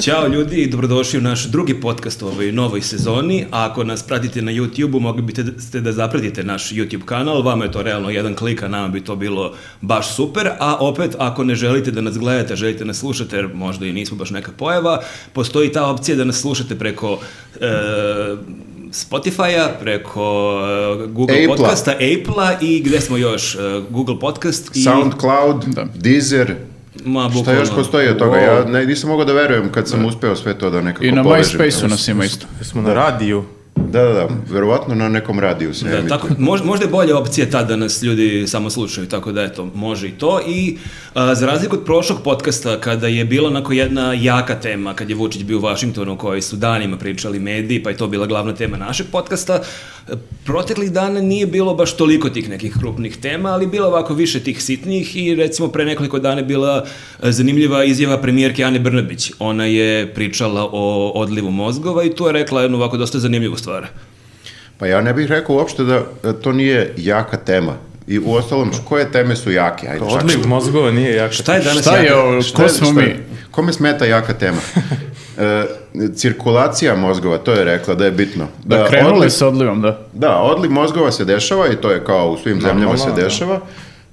Ćao ljudi i dobrodošli u naš drugi podcast u ovoj novoj sezoni. A ako nas pratite na YouTube-u, mogli biste ste da zapratite naš YouTube kanal. Vama je to realno jedan klik, a nama bi to bilo baš super. A opet, ako ne želite da nas gledate, želite da nas slušate, jer možda i nismo baš neka pojava, postoji ta opcija da nas slušate preko e, Spotify-a, preko e, Google Apple-a. podcasta, Apple-a i gde smo još? E, Google podcast i... SoundCloud, Da. Deezer, Ma, šta još bukvalno. postoji od toga? Wow. Ja ne, nisam mogao da verujem kad sam uspeo sve to da nekako I na povežem. MySpace-u nas ima isto. Smo na radiju. Da, da, da, verovatno na nekom radiju se Da, emituje. tako, možda, možda je bolja opcija ta da nas ljudi samo slušaju, tako da eto, može i to. I a, za razliku od prošlog podcasta, kada je bila onako jedna jaka tema, kad je Vučić bio u Vašingtonu, koji su danima pričali mediji, pa je to bila glavna tema našeg podcasta, e, proteklih dana nije bilo baš toliko tih nekih krupnih tema, ali bilo ovako više tih sitnijih i recimo pre nekoliko dana je bila e, zanimljiva izjava premijerke Ane Brnabić. Ona je pričala o odlivu mozgova i tu je rekla jednu ovako dosta zanimljivu stvar. Pa ja ne bih rekao uopšte da e, to nije jaka tema. I u ostalom, koje teme su jake? Ajde, čak. Odliv mozgova nije jak. Šta je danas Šta je jaka- ovo, Šta ko je- smo šta je- mi? Kome smeta jaka tema? E, cirkulacija mozgova, to je rekla da je bitno. Da, krenuli odliv- sa odlivom, da. Da, odliv mozgova se dešava i to je kao u svim zemljama se da. dešava,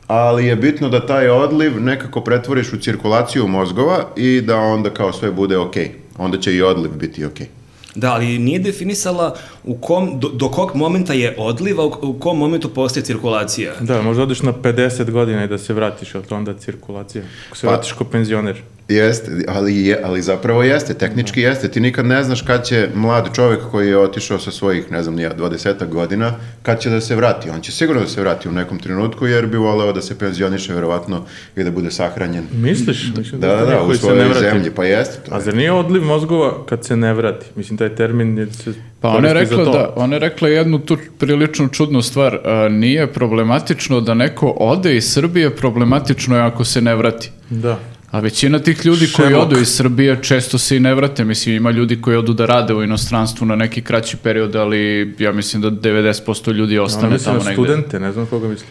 ali je bitno da taj odliv nekako pretvoriš u cirkulaciju mozgova i da onda kao sve bude okej. Onda će i odliv biti okej. Da, ali nije definisala u kom, do, do kog momenta je odliv, a u, u kom momentu postaje cirkulacija. Da, možda odeš na 50 godina i da se vratiš, ali to onda cirkulacija. Ako se Pa- vratiš ko penzioner. Jeste, ali, je, ali zapravo jeste, tehnički jeste. Ti nikad ne znaš kad će mlad čovjek koji je otišao sa svojih, ne znam, nija, 20 godina, kad će da se vrati. On će sigurno da se vrati u nekom trenutku jer bi voleo da se penzioniše verovatno i da bude sahranjen. Misliš? Da, da, da, u Koji se ne svojoj vrati. zemlji, pa jeste to. A zar nije odliv mozgova kad se ne vrati? Mislim, taj termin je se Pa ona je koristi za rekla to. da, ona je rekla jednu tu prilično čudnu stvar. A, nije problematično da neko ode iz Srbije, problematično je ako se ne vrati. Da. A većina tih ljudi koji Šemok. odu iz Srbije često se i ne vrate. Mislim, ima ljudi koji odu da rade u inostranstvu na neki kraći period, ali ja mislim da 90% ljudi Ona ostane misli tamo na negde. studente, ne znam koga misli.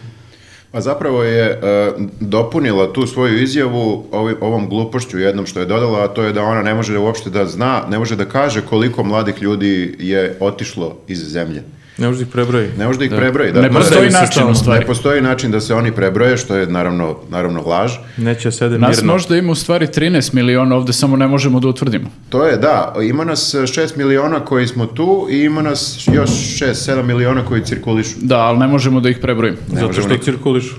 Pa zapravo je e, dopunila tu svoju izjavu ovi, ovom glupošću jednom što je dodala, a to je da ona ne može uopšte da zna, ne može da kaže koliko mladih ljudi je otišlo iz zemlje. Ne možda ih prebroji. Ne može da ih prebroji. Da, ne postoji se način stalno. u Ne stvari. ne postoji način da se oni prebroje, što je naravno, naravno laž. Neće da sede mirno. Nas možda ima u stvari 13 miliona ovde, samo ne možemo da utvrdimo. To je, da, ima nas 6 miliona koji smo tu i ima nas još 6-7 miliona koji cirkulišu. Da, ali ne možemo da ih prebrojimo. Zato možemo što nikad. cirkulišu.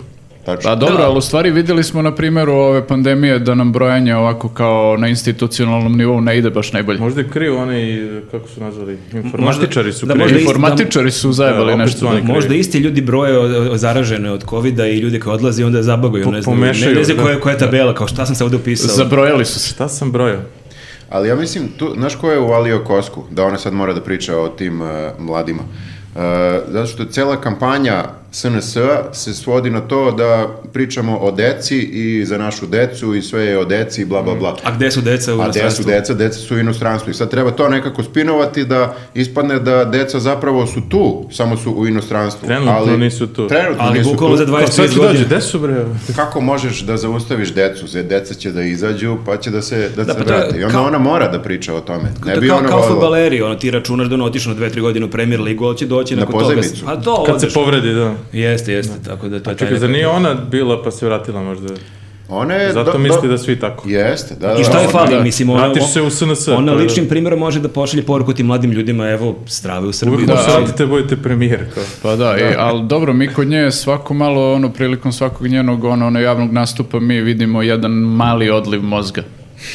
Tačno. Da. Pa dobro, ali u stvari vidjeli smo na primjeru ove pandemije da nam brojanje ovako kao na institucionalnom nivou ne ide baš najbolje. Možda je kriv onaj, kako su nazvali, informatičari su da, krivi. možda i- Informatičari su zajebali Da, opet nešto. su oni- Možda isti ljudi broje o- o- zaražene od covida i ljudi koji odlaze i onda zabaguju, Po- ne znam, ne, pomešaju, ne znam da. koja, koja je tabela, kao šta sam se ovde upisao. Zabrojali su se. Šta sam brojao? Ali ja mislim, tu, znaš ko je uvalio kosku? Da ona sad mora da priča o tim e, mladima. E, zato što cela kampanja SNS-a se svodi na to da pričamo o deci i za našu decu i sve je o deci i bla, bla, bla. Mhm. A gde su deca u A gde su inostranstvu? deca? Deca su u inostranstvu. I sad treba to nekako spinovati da ispadne da deca zapravo su tu, samo su u inostranstvu. Trenutno nisu tu. Trenutno Ali nisu bukvalno tu. za Pa sad 25 ću dođe, godina. gde su bre? Kako možeš da zaustaviš decu? Zde- Deca će da izađu, pa će da se, da Da, se pa to je vrate. I onda kao- ona mora da priča o tome. Ne To bi kao, ona kao voljela- futbaleri, ono, ti računaš da ono otišao na dve, tri godine u Premier Ligu, ali će doći Na nakon pozajmicu. toga. A to Kad se odeš. povredi, da. Jeste, jeste, tako da to je taj Čekaj, zar neka- nije ona bila pa se vratila možda? Ona je... Zato misli da svi tako. Jeste, da, da. I šta je ona- fali, da. mislim, ona, Vratiš se u SNS, ona pa da. ličnim primjerom može da pošalje poruku tim mladim ljudima, evo, strave u Srbiji. Uvijek da, se vratite, budete premijer. Kao. Pa da, i, ali dobro, mi kod nje svako malo, ono, prilikom svakog njenog, ono, ono javnog nastupa mi vidimo jedan mali odliv mozga.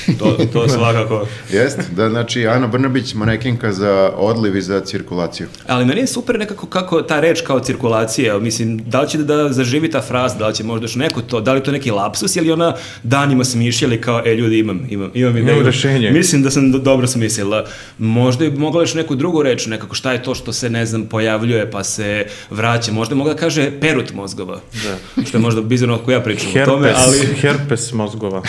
da, To, to svakako. Jeste, da, znači, Ana Brnabić, manekinka za odliv i za cirkulaciju. Ali meni je super nekako kako ta reč kao cirkulacija, mislim, da li će da zaživi ta fraza, da li će možda još neko to, da li je to neki lapsus ili ona danima smišljali kao, e ljudi imam, imam, imam ideju. rešenje. Mislim da sam do- dobro smislila. Možda je mogla još neku drugu reč, nekako šta je to što se, ne znam, pojavljuje pa se vraća. Možda je mogla da kaže perut mozgova. Da. Što je možda bizarno ako ja pričam o Herpes, tome, ali... herpes mozgova.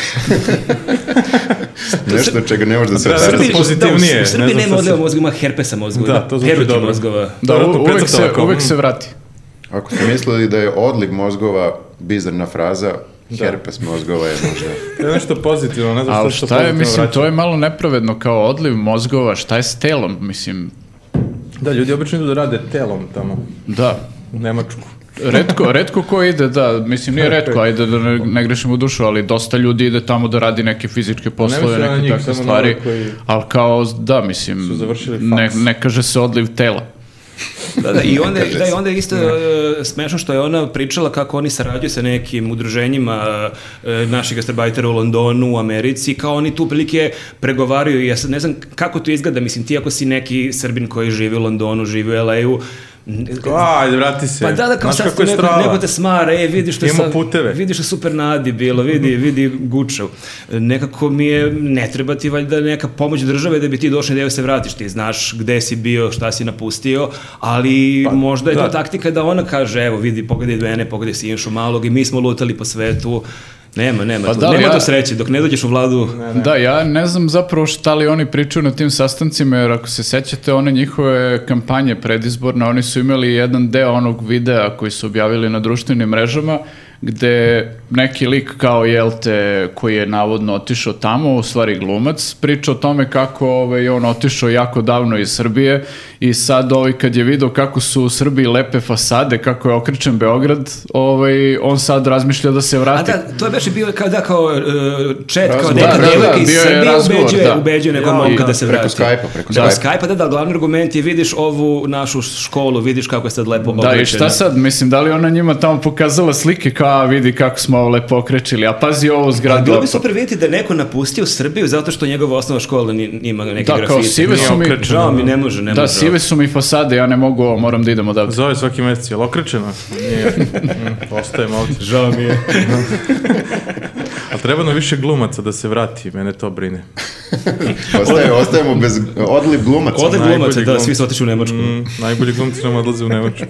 Nešto čega ne možeš da se Da, odrezi. Srbi- pozitivnije, Da, u Srbiji ne znam nema šta odljeva se- mozgova, herpesa mozgova, Da, da, to zvuči peruti dobro. mozgova. Da, Vjerojatno u- uvek, se, precrtala kao, uvek mm. se vrati. Ako ste mislili da je odliv mozgova bizarna fraza, herpes mozgova je možda. To je nešto pozitivno, ne znam Ali što šta je, pozitivno mislim, vraća. to je malo nepravedno kao odliv mozgova, šta je s telom, mislim, Da, ljudi obično idu da rade telom tamo, da. u Nemačku. Redko, redko ko ide, da, mislim, nije redko, ajde da ne, ne grešim u dušu, ali dosta ljudi ide tamo da radi neke fizičke poslove, mislim na neke njih, takve samo na ove stvari, koji ali kao, da, mislim, su završili ne, faks. ne kaže se odliv tela. Da, da, i onda, da, i onda je isto e, smešno što je ona pričala kako oni sarađuju sa nekim udruženjima e, naših gastarbajtera u Londonu, u Americi, kao oni tu prilike pregovaraju. Ja sad ne znam kako to izgleda, mislim, ti ako si neki Srbin koji živi u Londonu, živi u LA-u, n- Ajde, vrati se. Pa da, da, kao Znaš sad kako je neko, strava. neko te smara, e, vidi što je Imamo sad, puteve. vidi što je super nadi bilo, vidi, vidi gučev. Nekako mi je, ne treba ti valjda neka pomoć države da bi ti došao i da se vratiš, ti znaš gde si bio, šta si napustio, ali možda je to da. taktika da ona kaže, evo, vidi, pogledaj mene, pogledaj Sinšu malog i mi smo lutali po svetu, nema, nema, Pa tu, da, ali nema ja- to sreće, dok ne dođeš u vladu, Da, ja ne znam zapravo šta li oni pričaju na tim sastancima, jer ako se sećate one njihove kampanje predizborne, oni su imali jedan deo onog videa koji su objavili na društvenim mrežama, gde neki lik kao Jelte, koji je navodno otišao tamo, u stvari glumac, priča o tome kako ovaj, je on otišao jako davno iz Srbije i sad ovaj, kad je video kako su u Srbiji lepe fasade, kako je okričen Beograd, ovaj, on sad razmišlja da se A vrati da, to je baš i bio kao, da, kao uh, chat, kao Razgovor. neka Da, da, devojka da, iz bio je Srbije razgovor, ubeđuje, da. ubeđuje nekog Ja, momka i- da se vrati. Preko Skype-a, preko Da, Skype-a. Skype-a, da, da, glavni argument je vidiš ovu našu školu, vidiš kako je sad lepo Da, oblečena. i šta sad, mislim, da li ona njima tamo pokazala slike kao, a vidi kako smo ovo lepo okrećili, a pazi ovo A zgradu. bilo bi super vidjeti da je neko napustio Srbiju zato što njegova osnova škola ni- ima neke Da, kao grafite. sive su mi- Nije okrečeno. Žao mi, ne može, ne Da, može. sive su mi fasade, ja ne mogu ovo, moram da idem odavde. Zove svaki mjesec, jel okrečeno? Nije. Mm, Ostajem ovdje. Žao mi je. Ali treba nam više glumaca da se vrati, mene to brine. Ostaje, ostajemo bez odliv glumaca. Ode Najbolji glumaca, da, glumac. svi su otišli u Nemačku. Mm, najbolji glumci nam odlaze u Nemačku.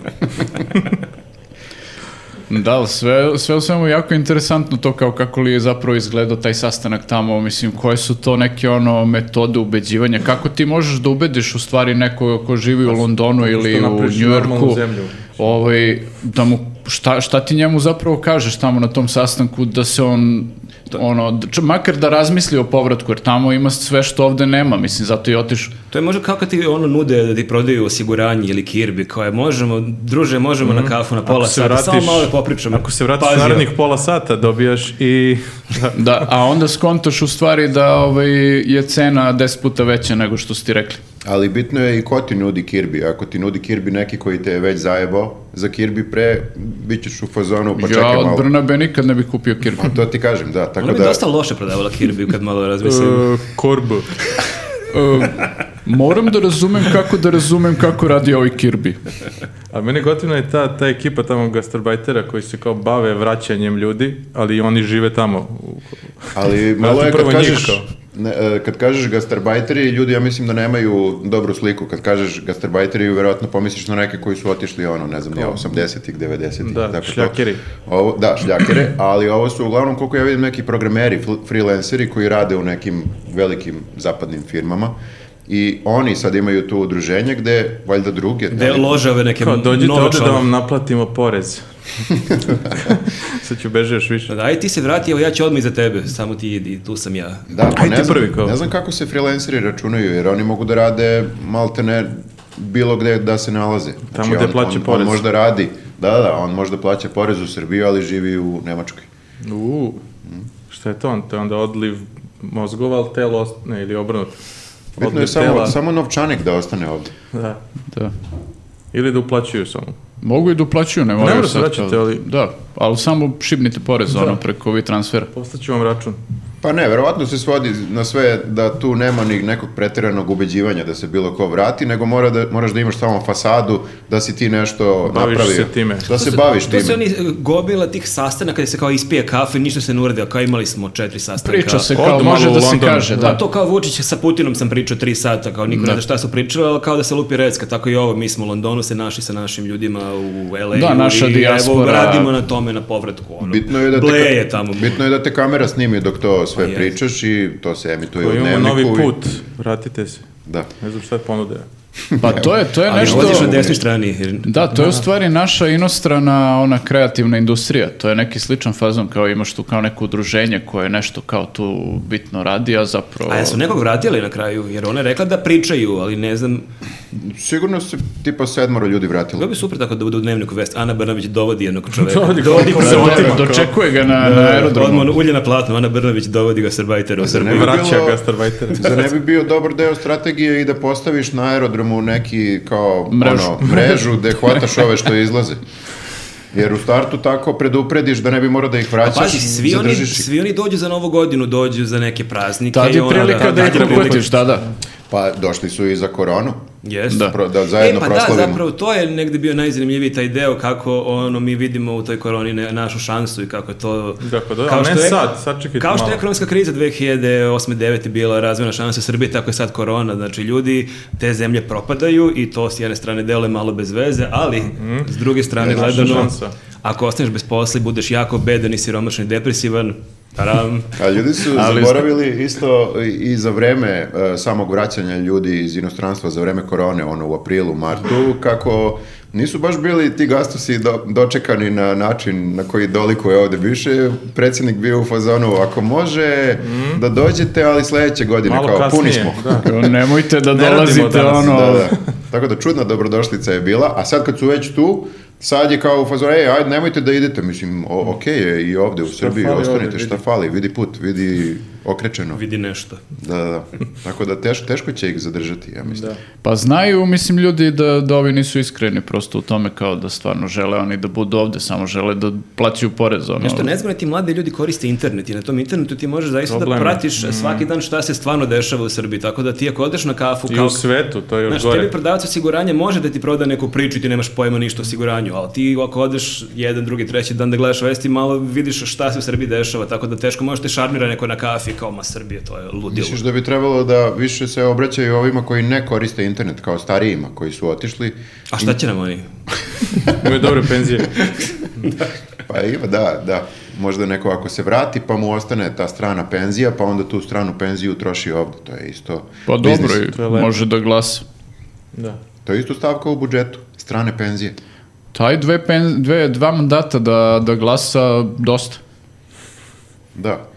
Da, ali sve, sve u svemu jako interesantno to kao kako li je zapravo izgledao taj sastanak tamo, mislim, koje su to neke ono metode ubeđivanja, kako ti možeš da ubediš u stvari nekoga ko živi u Londonu ili u Pa, da napraviš normalnu Njujorku, zemlju. ovaj, da mu, šta, šta ti njemu zapravo kažeš tamo na tom sastanku da se on Da. ono, d- č- makar da razmisli o povratku, jer tamo ima sve što ovde nema, mislim, zato je otišao. To je možda kao kad ti ono nude da ti prodaju osiguranje ili kirbi, kao je možemo, druže, možemo na kafu na pola Ako se sata, samo vratiš- malo da popričamo. Ako se vratiš Pazi, narednih pola sata, dobijaš i... Da, a onda skontaš u stvari da ovaj, je cena 10 puta veća nego što su ti rekli. Ali bitno je i ko ti nudi Kirby. Ako ti nudi Kirby neki koji te je već zajebao, za Kirby pre bit ćeš u fazonu, pa čekaj ja od malo. Brnabe nikad ne bi kupio kirpu. To ti kažem, da. Tako Ona bi da, dosta loše prodavala Kirby kad malo razmislim. Uh, korbu. E, moram da razumem kako da razumem kako radi ovaj Kirby. A mene gotivna je ta, ta ekipa tamo gastarbajtera koji se kao bave vraćanjem ljudi, ali i oni žive tamo. U- ali malo Vrati je kad prvo njih kažeš... kao. Ne, e, kad kažeš gastarbajteri, ljudi ja mislim da nemaju dobru sliku. Kad kažeš gastarbajteri, verovatno pomisliš na neke koji su otišli ono, ne znam, ja, 80-ih, 90-ih. Da, tako to. šljakeri. Ovo, da, šljakere, ali ovo su uglavnom, koliko ja vidim, neki programeri, fl- freelanceri koji rade u nekim velikim zapadnim firmama i oni sad imaju tu udruženje gde, valjda druge, Gde ali- lože ove neke Kao, dođite nove ovdje da članove. vam naplatimo porez. Sad ću beže još više. Da, aj ti se vrati, evo ja ću odmah iza tebe, samo ti idi, tu sam ja. Da, pa Aj ti ne, znam, prvi kao. ne znam kako se freelanceri računaju, jer oni mogu da rade malte ne bilo gde da se nalaze. Tamo gde on- plaća on, porez. On možda radi, da, da, on možda plaća porez u Srbiji, ali živi u Nemačkoj. Uuu, šta je to? on? To je onda odliv mozgova, ali telo ostane, ili obrnuto. Bitno je Odliv samo, tela, samo novčanik da ostane ovdje. da. Da. Ili da uplaćuju samo. Mogu i da uplaćuju, ne moraju mora se sad vraćati, kao- ali- Da, ali samo šibnite porez ono preko ovih transfera. Postaću vam račun. Pa ne, verovatno se svodi na sve da tu nema ni nekog pretjeranog ubeđivanja da se bilo ko vrati, nego mora da, moraš da imaš samo fasadu, da si ti nešto Baviš napravio. se time. Da se baviš time. To se oni e, gomila tih sastanaka gdje se kao ispije kafe, ništa se ne uradi, a kao imali smo četiri sastanka. Priča se Odu kao, može malo da u se London. kaže, Da. da. to kao Vučić sa Putinom sam pričao tri sata, kao niko ne zna šta su pričali, ali kao da se lupi recka, tako i ovo, mi smo u Londonu se naši sa našim ljudima u LA. Da, naša i Evo, dijaspora. radimo na tome, na povratku. Ono. Bitno je da te, Bleje tamo. bitno je da te kamera snimi dok to sve je. pričaš i to se emituje u Koji imamo dnevniku. novi i- put, vratite se. Da. Ne znam šta je ponude. Pa to je, to je Ali nešto... nalaziš na desnoj strani. jer- Da, to je u stvari naša inostrana ona kreativna industrija. To je neki sličan fazon kao imaš tu kao neko udruženje koje nešto kao tu bitno radi, a zapravo... A Pa jesu nekog vratili na kraju, jer ona je rekla da pričaju, ali ne znam, Sigurno se tipa sedmoro ljudi bilo vratilo. bi super tako da bude u dnevniku vest. Ana Brnabić dovodi jednog čoveka. Dovodi ga, dovodi se Srbajtera. otima. Dočekuje ga na, na aerodromu. Odmah ulje na platno, Ana Brnabić dovodi ga Srbajtera u Srbiju. bi Vraća bilo- gastarbajtere. Zar Da ne bi bio dobar deo strategije i da postaviš na aerodromu neki kao Mrežu. ono, mrežu gde hvataš ove što izlaze? Jer u startu tako preduprediš da ne bi morao da ih vraćaš. Pazi, svi oni, zadržiš ih. svi oni dođu za novu godinu, dođu za neke praznike. Tad i je ona- prilika da ih tad je prilika. uhvatiš, da, da. Pa došli su i za koronu. Jeste. Da. Pro- da zajedno e, pa proslavimo. da, zapravo to je negde bio najzanimljiviji taj deo kako ono mi vidimo u toj koroni ne- našu šansu i kako je to... Dakle, da, ali ne je- sad, sad čekajte Kao što je malo. ekonomska kriza 2008-2009 bila razvojna šansa Srbije, tako je sad korona. Znači, ljudi, te zemlje propadaju i to s jedne strane deluje malo bez veze, ali s druge strane Mhm. naša gledano, šansa. ako ostaneš bez posla i budeš jako bedan i siromašan i depresivan, pa taram, A ljudi su Ali- zaboravili isto i za vreme e, samog vraćanja ljudi iz inostranstva za vreme korone, ono u aprilu, martu, kako nisu baš bili ti gastusi do, dočekani na način na koji dolikuje ovde više. Predsjednik bio u fazonu, ako može da dođete, ali sledeće godine, Mhm. Malo kao kasnije, puni smo. da. Nemojte da Ne radimo dolazite danas, ono... Da, da. Tako da čudna dobrodošlica je bila, a sad kad su već tu, sad je kao u fazonu, ej, ajde, nemojte da idete, mislim, o, okej je i ovde u Srbiji, fali ostanite, ovde, šta fali, vidi put, vidi okrečeno. vidi nešto. Da, da, da. Tako da teš, teško će ih zadržati, ja mislim. Pa znaju, mislim, ljudi da, da ovi nisu iskreni prosto u tome kao da stvarno žele oni da budu ovde, samo žele da plaćaju porez, ono. Nešto nezgodno, ti mladi ljudi koriste internet i na tom internetu ti možeš zaista Problem da je. pratiš svaki dan šta se stvarno dešava u Srbiji, tako da ti ako odeš na kafu I kao... u svetu, to je još Znaš, gore. tebi prodavac osiguranja može da ti proda neku priču i ti nemaš pojma ništa o osiguranju, ali ti ako odeš jedan, drugi, treći dan da gledaš vesti, malo vidiš šta se u Srbiji dešava, tako da teško možeš te šarmira neko na kafi kao, ma Srbije, to je ludilo. Misliš da bi trebalo da više se obraćaju ovima koji ne koriste internet, kao starijima koji su otišli? A šta će nam oni? Imaju dobre penzije. Pa ima, da, da. Možda neko ako se vrati, pa mu ostane ta strana penzija, pa onda tu stranu penziju troši ovde. To je isto Pa dobro, biznis. i to je lepo. može da glasa. Da. To je isto stavka u budžetu, strane penzije. Taj dve, pen, dve, dva mandata da, da glasa dosta. Da.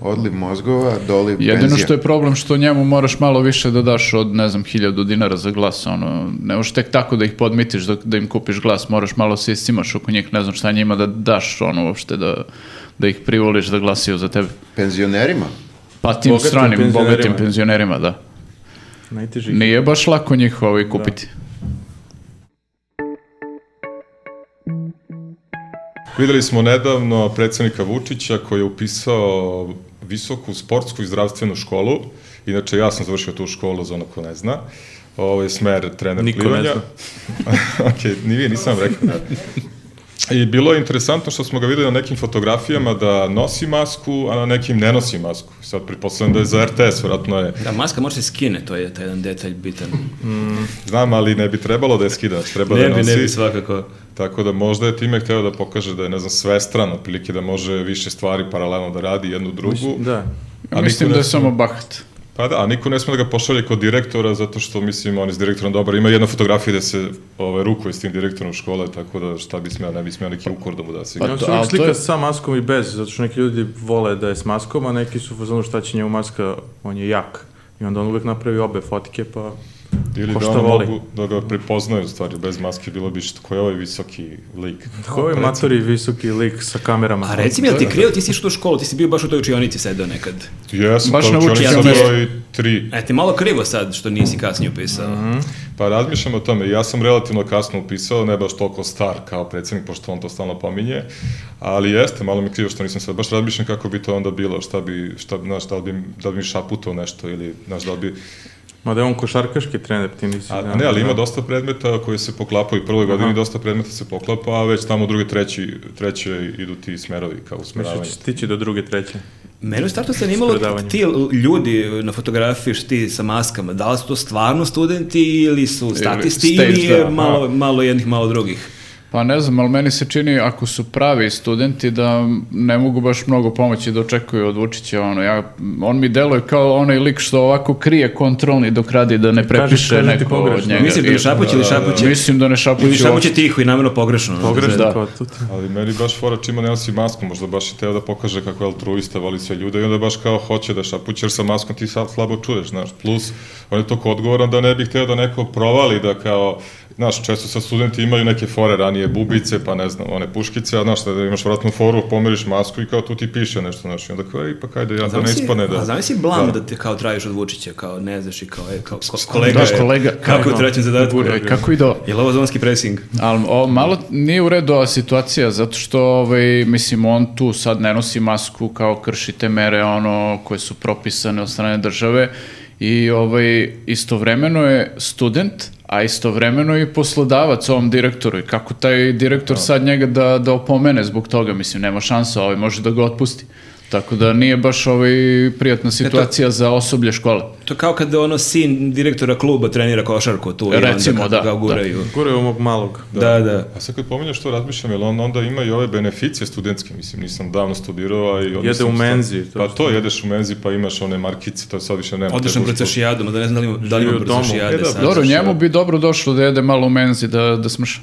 Odliv mozgova, doliv Jedino penzija. što je problem što njemu moraš malo više da daš od, ne znam, hiljadu dinara za glas, ono, ne možeš tek tako da ih podmitiš, da, da im kupiš glas, moraš malo se iscimaš oko njih, ne znam šta njima da daš, ono, uopšte, da, da ih privoliš da glasaju za tebe. Penzionerima? Pa tim Bogatim stranim, penzionerima. bogatim penzionerima, da. Najteži. Nije baš lako njih ovaj kupiti. Videli smo nedavno predsednika Vučića koji je upisao visoku sportsku i zdravstvenu školu. Inače, ja sam završio tu školu, za ono ko ne zna. Ovo je smer trener Niko ne plivanja. zna. ok, ni vi, nisam vam rekao. I bilo je interesantno što smo ga videli na nekim fotografijama da nosi masku, a na nekim ne nosi masku. Sad pretpostavljam da je za RTS, vjerojatno je. Da, maska može se skine, to je taj jedan detalj bitan. Znam, ali ne bi trebalo da je skida, znači treba ne da bi, nosi. ne bi svakako. Tako da možda je time hteo da pokaže da je, ne znam, svestran, otprilike da može više stvari paralelno da radi jednu drugu. Da. A Mislim niko da je ne- samo bahat. Pa da, a niko ne sme da ga pošalje kod direktora zato što, mislim, on je s direktorom dobar. Ima jedna fotografija gde se ovaj, rukuje s tim direktorom škole, tako da šta bi smeo, ne bi smeo neki ukor da mu da se Pa Ja to- sam uvijek ali to je- slika sa maskom i bez, zato što neki ljudi vole da je s maskom, a neki su u fazonu šta će njemu maska, on je jak. I onda on uvijek napravi obe fotike, pa... Ili ko da šta ono voli. mogu da ga prepoznaju, u stvari, bez maske bilo bi što, ko je ovaj visoki lik. Ko je ovaj matori visoki lik sa kamerama? A reci mi, jel ti krivo, ti si išao u školu, ti si bio baš u toj učionici sedao nekad. Jesu, Baš Baš to na učionic učenju sam mjestu. broj tri. E, ti malo krivo sad što nisi kasnije upisao. Pa razmišljam o tome, ja sam relativno kasno upisao, ne baš toliko star kao predsednik, pošto on to stalno pominje, ali jeste, malo mi krivo što nisam sad, baš razmišljam kako bi to onda bilo, šta bi, šta, bi, znaš, da li bi, da li bi mi šaputao nešto ili, znaš, da li bi, Mada je on košarkaški trener, ti nisi... a, da, ne, ali ima da. dosta predmeta koji se poklapaju, u prvoj godini dosta predmeta se poklapa, a već tamo u druge, treći, treće idu ti smerovi kao Mislim da usmeravanje. će stići do druge, treće. Mene u startu se zanimalo predavanjem. ti l- ljudi na fotografiji što ti sa maskama, da li su to stvarno studenti ili su statisti stage, ili je da, malo, malo jednih, malo drugih. Pa ne znam, ali meni se čini ako su pravi studenti da ne mogu baš mnogo pomoći da očekuju od Vučića. Ono, ja, on mi deluje kao onaj lik što ovako krije kontrolni dok radi da ne prepiše kaže ti neko od pogrešno. njega. Mislim da ne šapuće ili šapuće. Mislim da ne Ili šapuće šapuće tiho i namjerno pogrešno. ono. Pogrešno Da. kao tut. Ali meni baš fora čima ne nosi masku, možda baš i teo da pokaže kako je altruista, voli sve ljude i onda baš kao hoće da šapuće, jer sa maskom ti sad slabo čuješ, znaš. Plus, on je toliko odgovoran da ne bih hteo da neko provali da kao, znaš, često sa studenti imaju neke fore ranije, bubice, pa ne znam, one puškice, a znaš, da imaš vratnu foru, pomeriš masku i kao tu ti piše nešto, znaš, i onda kao, ej, pa kaj da ja, da ne Zamisli- ispadne da... A zamisli blam da te kao tražiš od Vučića, kao ne znaš i kao, e, kao ko- kolega, Daš je, kolega. kako je u Kao, trećem zadatku. Buraj, kako da. ide ovo? Je li ovo zonski pressing? Ali o, malo nije u redu ova situacija, zato što, ovaj, mislim, on tu sad ne nosi masku kao kršite mere ono koje su propisane od strane države i ovaj, istovremeno je student, a istovremeno je i poslodavac ovom direktoru i kako taj direktor sad njega da, da opomene zbog toga, mislim, nema šansa, ovaj može da ga otpusti. Tako da nije baš ovaj E, prijatna situacija za osoblje škole. To kao kada ono sin direktora kluba trenira košarku tu i Recimo, onda kako da, ga da. guraju. Gure ovog malog. Da, da. A sad kad pominjaš to, razmišljam, jel on onda ima i ove beneficije studentske, mislim, nisam davno studirao, a i... Jede odnosno- u menzi. Pa to jedeš u menzi pa imaš one markice, to sad više nema. Odlično Te proces jadom, da ne znam da li ima, da li ima Živi u domu. procesijade E, da, sad. Dobro, Znači, njemu ja- bi dobro došlo da jede malo u menzi, da, da smrša.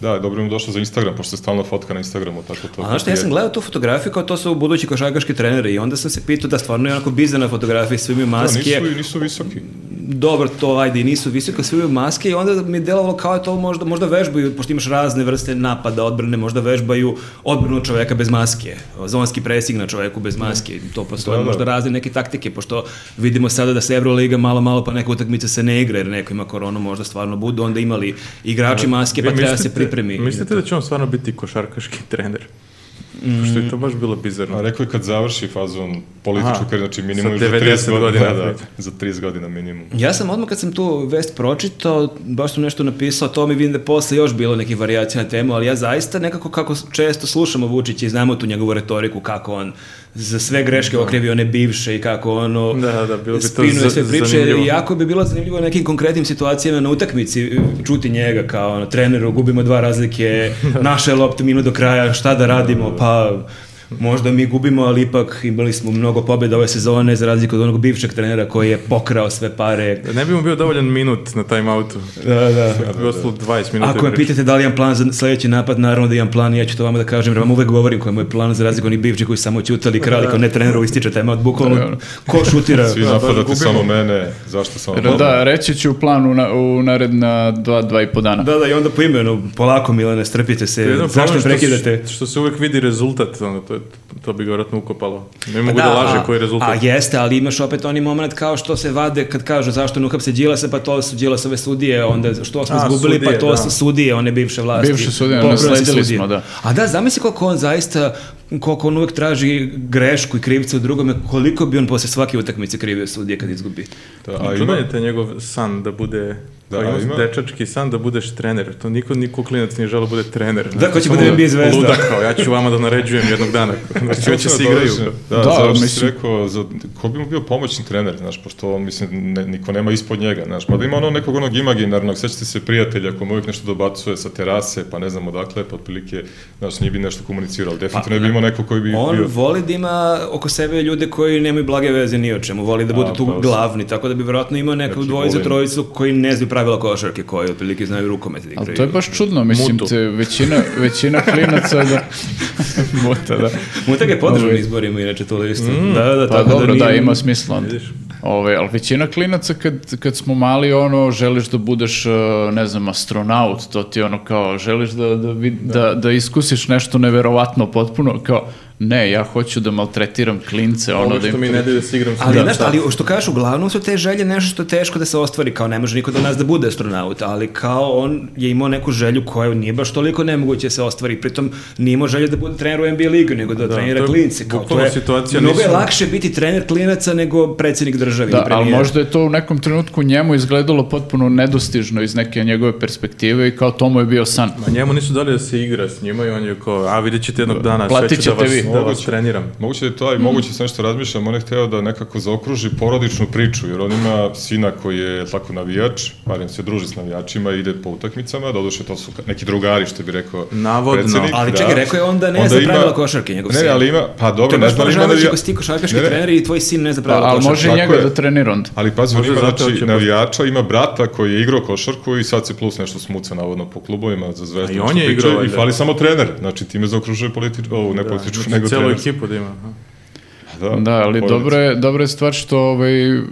Da, dobro mi je došlo za Instagram, pošto se stalno fotka na Instagramu, tako to. Da, A znaš šta, ja sam gledao tu fotografiju kao to su budući košarkaški treneri i onda sam se pitao da stvarno je onako bizarna na fotografiji, svi imaju Da, maske. nisu, nisu visoki. Dobro, to ajde, i nisu visoke, svi imaju maske i onda mi je delovalo kao da je to možda, možda vežbaju, pošto imaš razne vrste napada, odbrane, možda vežbaju odbranu čoveka bez maske, zonski presig na čoveku bez maske, to postoje Da, da. možda razne neke taktike, pošto vidimo sada da se Euroliga malo, malo pa neka utakmica se ne igra, jer neko ima koronu, možda stvarno budu, onda imali igrači maske, pa Da. Vi treba mislite- se pripremi. Mislite da će on stvarno biti košarkaški trener? Što je to baš bilo A bizarno. Pa rekao je kad završi fazon političku Aha, karijeru, znači minimum sa još za 90 30 godina. godina. Da, Da, da, za 30 godina minimum. Mm-hmm. Ja sam odmah kad sam tu vest pročitao, baš sam nešto napisao o tome i vidim da je posle još bilo nekih varijacija na temu, ali ja zaista nekako kako često slušamo Vučića i znamo tu njegovu retoriku, kako on za sve greške okrivi one bivše i kako ono Da, da, bilo bi to spinuje za- sve priče. zanimljivo. Jako bi bilo zanimljivo u nekim konkretnim situacijama na utakmici e, čuti njega kao ono, treneru, gubimo dva razlike, naša je lopta minu do kraja, šta da radimo, pa možda mi gubimo, ali ipak imali smo mnogo pobjeda ove sezone za razliku od onog bivšeg trenera koji je pokrao sve pare, Da Ne bi mu bio dovoljan minut na timeoutu. da, da. Da, bi ostalo 20 minuta. Ako me priče. pitate da li imam plan za sledeći napad, naravno da imam plan i ja ću to vama da kažem, jer vam uvek govorim koji je moj plan za razliku od onih bivši koji su samo ćutali, krali, kao ne treneru ističe tema, od bukvalno ko šutira. Svi da, napadate gubimo. samo mene, zašto samo Da, mene? da, reći ću u planu na, u naredna dva, dva i po dana. Da, da, i onda po imenu, polako Milane, strpite se, Jedan zašto problem što prekidate? se- Što, se uvek vidi rezultat, onda to, je- to bi ga vjerojatno ukopalo. Ne mogu Pa da, da, laže a- koji je rezultat. A jeste, ali imaš opet oni moment kao što se vade kad kažu zašto nukap se Đilasa, pa to su Đilasove sudije, onda što smo A, izgubili, pa sudije, to da. su sudije, one bivše vlasti. Bivše sudije, Pobrali se nasledili sudije. smo, da. A da, zamisli koliko on zaista, koliko on uvek traži grešku i krivcu u drugome, koliko bi on posle svake utakmice krivio sudije kad izgubi. Da, a Čudan ima, je taj njegov san da bude Da, da, ima, ima- dečački san da budeš trener. To niko, niko klinac nije želeo da bude trener. Da, ko će Samo bude NBA zvezda. Luda kao, ja ću vama da naređujem jednog dana. Znači, već će se igraju. Da, Da, da završi mislim- si rekao, za, ko bi mu bio pomoćni trener, znaš, pošto on, mislim, ne, niko nema ispod njega, znaš, pa da ima ono nekog onog imaginarnog, sećate se prijatelja koji mu uvijek nešto dobacuje sa terase, pa ne znam odakle, pa otprilike, znaš, nije bi nešto komunicirao, ali definitivno ne bi imao neko koji bi On bio... voli da ima oko sebe ljude koji nemaju blage veze ni o čemu, voli da budu A, tu pa, Znači, glavni, tako da bi vjerojatno imao neku Neki dvojicu, golem. trojicu koji ne znaju pravila košarke, koji otprilike znaju rukomet. da Ali to je igraju. baš čudno, mislim, Mutu. te, većina, većina klinaca da... Muta, da. Mutak je podržan Ovaj. izborima, inače to listu. da, da, da, Pa tako dobro, da, da, nije- ima smisla onda. Vidiš. Ove, ali većina klinaca kad, kad smo mali, ono, želiš da budeš, eh, ne znam, astronaut, to ti je ono kao, želiš da, da, vid- da, da iskusiš nešto neverovatno potpuno, kao, ne, ja hoću da maltretiram klince, ono, Ono da što im... mi ne daju da se igram s Ali, njim, znaš, šta? ali što kažeš, uglavnom su te želje nešto što je teško da se ostvari, kao ne može niko do nas da bude astronaut, ali kao on je imao neku želju koja nije baš toliko nemoguće da se ostvari, pritom nije imao želju da bude trener u NBA ligu, nego da, Da, trenira to je klince. Kao, to bukvalno je, situacija, mnogo je nisu- lakše biti trener klinaca nego predsjednik države. ili Da, ali premijer. možda je to u nekom trenutku njemu izgledalo potpuno nedostižno iz neke njegove perspektive i kao to mu je bio san. da Ma njemu nisu dali da se igra s njima i on je kao, a vidjet ćete jednog dana, Platit sve ću da ćete vas vi. lik da vas treniram. Moguće da je to, a i moguće sam nešto razmišljam, on je hteo da nekako zaokruži porodičnu priču, jer on ima sina koji je tako navijač, barem se druži s navijačima, ide po utakmicama, doduše to su neki drugari, što bi rekao Navodno. predsednik, Ali da. čekaj, rekao je on da ne Onda zna ima- pravila košarke, njegov Ne, sin. ali ima, pa To dobro, je ne baš znam, ali ima poražavajuće navija- ako si ti košarkaški Ne, ne. trener i tvoj sin ne zna Pa, pravila ali košarke. može i Tako njega je. da trenira onda. Ali pazi, on Možda ima zato znači, hoće- navijača, ima brata koji je igrao košarku i sad se plus nešto smuca navodno po klubovima za zvezdu. A i on nešto je pričaju igrao, I valjda. fali samo trener, znači time zaokružuje političku, ovu Da. ne političku, znači, nego celu trener. ekipu da ima. aha. Da, Da, ali porodicu. dobro je, dobra je stvar što ovaj, e,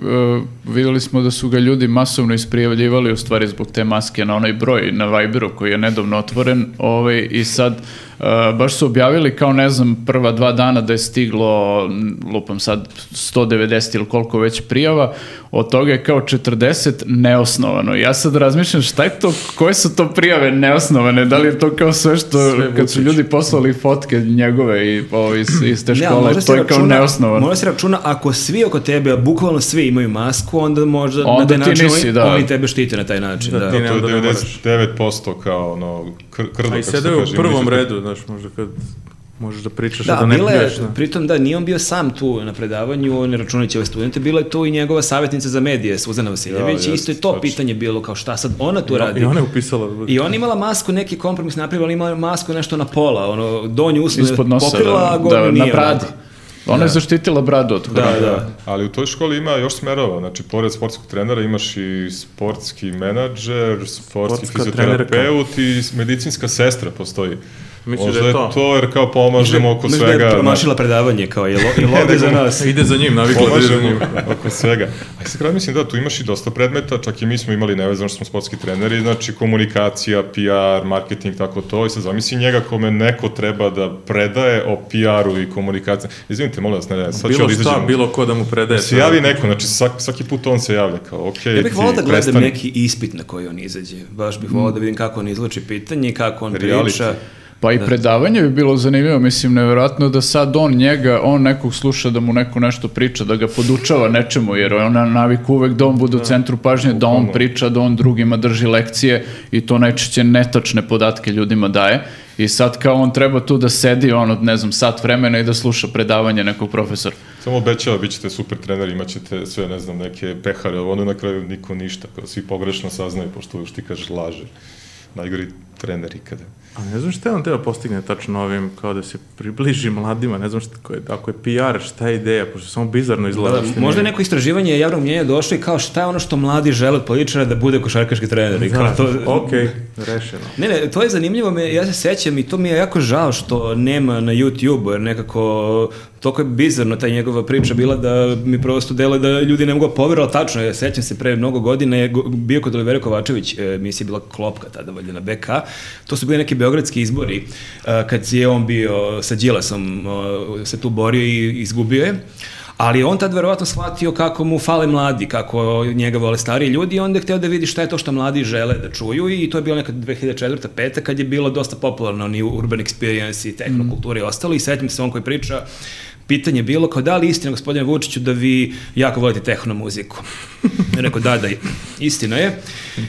videli smo da su ga ljudi masovno isprijavljivali u stvari zbog te maske na onaj broj na Viberu koji je nedavno otvoren ovaj, i sad e, baš su objavili kao ne znam prva dva dana da je stiglo m, lupam sad 190 ili koliko već prijava, od toga je kao 40 neosnovano. Ja sad razmišljam šta je to, koje su to prijave neosnovane, da li je to kao sve što Sve kad su Vučić. ljudi poslali fotke njegove i ovo iz, iz te Ne, ali škole, možda se to je kao računa- neosnovano. Možda se računa, ako svi oko tebe, a bukvalno svi imaju masku, onda možda na Onda taj ti način nisi, oni, da. oni tebe štite na taj način. Da, Da, Da, ti ne, to je onda ne moraš. 99% kao ono, kr krdo, A i kako se kaže. da- sede u prvom imiđu- redu, znaš, možda kad možeš da pričaš, Da, a da ne bila je, priješ. Da. pritom da nije on bio sam tu na predavanju, ne računajući ove studente, bila je tu i njegova savjetnica za medije, Suzana Vasiljević, Ja, i isto je jest, to tačno. pitanje bilo kao šta sad ona tu radi. Da, I ona je upisala. I ona imala masku, neki kompromis napravila, ona imala masku nešto na pola, ono, donju usnu je ispod nosa. pokrila, a gornju da, nije. na bradi. onako. Ona je zaštitila bradu od Da, korone. da. Ali u toj školi ima još smerova, znači pored sportskog trenera imaš i sportski menadžer, sportski Sportska fizioterapeut i medicinska sestra postoji. Misliš Možda da je je to? to? jer kao pomažemo oko Znaš da svega. znači, je znaš, promašila predavanje, kao je, lo, je lobby za nas. Ide za njim, navikla da ide za njim. Pomažemo oko svega. A sad kad mislim da tu imaš i dosta predmeta, čak i mi smo imali nevezano što smo sportski treneri, znači komunikacija, PR, marketing, tako to. I sad zamisli njega kome neko treba da predaje o PR-u i komunikaciji. Izvinite, molim vas, ne, ne, sad ću Bilo da šta, izađem. bilo ko da mu predaje. se javi neko, znači svak, svaki put on se javlja kao, ok, Ja bih volao da gledam neki ispit na koji on izađe. Baš bih volao da vidim kako on izloči pitanje, kako on Reality. priča. Pa i predavanje bi bilo zanimljivo, mislim, nevjerojatno da sad on njega, on nekog sluša da mu neko nešto priča, da ga podučava nečemu, jer on na naviku uvek da on bude u centru pažnje, da on priča, da on drugima drži lekcije i to najčešće netačne podatke ljudima daje. I sad kao on treba tu da sedi, ono, ne znam, sat vremena i da sluša predavanje nekog profesora. Samo obećava, bit ćete super trener, imat ćete sve, ne znam, neke pehare, ovo onda na kraju niko ništa, kao svi pogrešno saznaju, pošto što ti kažeš laže. Najgori trener ikada. A ne znam šta je on teo da postigne tačno ovim, kao da se približi mladima, ne znam šta, ko je, ako je PR, šta je ideja, pošto samo bizarno Da, izgleda. što možda je nije- neko istraživanje javnog mnjenja došlo i kao šta je ono što mladi žele od političara da bude košarkaški trener. I kao Da, to... okej, rešeno. Ne, ne, to je zanimljivo, me, ja se sećam i to mi je jako žao što nema na YouTube, jer nekako toliko je bizarno ta njegova priča bila da mi prosto deluje da ljudi ne mogu poverovati tačno, ja sećam se pre mnogo godina je go- bio kod Olivera Kovačević, e, emisija je bila klopka tada valjda na BK, to su bili neki beogradski izbori, e, kad je on bio sa Đilasom, e, se tu borio i izgubio je, Ali je on tad verovatno shvatio kako mu fale mladi, kako njega vole stariji ljudi i onda je hteo da vidi šta je to što mladi žele da čuju i to je bilo nekad 2004. 5. kad je bilo dosta popularno ni urban experience i tehnokultura i ostalo i setim se on koji priča pitanje je bilo kao da li je istina gospodine Vučiću da vi jako volite tehno muziku. Ja rekao da, da, istina je.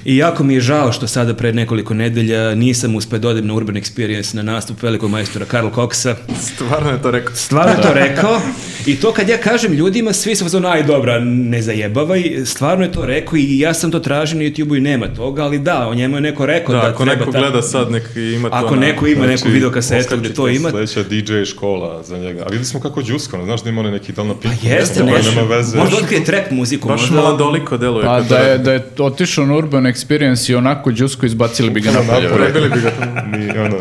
I jako mi je žao što sada pre nekoliko nedelja nisam uspeo da odem na Urban Experience na nastup velikog majstora Karl Coxa. Stvarno je to rekao. Stvarno Da. je to rekao. I to kad ja kažem ljudima, svi su fazon, aj dobra, ne zajebavaj, stvarno je to rekao i ja sam to tražio na YouTube-u i nema toga, ali da, o njemu je neko rekao Da, da, ako treba neko ta- gleda sad, nek ima to. da, znači, Ako na- neko ima neku videokasetu Oskar gde će to ima, Znači, Sledeća DJ škola za njega. A videli smo kako džuskano, znaš da ima onaj neki dan na piku. jeste nema, nešto. nema veze. Možda otkrije trap muziku, Baš možda... mladoliko deluje. Pa kad da je, radi. da je otišao na Urban Experience i onako Đusko izbacili bi ga napolje. Napolje. Prebili bi ga. Ni, ono,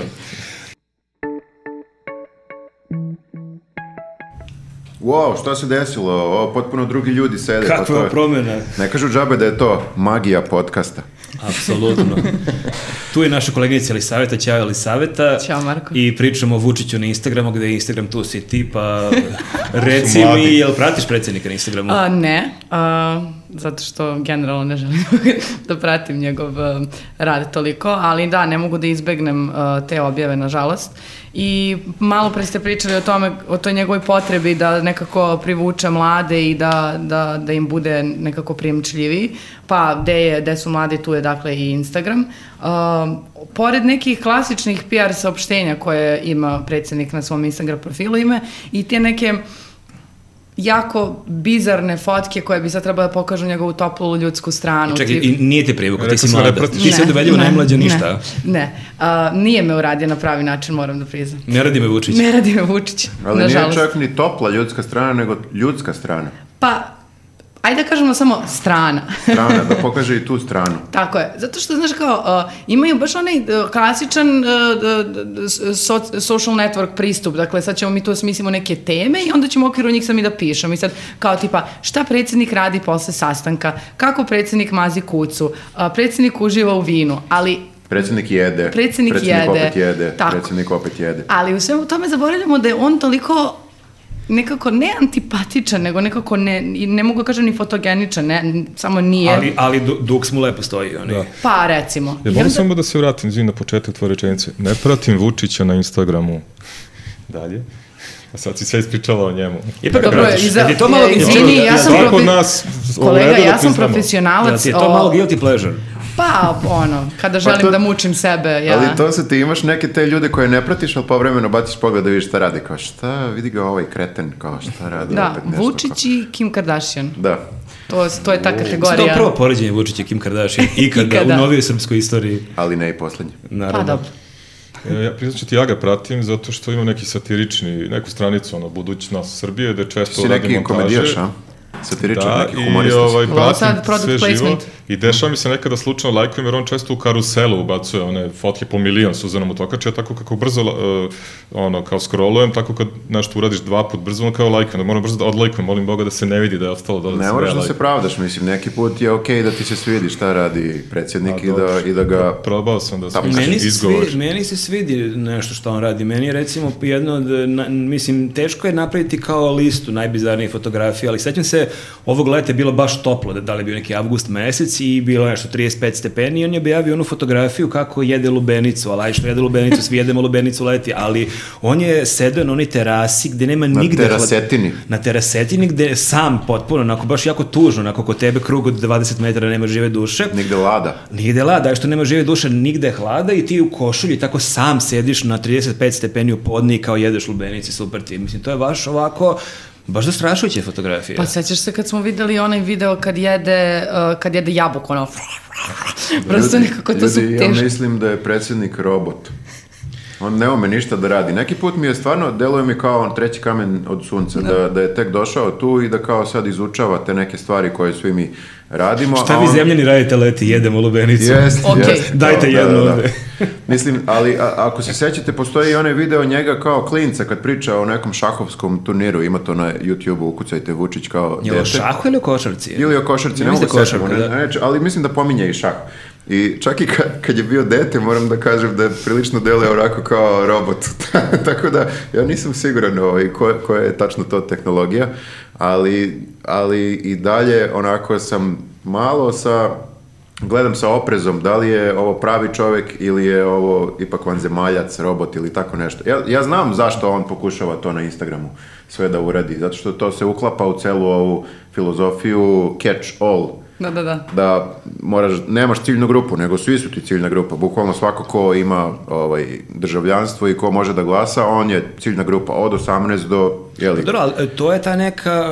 Wow, šta se desilo? O, potpuno drugi ljudi sede. pa Kakva to je je- promjena? Ne kažu džabe da je to magija podcasta. Apsolutno. tu je naša koleginica Elisaveta, Ćao Elisaveta. Ćao, Marko. I pričamo o Vučiću na Instagramu, gde je Instagram tu si ti, pa reci mi, mladi. jel pratiš predsjednika na Instagramu? A, ne, a, zato što generalno ne želim da pratim njegov uh, rad toliko, ali da, ne mogu da izbegnem uh, te objave, nažalost. I malo pre ste pričali o tome, o toj njegovoj potrebi da nekako privuče mlade i da, da, da im bude nekako prijemčljiviji, pa gde, je, gde su mladi, tu je dakle i Instagram. Uh, pored nekih klasičnih PR saopštenja koje ima predsednik na svom Instagram profilu ime i te neke jako bizarne fotke koje bi sad trebalo da pokažu njegovu toplu ljudsku stranu. Čekaj, tip- i nije te privukao, ti Rekao si sam da ne mlada. pratiš. Ti si Ne, odoveljivo ne, najmlađa ništa. Ne, ne. A, nije me uradio na pravi način, moram da priznam. Ne radi me Vučić. Ne radi me Vučić, Ali nije nažalost. čak ni topla ljudska strana, nego ljudska strana. Pa, ajde da kažemo samo strana. Strana, da pokaže i tu stranu. Tako je, zato što, znaš, kao, uh, imaju baš onaj uh, klasičan uh, d- d- d- so, social network pristup, dakle, sad ćemo mi tu smislimo neke teme i onda ćemo u okviru njih sam i da pišem. I sad, kao, tipa, šta predsednik radi posle sastanka, kako predsednik mazi kucu, uh, predsednik uživa u vinu, ali Predsednik jede. Predsednik jede. opet jede. Tako. Predsednik opet jede. Ali u svemu tome zaboravljamo da je on toliko nekako ne antipatičan, nego nekako ne, i ne mogu da kažem ni fotogeničan, ne, n- samo nije. Ali, ali du- duks mu lepo stoji. Oni. Da. Pa recimo. Ja I onda- mogu samo da se vratim, izvim na početak tvoje rečenice. Ne pratim Vučića na Instagramu. Dalje. A sad si sve ispričala o njemu. Ipak ga Dobro, pratiš. iza- Jel ti je to malo... e, jel- izvini, jel- ja jel- sam Svako profi- od nas Kolega, ovede da ja sam priznamo. jel profesionalac. ti je o, to malo guilty pleasure? Pa, ono, kada želim to- da mučim sebe, ja. Ali to se ti imaš neke te ljude koje ne pratiš, ali povremeno baciš pogled da vidiš šta radi. Kao šta, vidi ga ovaj kreten, kao šta radi Da, opet nešto. kao- Vučić i Kim Kardashian. Da. To, to je ta Mislim, To je kategorija. prvo poređenje Vučića i Kim Kardashian ikada, Ikada. u novijoj srpskoj istoriji. Ali ne i poslednje. Naravno. Pa dobro. E, Ja priznaću ti, ja ga pratim zato što imam neki satirični, neku stranicu, ono, budućnost Srbije, gde često Si radim neki montaže. komedijaš, a? Satiričan, Da, neki i humorista. si. ovaj, Ovo pratim sad product sve živo. placement. I dešava mi se nekada slučajno lajkujem, jer on često u karuselu ubacuje one fotke po milion Suzanom Utokače, ja tako kako brzo, uh, ono, kao scrollujem, tako kad nešto uradiš dva put brzo, on kao lajkujem, da moram brzo da odlajkujem, molim Boga da se ne vidi da je ostalo dole. Ne se moraš da relajkujem. se pravdaš, mislim, neki put je okej da ti se svidi šta radi A, predsjednik i dobro. da, i da ga... Probao sam da sam Meni se, izgovor. svi, meni se svidi nešto što on radi. Meni je recimo jedno od, na, mislim, teško je napraviti kao listu najbizarnijih fotografija, ali sećam se, ovog leta je bilo baš toplo, da, da li je bio neki avgust mesec i bilo je nešto 35 stepeni i on je objavio onu fotografiju kako jede lubenicu, ali aj što jede lubenicu, svi jedemo lubenicu leti, ali on je sedeo na onoj terasi gde nema Na nigde... terasetini. Na terasetini gde je sam potpuno, onako baš jako tužno, onako kod tebe krug od 20 metara nema žive duše. Nigde da lada. Nigde Da. lada, a što nema žive duše, nigde hlada i ti u košulji tako sam sediš na 35 stepeni u podni i kao jedeš lubenici, super ti. Mislim, to je baš ovako, baš zastrašujuće fotografije. Pa sećaš se kad smo videli onaj video kad jede, uh, kad jede jabuko, ono, prosto Ljudi- nekako to su ljudi, teške. Ja mislim da je predsjednik robot. On ne ume ništa da radi. Neki put mi je stvarno, deluje mi kao on treći kamen od sunca, da, da je tek došao tu i da kao sad izučava te neke stvari koje svi mi radimo. Pa Šta a vi on- zemljani radite leti, jedemo lubenicu. Jest, Ok. jest. Da, Dajte jednu ovde. Mislim, ali a, ako se sećate, postoji i onaj video njega kao klinca kad priča o nekom šahovskom turniru, ima to na YouTube-u, ukucajte Vučić kao Je li o šahu ili o košarci? Ili o košarci, Ja ne mislim mogu da je sećamo, košarka, ne, da. ne, neću, ali mislim da pominje i šah. I čak i kad, kad je bio dete, moram da kažem da je prilično deleo onako kao robot. Tako da, ja nisam siguran ovaj, ko, koja je tačno to tehnologija, ali, ali i dalje onako sam malo sa gledam sa oprezom da li je ovo pravi čovek ili je ovo ipak vanzemaljac, robot ili tako nešto. Ja, ja znam zašto on pokušava to na Instagramu sve da uradi, zato što to se uklapa u celu ovu filozofiju catch all, Da, da, da. da moraš, nemaš ciljnu grupu, nego svi su ti ciljna grupa. Bukvalno svako ko ima ovaj, državljanstvo i ko može da glasa, on je ciljna grupa od 18 do... Jeli, Dobro, ali e, to je ta neka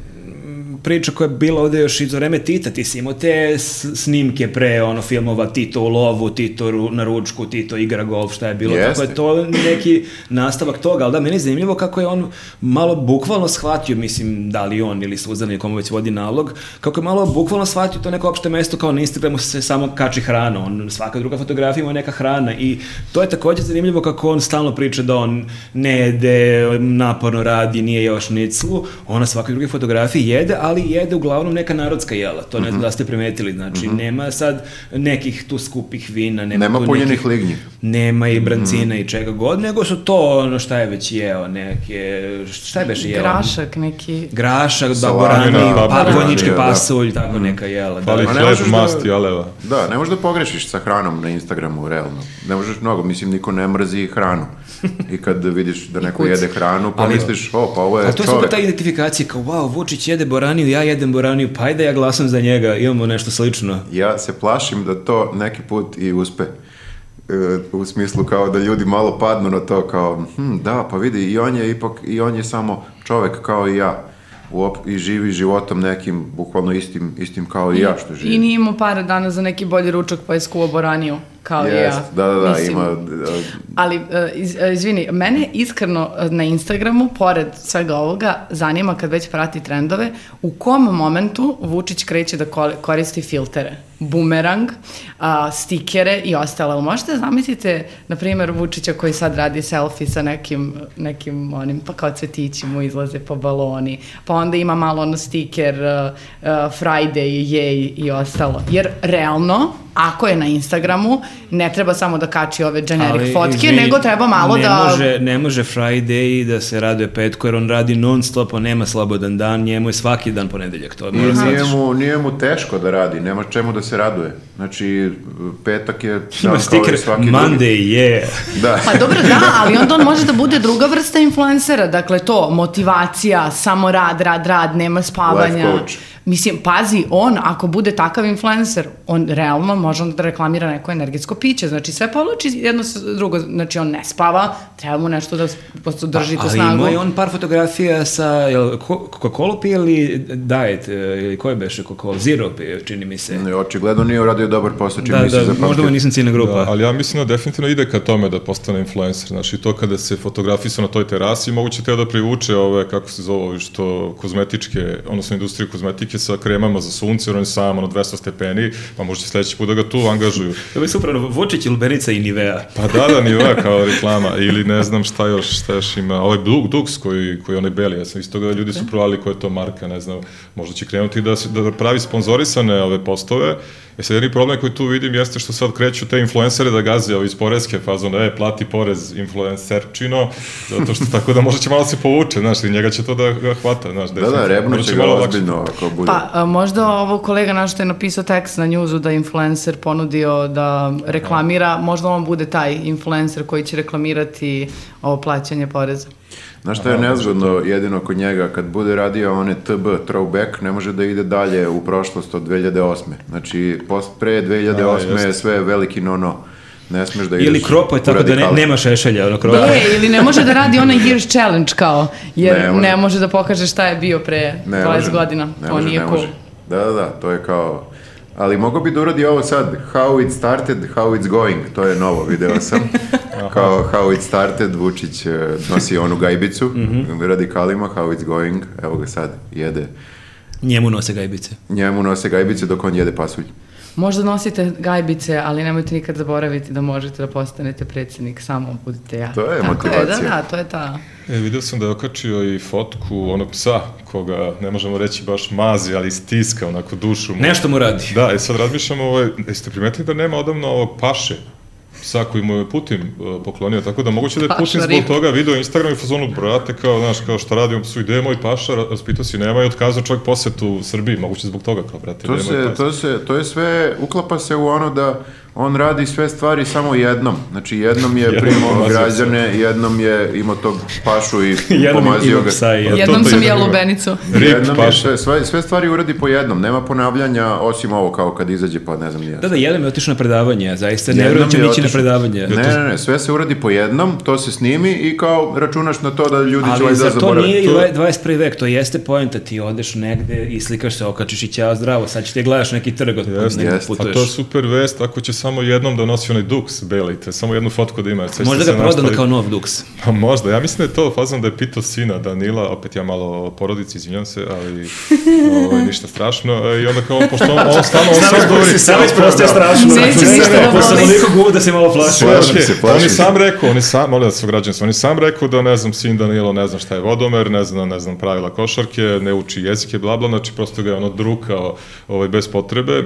e, priča koja je bila ovde još iz vreme Tita, ti si imao te s- snimke pre ono filmova Tito u lovu, Tito ru- na ručku, Tito igra golf, šta je bilo, tako Jeste. je to neki nastavak toga, ali da, meni je zanimljivo kako je on malo bukvalno shvatio, mislim, da li on ili Suzana ili komu već vodi nalog, kako je malo bukvalno shvatio to neko opšte mesto kao na Instagramu se samo kači hrana, on, svaka druga fotografija ima neka hrana i to je takođe zanimljivo kako on stalno priča da on ne jede, naporno radi, nije još niclu, ona svakoj drugoj fotografiji jede, ali ali jede uglavnom neka narodska jela, to Mhm. ne znam da ste primetili, znači nema sad nekih tu skupih vina, nema, Nema tu punjenih nekih- lignji. Nema i brancina Mm. i čega god, nego su to ono šta je već jeo, neke, šta je već jeo? Grašak neki. Grašak, Salami, baborani, da, pa, paprika, konjički da. pasulj, tako neka jela. Da. Fali A ne hleb, možeš da- mast i aleva. Da, ne možeš da pogrešiš sa hranom na Instagramu, realno. Ne možeš mnogo, mislim, niko ne mrzi hranu. I kad vidiš da neko kuca. jede hranu, Ali- pomisliš, o, pa ovo A je to je super čovek. ta identifikacija, kao wow, Vučić jede boraniju, ja jedem boraniju, pa ajde ja glasam za njega, imamo nešto slično. Ja se plašim da to neki put i uspe. E, u smislu kao da ljudi malo padnu na to kao, hm, da, pa vidi, i on je ipak, i on je samo čovek kao i ja. Uop- I živi životom nekim, bukvalno istim, istim kao i ja što živim. I nije imao pare dana za neki bolji ručak pa je skuo boraniju, kao i Jest, ja. Da, da, da, Mislim, ima... e, Ali, e, iz- e, izvini, mene iskreno e, na Instagramu, pored svega ovoga, zanima kad već prati trendove, u kom momentu Vučić kreće da kol- koristi filtere? Bumerang, a, stikere i ostalo. Jel Možete da zamislite, na primjer, Vučića koji sad radi selfie sa nekim, nekim onim, pa kao cvetići mu izlaze po baloni, pa onda ima malo ono stiker e, e, Friday, jej i ostalo. Jer, realno, ako je na Instagramu, ne treba samo da kači ove generic Ali, fotke, izvini, nego treba malo ne da... Može, ne može Friday da se raduje petko, jer on radi non stop, on nema slobodan dan, njemu je svaki dan ponedeljak, to da mora I nije shvatiš. mu, nije mu teško da radi, nema čemu da se raduje. Znači, petak je... dan kao Ima i stiker, svaki drugi. Monday, yeah. Da. Pa dobro, da, ali onda on može da bude druga vrsta influencera, dakle to, motivacija, samo rad, rad, rad, nema spavanja. Life coach. Mislim, pazi, on ako bude takav influencer, on realno može onda da reklamira neko energetsko piće, znači sve povlači jedno s drugo, znači on ne spava, treba mu nešto da s- prosto drži tu Pa, Ali snagu. imao je on par fotografija sa jel, ko- Coca-Cola pije ili Diet, e, ili koje beše Coca-Cola? Zero pije, čini mi se. Očigledno nije uradio dobar posao, čim Da, nisi da, zapamtio. možda mu nisam ciljna grupa. Da, ali ja mislim da definitivno ide ka tome da postane influencer. Znači to kada se fotografisao na toj terasi, moguće teo da privuče ove, kako se zove, ovi što kozmetičke, odnosno industriju kozmetike sa kremama za sunce, jer on je sam, ono, 200 stepeni, pa možda sledeći put da ga tu angažuju. To bi super, ono, Vučić, Lubenica i Nivea. Pa da, da, niva kao reklama. Ili ne znam šta još, šta još ima. Ovaj Dux, Dux koji, koji je onaj beli, ja sam iz toga ljudi su provali koja je to marka, ne znam. Možda će krenuti da, se- da pravi sponzorisane ove postove. E sad jedni problem koji tu vidim jeste što sad kreću te influencere da gaze ovi iz porezke fazone, e, plati porez influencerčino, zato što tako da možda će malo se povuče, znaš, i njega će to da ga hvata, znaš. Da, da, definitivno. rebno Možda će ga malo lakše. ozbiljno ako bude. Pa a, možda ovo kolega naš što je napisao tekst na njuzu da je influencer ponudio da reklamira, možda on bude taj influencer koji će reklamirati ovo plaćanje poreza. Znaš šta je nezgodno jedino kod njega, kad bude radio one TB, throwback, ne može da ide dalje u prošlost od 2008. Znači, pos- pre 2008. Da, je sve veliki no-no. Ne smeš da ideš Ili kropo je u tako da ne, radikale. nema šešelja, ono kropo. E, ili ne može da radi onaj Year's Challenge kao, jer Ne ne može. može, da pokaže šta je bio pre Ne 20 može, godina. ne to može, nije ne cool. može. Da, da, da, to je kao... Ali mogao bi da uradi ovo sad, how it started, how it's going, to je novo, video sam. kao how it started, Vučić eh, nosi onu gajbicu, Mhm. radikalima, how it's going, evo ga sad, jede. Njemu nose gajbice. Njemu nose gajbice dok on jede pasulj. Možda nosite gajbice, ali nemojte nikad zaboraviti da možete da postanete predsjednik, samo budite ja. To je Tako motivacija. da, da, to je ta. E, vidio sam da je okačio i fotku onog psa koga, ne možemo reći baš mazi, ali stiska onako dušu mu. Nešto mu radi. Da, e sad razmišljam, ovaj, jeste primetili da nema odavno ovog paše, psa koji mu je Putin e, poklonio, tako da moguće da je Paša Putin zbog Rip. toga video Instagram i fazonu, brate, kao, znaš, kao šta radi, on psu, gde je moj paša, Ra- raspitao si, nema i otkazao čovjek posetu u Srbiji, moguće zbog toga, kao, brate, To gde je moj se, paša. to se, to je sve, uklapa se u ono da on radi sve stvari samo jednom. Znači jednom je Jednom primao pomazio psa. građane, jednom je imao tog pašu i Jednom Da, pomazio ima ga. Da. psa i to- Jednom to sam je jela zanimljivo. lubenicu. Rip Jednom je paša. sve, sve, sve stvari uradi po jednom, nema ponavljanja osim ovo kao kad izađe pa ne znam nije. Da, da, jedan je otišao na predavanje, ja zaista ne vjerujem da će mi ići na predavanje. Ne, ne, ne, sve se uradi po jednom, to se snimi i kao računaš na to da ljudi će Ali valjda zar to nije zaboraviti. i 21. vek, to jeste poenta, ti odeš negde i slikaš se, okačiš i ćao zdravo, sad ćete gledaš neki trg od Jeste. nekog Jeste. Pa A putuješ. to je Pa super vest ako će samo jednom da nosi onaj duks beli, to je samo jednu fotku da ima. Sećam Možda se ga prodali nastali- kao nov duks. Pa možda, ja mislim da je to fazom da je pitao sina Danila, opet ja malo o porodici, izvinjam se, ali ovaj, ništa strašno. E, I onda kao, pošto on, on stalno, on da sad govori, Sam već postoje strašno. Neće Znači, ništa ne, da Posle proli. toliko guva da se malo plaši. sve je Plašim okej. se, plašim on je se. sam rekao, on je sam, molim vas, ograđujem se, on je sam rekao da ne znam, sin Danilo ne zna šta je vodomer, ne zna, ne znam, pravila košarke, ne uči jezike, bla, bla, znači prosto ga je ono drukao ovaj, bez potrebe.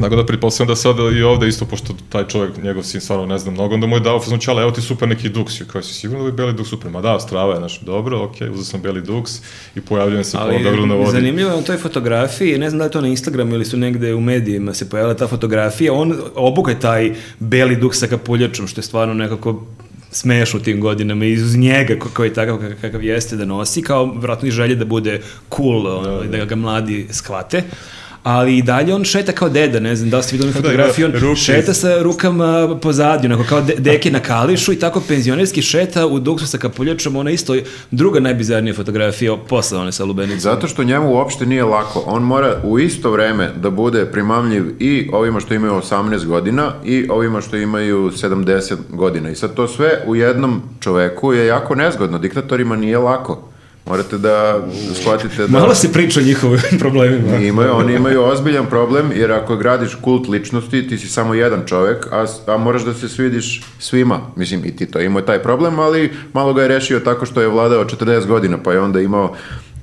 Tako da pretpostavljam da sada i ovde isto, pošto taj čovjek, njegov sin stvarno ne zna mnogo, onda mu je dao fazon čala, evo ti super neki duks, koji si sigurno da bi beli duks super, ma da, strava je, znaš, dobro, okej, uzeo sam beli duks i pojavljujem se po Beogradu na vodi. zanimljivo je na toj fotografiji, ne znam da li je to na Instagramu ili su negde u medijima se pojavila ta fotografija, on obuka je taj beli duk sa kapuljačom, što je stvarno nekako smeš u tim godinama i uz njega ko- koji je takav kak- kakav jeste da nosi, kao vratno i želje da bude cool, ono, da, ga mladi shvate. Ali i dalje on šeta kao deda, ne znam da li ste videli onu Da, fotografiju, ima on ruke. šeta sa rukama pozadi, onako kao de, deke na kališu i tako penzionerski šeta u duksu sa kapuljačom, ona je isto druga najbizarnija fotografija posle one sa lubenicom. Zato što njemu uopšte nije lako. On mora u isto vreme da bude primamljiv i ovima što imaju 18 godina i ovima što imaju 70 godina. I sad to sve u jednom čoveku je jako nezgodno. Diktatorima nije lako. Morate da shvatite da... Malo se priča o njihovim problemima. Imaju, oni imaju ozbiljan problem, jer ako gradiš kult ličnosti, ti si samo jedan čovek, a, s- a moraš da se svidiš svima. Mislim, i Tito je imao taj problem, ali malo ga je rešio tako što je vladao 40 godina, pa je onda imao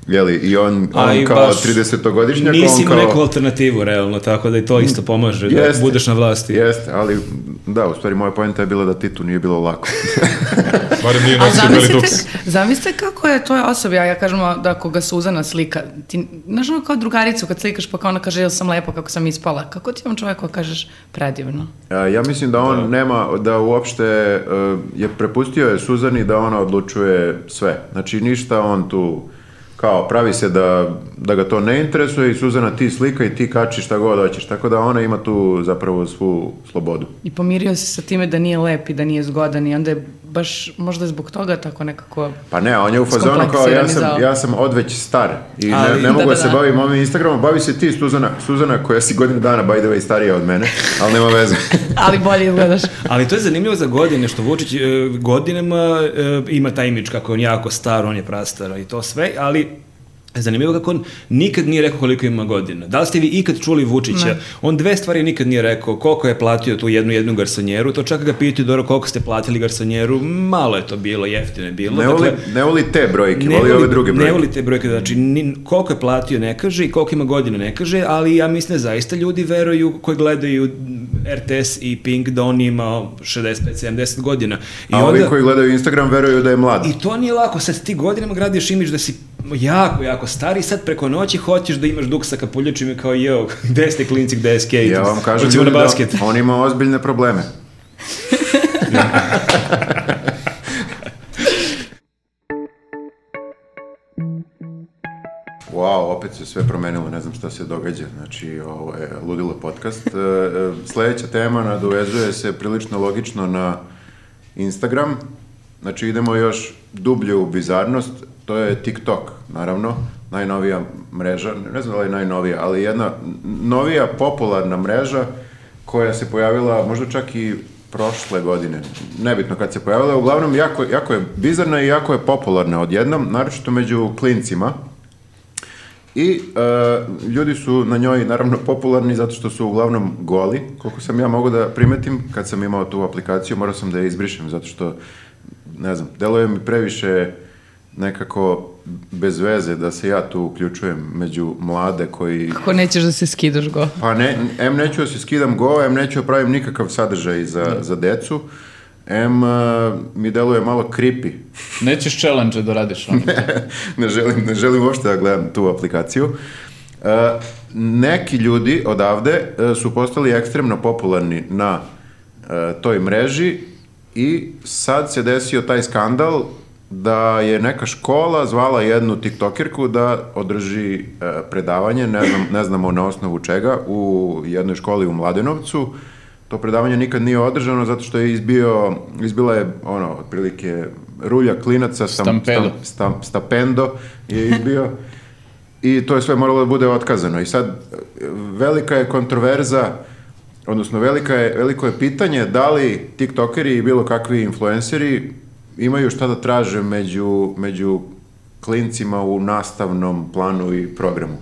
Jeli, i on, A on i kao baš 30-godišnjak, Nisi on imao neku kao... alternativu, realno, tako da i to isto pomaže da Jeste. budeš na vlasti. Jeste, ali da, u stvari moja pojenta je bila da Titu nije bilo lako. Barem nije A nosio beli zamislite, duks. zamislite kako je toj osobi, ja, ja kažem da ako ga Suzana slika, ti, znaš ono kao drugaricu kad slikaš pa kao ona kaže jel sam lepa kako sam ispala, kako ti vam čoveku kažeš predivno? A, Ja mislim da on nema, da uopšte e, je prepustio je Suzani da ona odlučuje sve. Znači ništa on tu kao pravi se da, da ga to ne interesuje i Suzana ti slika i ti kači šta god hoćeš. Tako da ona ima tu zapravo svu slobodu. I pomirio se sa time da nije lep i da nije zgodan i onda je baš možda je zbog toga tako nekako... Pa ne, on je u fazonu kao ja Skompleksirani sam, za- ja sam odveć star i ne, Ali- ne Da, mogu da, da, se da. bavim ovim Instagramom, bavi se ti Suzana, Suzana koja si godinu dana by the way starija od mene, ali nema veze. Ali bolje izgledaš. Ali to je zanimljivo za godine, što Vučić e, godinama e, ima taj imidž kako je on jako star, on je prastar i to sve, ali zanimljivo kako on nikad nije rekao koliko ima godina. Da li ste vi ikad čuli Vučića? On dve stvari nikad nije rekao, koliko je platio tu jednu jednu garsonjeru, to čak ga pitaju, dobro, koliko ste platili garsonjeru, malo je to bilo, jeftino je bilo. Dakle, Ne voli, ne voli te brojke, voli ove druge brojke. Ne voli te brojke, znači ni, koliko je platio ne kaže i koliko ima godina ne kaže, ali ja mislim da zaista ljudi veruju koji gledaju RTS i Pink da on ima 65-70 godina. I, A ovi onda, koji gledaju Instagram veruju da je mlad. I to nije lako, sad ti godinama gradiš imidž da si jako, jako stari, sad preko noći hoćeš da imaš duk sa kapuljačima i kao jeo, gde ste klinci, gde je skate? Ja vam kažem Hoćemo ljudi, na basket. da on ima ozbiljne probleme. Wow, opet se sve promenilo, ne znam šta se događa. Znači, ovo je ludilo podcast. E, e, Sledeća tema nadovezuje se prilično logično na Instagram. Znači, idemo još dublje u bizarnost. To je TikTok, naravno. Najnovija mreža, ne znam da li je najnovija, ali jedna n- novija popularna mreža koja se pojavila možda čak i prošle godine, nebitno kad se pojavila, uglavnom jako, jako je bizarna i jako je popularna odjednom, naročito među klincima. I e, ljudi su na njoj naravno popularni zato što su uglavnom goli. Koliko sam ja mogao da primetim, kad sam imao tu aplikaciju, morao sam da je izbrišem zato što, ne znam, deluje mi previše nekako bez veze da se ja tu uključujem među mlade koji... Kako nećeš da se skidaš go? Pa ne, em neću da se skidam go, em neću da pravim nikakav sadržaj za, za decu, em e, mi deluje malo creepy. Nećeš challenge da radiš ono. ne, želim, ne želim uopšte da gledam tu aplikaciju. E, neki ljudi odavde e, su postali ekstremno popularni na e, toj mreži i sad se desio taj skandal da je neka škola zvala jednu tiktokerku da održi e, predavanje, ne, znam, ne znamo na osnovu čega, u jednoj školi u Mladenovcu. To predavanje nikad nije održano zato što je izbio, izbila je ono, otprilike rulja klinaca sam, Stampedo. stam- sta- stapendo je izbio i to je sve moralo da bude otkazano. I sad e, velika je kontroverza odnosno velika je, veliko je pitanje da li tiktokeri i bilo kakvi influenceri imaju šta da traže među, među klincima u nastavnom planu i programu.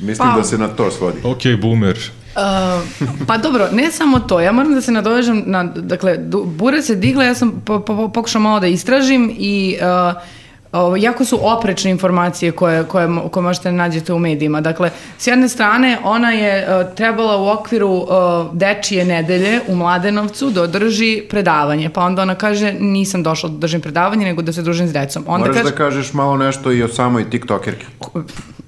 Mislim Pa- da se na to svodi. Ok, boomer. Uh, pa dobro, ne samo to, ja moram da se nadovežem na, dakle, du- bura se digla, ja sam po, po, pokušao malo da istražim i uh, ovo, jako su oprečne informacije koje, koje, mo- koje možete da nađete u medijima. Dakle, s jedne strane, ona je uh, trebala u okviru uh, dečije nedelje u Mladenovcu da održi predavanje, pa onda ona kaže nisam došla da držim predavanje, nego da se družim s decom. Onda Pa- Moraš kaže, da kažeš malo nešto i o samoj tiktokerki.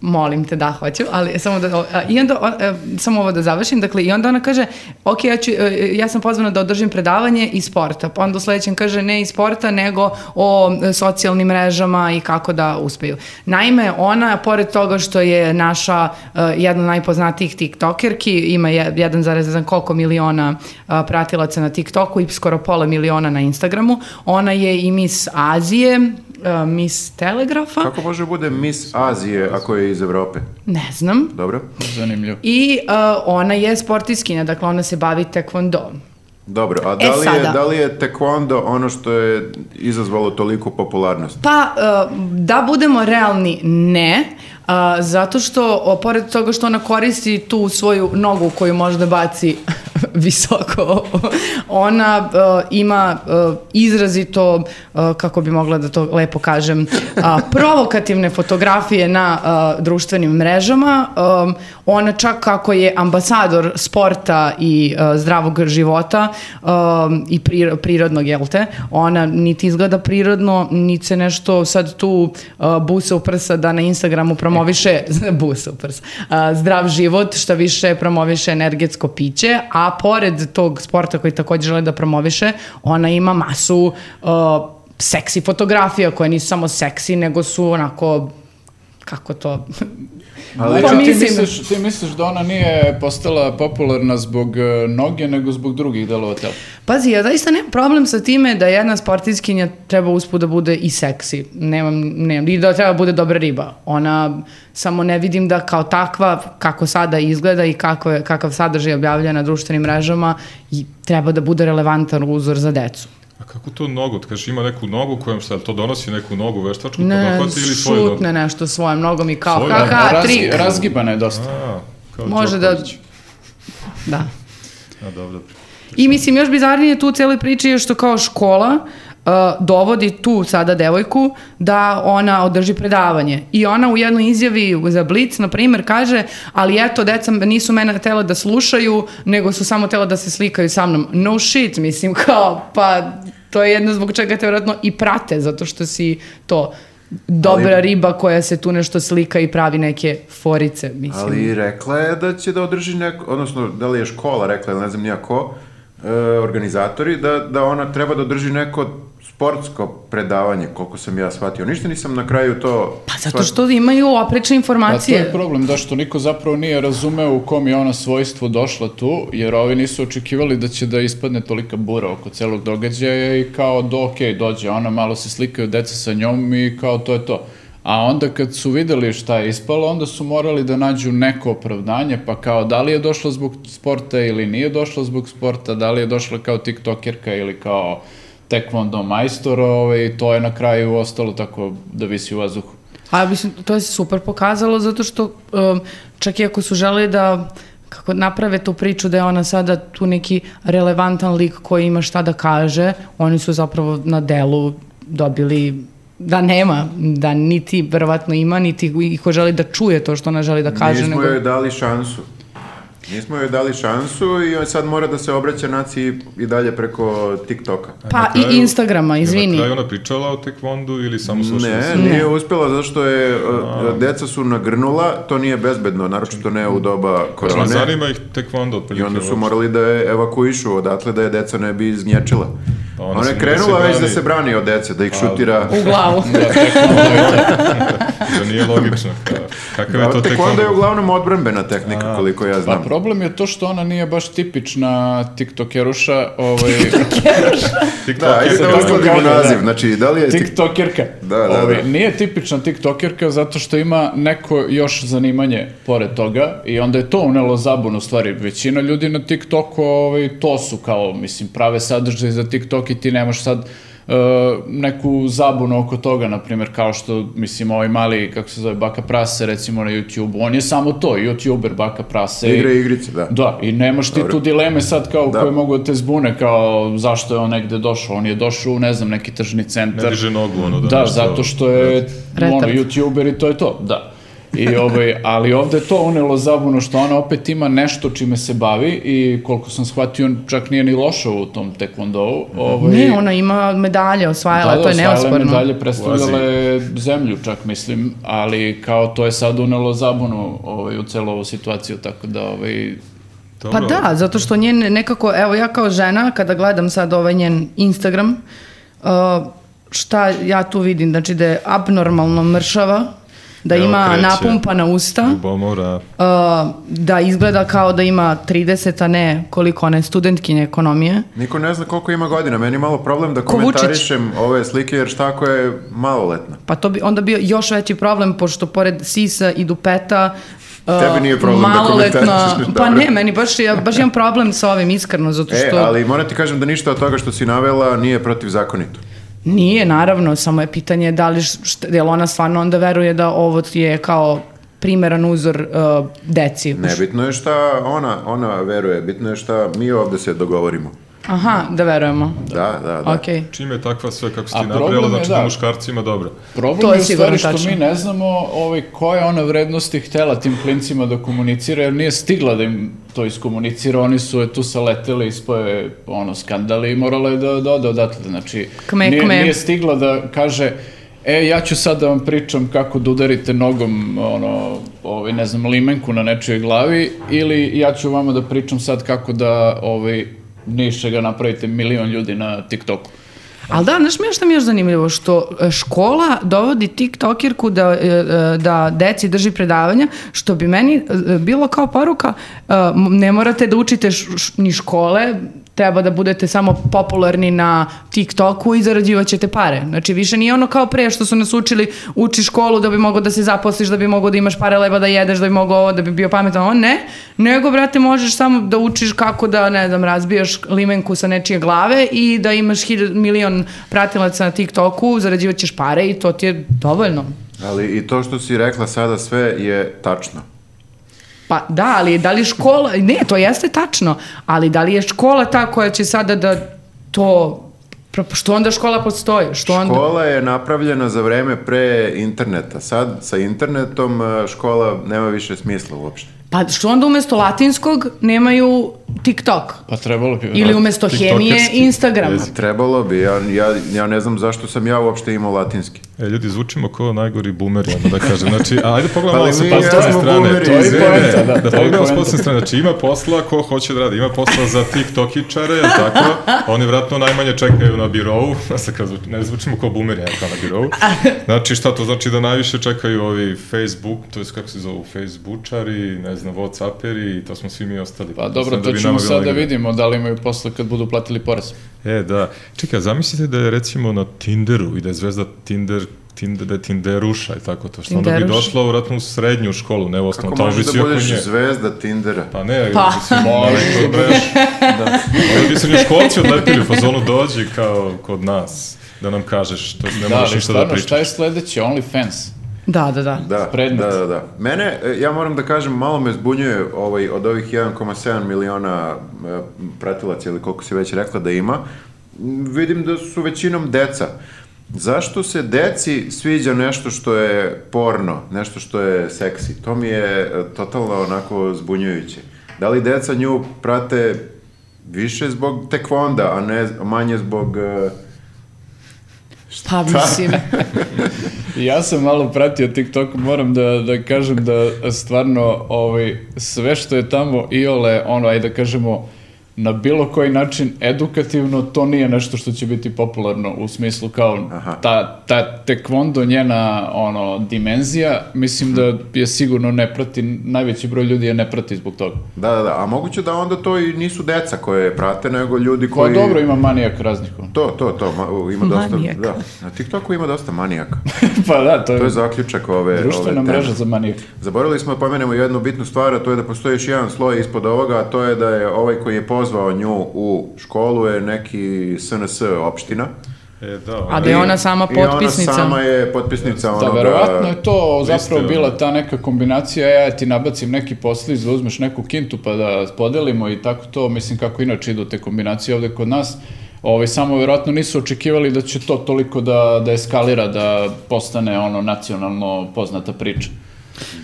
molim te da hoću, ali samo da, a, i onda, o- e, samo ovo da završim, dakle, i onda ona kaže, ok, ja, ću, e, ja sam pozvana da održim predavanje iz sporta, pa onda u sledećem kaže ne iz sporta, nego o e, socijalnim mrežama i kako da uspeju. Naime, ona, pored toga što je naša e, jedna od najpoznatijih tiktokerki, ima je- 1,1 koliko miliona a, pratilaca na tiktoku i skoro pola miliona na Instagramu, ona je i Miss Azije, e, Miss Telegrafa, Kako može da bude Miss Azije ako je iz Evrope? ne znam, Dobro? Zanimljivo. I uh, ona je sportiskinja, dakle ona se bavi tekvondom. Dobro, a E, da li, sada. je, da li je taekwondo ono što je izazvalo toliku popularnost? Pa, uh, da budemo realni, ne, uh, zato što, o, pored toga što ona koristi tu svoju nogu koju može da baci visoko, ona uh, ima uh, izrazito, uh, kako bi mogla da to lepo kažem, uh, provokativne fotografije na uh, društvenim mrežama. Um, ona čak kako je ambasador sporta i uh, zdravog života um, i pri, prirodnog, jel te? Ona niti izgleda prirodno, niti se nešto sad tu uh, busa u prsa da na Instagramu promoviše busa u prsa, uh, zdrav život, šta više promoviše energetsko piće, a pored tog sporta koji takođe žele da promoviše, ona ima masu uh, seksi fotografija koje nisu samo seksi, nego su onako kako to Ali, Pa Znači, ti, mislim- misliš, ti misliš da ona nije postala popularna zbog e, noge, nego zbog drugih delova tela? Pazi, ja zaista nemam problem sa time da jedna sportiskinja treba usput da bude i seksi. Nemam, nemam, i da treba da bude dobra riba. Ona, samo ne vidim da kao takva, kako sada izgleda i kako je, kakav sadržaj objavlja na društvenim mrežama, i treba da bude relevantan uzor za decu. A Pa kako to nogu? Ti kažeš ima neku nogu kojom šta, jel to donosi neku nogu veštačku? Ne, pa dohvati ili svoju nogu? šutne nešto svojom nogom i kao, Svoju ha, nogu? ha, Razgi- trik. Razgibana je dosta. da- A, kao Može da... Đoković. Da. A, dobro. I mislim, još bizarnije tu u cijeloj priči je što kao škola uh, dovodi tu sada devojku da ona održi predavanje. I ona u jednoj izjavi za Blitz, na primjer, kaže, ali eto, deca nisu mene htjela da slušaju, nego su samo htjela da se slikaju sa mnom. No shit, mislim, kao, pa to je jedno zbog čega te vjerojatno i prate, zato što si to dobra Ali- riba koja se tu nešto slika i pravi neke forice, mislim. Ali rekla je da će da održi neko, odnosno da li je škola rekla ili ne znam nijako, e, organizatori, da, da ona treba da održi neko sportsko predavanje, koliko sam ja shvatio. Ništa nisam na kraju to... Pa zato što imaju oprečne A to informacije. je problem, da što niko zapravo nije razumeo u kom je ona svojstvu došla tu, jer ovi nisu očekivali da će da ispadne tolika bura oko celog događaja i kao do, ok, dođe ona, malo se slikaju deca sa njom i kao to je to. A onda kad su videli šta je ispalo, onda su morali da nađu neko opravdanje, pa kao da li je došla zbog sporta ili nije došla zbog sporta, da li je došla kao tiktokerka ili kao tekvondo majstor, ovaj, i to je na kraju ostalo tako da visi u vazduhu. A mislim, to je super pokazalo zato što um, čak i ako su želeli da kako naprave tu priču da je ona sada tu neki relevantan lik koji ima šta da kaže, oni su zapravo na delu dobili da nema, da niti verovatno ima, niti iko želi da čuje to što ona želi da kaže. Nismo nego... joj dali šansu. Nismo joj dali šansu i sad mora da se obraća naciji i dalje preko TikToka. Pa Na kraju- i Instagrama, Je na izvini. kraju ona pričala o tekvondu ili samo slušala? Ne, se? nije uspjela zato što je e, deca su nagrnula, to nije bezbedno, naročito ne u doba Znači, ne korone. zanima ih tekvondo I otprilike. onda su uopšte. morali da je evakuišu odatle da je deca ne bi izgnječila. A ona Ona se je da krenula već se da brani. Pa, se brani od dece, da ih šutira. U glavu. Da, tekvondo je to. Da nije logično. kao. Kakav je to Tek onda je tekvondo? uglavnom odbrambena tehnika, koliko ja Pa znam. Da, problem je to što ona nije baš tipična tiktokeruša, ovaj, TikTok Da, je ajde da sad tako- uskladimo da. naziv. Znači, da li je... tiktokerka. Da, da, da. Ovaj, Nije tipična tiktokerka zato što ima neko još zanimanje pored toga i onda je to unelo zabun u stvari. Većina ljudi na tiktoku ovaj, to su kao, mislim, prave sadržaje za tiktok i ti nemaš sad e, neku zabunu oko toga, na primjer, kao što, mislim, ovaj mali, kako se zove, Baka Prase, recimo na YouTube, on je samo to, YouTuber Baka Prase. i- Igre i igrice, da. Da, i nemaš ti tu dileme sad kao Da. koje mogu da te zbune, kao zašto je on negde došao, on je došao u, ne znam, neki tržni Ne centar. diže nogu ono da da, nešto- zato što je ono, Retard. youtuber i to je to, da. I ovaj, ali ovde je to unelo zabunu što ona opet ima nešto čime se bavi i koliko sam shvatio, on čak nije ni loša u tom taekwondovu. Mhm. Ovaj, da, Ne, ona ima medalje, osvajala, to je osvajala neosporno. medalje, predstavljala je zemlju čak mislim, ali kao to je sad unelo zabunu ovaj, u celu ovu situaciju, tako da ovaj, Dobro. Pa da, zato što njen nekako, evo ja kao žena, kada gledam sad ovaj njen Instagram, uh, šta ja tu vidim, znači da je abnormalno mršava, da Evo, ima kreće. napumpana usta, Ljubomora. uh, da izgleda kao da ima 30, a ne koliko ona je studentkinja ekonomije. Niko ne zna koliko ima godina. Meni je malo problem da Ko Vučić. komentarišem ove slike, jer šta ako je maloletna? Pa to bi onda bio još veći problem, pošto pored sisa i dupeta, uh, Tebi nije problem da komentarišeš, pa dobro. ne, meni baš, ja baš imam problem sa ovim, iskreno, zato E, što... ali moram ti kažem da ništa od toga što si navela nije protivzakonito. Nije, naravno, samo je pitanje da li, š- šta, jel ona stvarno onda veruje da ovo je kao primeran uzor uh, deci. Nebitno je šta ona, ona veruje, bitno je šta mi ovde se dogovorimo. Aha, da verujemo. Da, da, da. Okej. Čim je takva sve kako si A ti problem napravila, je, znači da. da muškarcima dobro. Problem To je je u stvari sigurno što tačno. mi ne znamo ovaj, koje ona vrednosti htela tim klincima da komunicira, jer nije stigla da im to iskomunicira, oni su je tu saleteli, ispoje ono, skandali i morala je da, da ode odatle. Znači, Kme, nije, kme. nije stigla da kaže E, ja ću sad da vam pričam kako da udarite nogom, ono, ovaj, ne znam, limenku na nečijoj glavi, ili ja ću vama da pričam sad kako da, ovaj, niše ga napravite milion ljudi na TikToku. Ali da, znaš mi je što mi je još zanimljivo, što e, škola dovodi tiktokerku da, e, e, da deci drži predavanja, što bi meni e, bilo kao poruka, e, m- ne morate da učite š- š- ni škole, treba da budete samo popularni na TikToku i zarađivat ćete pare. Znači, više nije ono kao pre što su nas učili, uči školu da bi mogao da se zaposliš, da bi mogao da imaš pare leba da jedeš, da bi mogao ovo, da bi bio pametan. Ovo ne, nego, brate, možeš samo da učiš kako da, ne znam, razbijaš limenku sa nečije glave i da imaš hiljad, milion pratilaca na TikToku, zarađivat ćeš pare i to ti je dovoljno. Ali i to što si rekla sada sve je tačno. Pa da, ali da li škola, ne, to jeste tačno, ali da li je škola ta koja će sada da to, što onda škola postoji? Što onda... Škola je napravljena za vreme pre interneta. Sad sa internetom e, škola nema više smisla uopšte. Pa što onda umesto latinskog nemaju TikTok? Pa trebalo bi... Ili umesto hemije tiktokerski Instagram? jezik. Trebalo bi, ja, ja, ja ne znam zašto sam ja uopšte imao latinski. E, ljudi, zvučimo kao najgori boomeri, ono da kažem. Znači, a, ajde pogledamo Ali malo sa mi pozitivne jesmo strane. boomeri, To je izvini. poenta, Da, da, to je pogledamo s poenta. pozitivne strane. Znači, ima posla ko hoće da radi. Ima posla za tiktokičare, jel tako? Oni vratno najmanje čekaju na birovu. Sad kad zvuči- ne zvučimo kao boomeri, ja kao na birovu. Znači, šta to znači da najviše čekaju ovi Facebook, to je kako se zovu, Facebookčari, ne znam, Whatsapperi, i to smo svi mi ostali. Pa dobro, Mislim to bi ćemo nama bilo sad da najgore. vidimo da li imaju posle kad budu platili porez. E, da. Čekaj, a zamislite da je recimo na Tinderu i da je zvezda Tinder Tinder, da je Tinderuša i tako to. Što onda bi Tinderuša. došla vratno u srednju školu, ne u osnovnu. Ako Tamo bi možeš svi da Pa oko budeš nje. zvezda Tindera. Pa ne, Pa. pa. bi se mali, to breš. da. Onda bi se njoškolci odlepili u fazonu dođi kao kod nas da nam kažeš što ne Da, možeš ali ništa da stvarno, šta pričaš. je sledeće? OnlyFans. Da, da, da. Da, Predmet. da, da, da. Mene, e, ja moram da kažem, malo me zbunjuje ovaj, od ovih 1,7 miliona e, pratilaca ili koliko si već rekla da ima. M, Vidim da su većinom deca. Zašto se deci sviđa nešto što je porno, nešto što je seksi? To mi je e, totalno onako zbunjujuće. Da li deca nju prate više zbog tekvonda, a ne manje zbog... e, Pa mislim, Ja sam malo pratio TikTok, moram da, da kažem da stvarno ovaj, sve što je tamo iole, ono, ajde da kažemo, na bilo koji način edukativno to nije nešto što će biti popularno u smislu kao ta, ta tekvondo njena ono dimenzija mislim da je sigurno ne prati najveći broj ljudi je ne prati zbog toga. Da, da, da. A moguće da onda to i nisu deca koje je prate, nego ljudi Ko koji... Pa dobro ima manijak raznih ono. To, to, to, ma- u, ima dosta... Manijak. Da. Na TikToku ima dosta manijaka. pa da, to je, To je zaključak ove... društvena ove teme. mreža za manijaka. Zaboravili smo da pomenemo jednu bitnu stvar, a to je da postoji još jedan sloj ispod ovoga, a to je da je ovaj koji je pozvao nju u školu je neki SNS opština. E, da, A da je ona sama potpisnica. I ona sama je potpisnica Da, onoga... verovatno je to zapravo ono. bila ta neka kombinacija, "E, ja ti nabacim neki posliz, da uzmeš neku kintu pa da podelimo i tako to, mislim kako inače idu te kombinacije ovde kod nas. Ovaj, samo verovatno nisu očekivali da će to toliko da, da eskalira, da postane ono nacionalno poznata priča.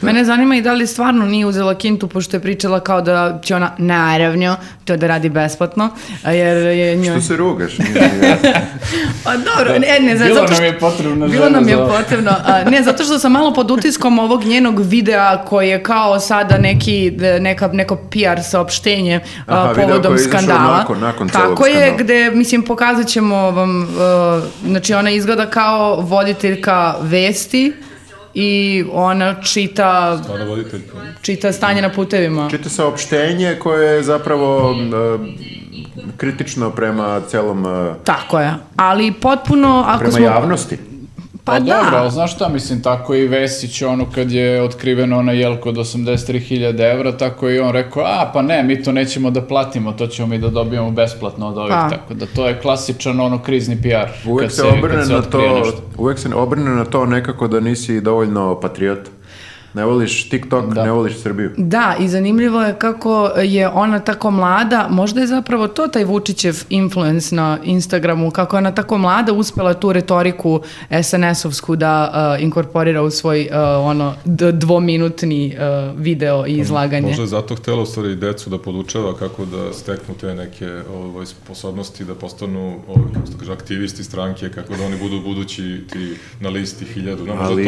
Mene zanima i da li stvarno nije uzela kintu, pošto je pričala kao da će ona, naravno, to da radi besplatno, a jer je njoj... Što se rugaš? Nije mi jasno. Pa dobro, ne, ne, za- Da. Bilo zato što... nam je potrebna Bilo žena nam je za ovo. potrebno, a, ne, zato što sam malo pod utiskom ovog njenog videa koji je kao sada neki, d- neka, neko PR saopštenje a, Aha, video povodom koji je izašao skandala. nakon- nakon celog Tako je, skandala. gde, mislim, pokazat ćemo vam, a, znači ona izgleda kao voditeljka vesti i ona čita, ona voditeljka. čita stanje na putevima. Čita saopštenje koje je zapravo m, e, kritično prema celom e, Tako je, ali potpuno, ako prema smo... javnosti. Pa, da. dobro, ali znaš šta, mislim, tako i Vesić, ono kad je otkriveno ona jelko od 83.000 evra, tako je i on rekao, a pa ne, mi to nećemo da platimo, to ćemo mi da dobijemo besplatno od ovih, Pa. tako da to je klasičan ono krizni PR. Uvek kad se, kad obrne se na otkrije to, nešto. uvek se obrne na to nekako da nisi dovoljno patriot. Ne voliš TikTok, ne voliš Srbiju. Da, i zanimljivo je kako je ona tako mlada, možda je zapravo to taj Vučićev influence na Instagramu, kako je ona tako mlada uspela tu retoriku SNS-ovsku da uh, inkorporira u svoj uh, ono d- dvominutni uh, video i izlaganje. Možda je zato htela u stvari i decu da podučava kako da steknu te neke ovaj, sposobnosti da postanu ovaj, kako se to kaže, aktivisti stranke, kako da oni budu budući ti na listi hiljadu. No, Ali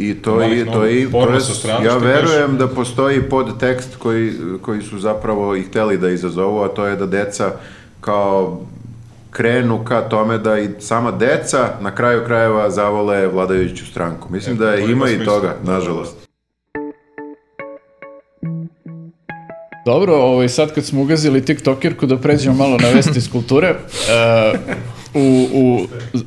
i to i to i to je- ja verujem da postoji podtekst koji koji su zapravo i hteli da izazovu, a to je da deca kao krenu ka tome da i sama deca na kraju krajeva zavole vladajuću stranku. Mislim E, da to ima ima i smisla. toga, nažalost. Dobro, ovaj, sad kad smo ugazili TikTokerku da pređemo malo na vesti iz kulture, e, u, u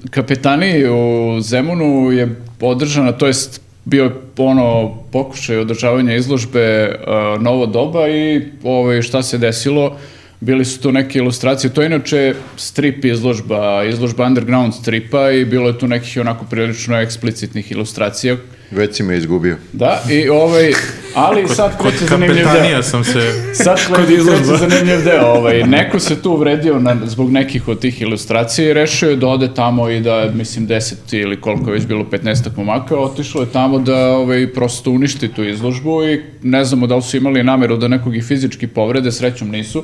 kapetaniji u Zemunu je održana, to jest bio je ono pokušaj održavanja izložbe e, Novo doba i ovaj, šta se desilo, bili su tu neke ilustracije, to je inače strip izložba, izložba underground stripa i bilo je tu nekih onako prilično eksplicitnih ilustracija. Već si me izgubio. Da, i ovaj, ali sad da- Kod Pa da kreće zanimljiv deo. kapetanija sam se... Sad kod izložba. zanimljiv deo. Ovaj, neko se tu uvredio na, zbog nekih od tih ilustracija i rešio je da ode tamo i da, mislim, 10 ili koliko je već bilo, 15 momaka, otišlo je tamo da ovaj, prosto uništi tu izložbu i ne znamo da li su imali nameru da nekog i fizički povrede, srećom nisu,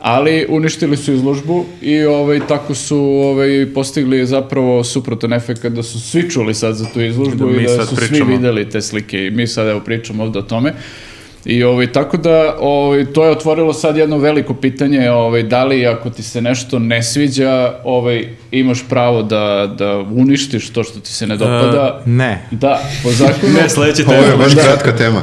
ali uništili su izložbu i ovaj, tako su ovaj, postigli zapravo suprotan efekt da su svi čuli sad za tu izložbu Da mi i da sad su svi pričamo. videli videli te slike i mi sad evo pričamo ovde o tome. I ovaj, tako da ovaj, to je otvorilo sad jedno veliko pitanje ovaj, da li ako ti se nešto ne sviđa ovaj, imaš pravo da, da uništiš to što ti se Pa ne dopada. E, ne. Da, po zakonu. Da. Ne, sledeće Ovo je teme. baš kratka tema.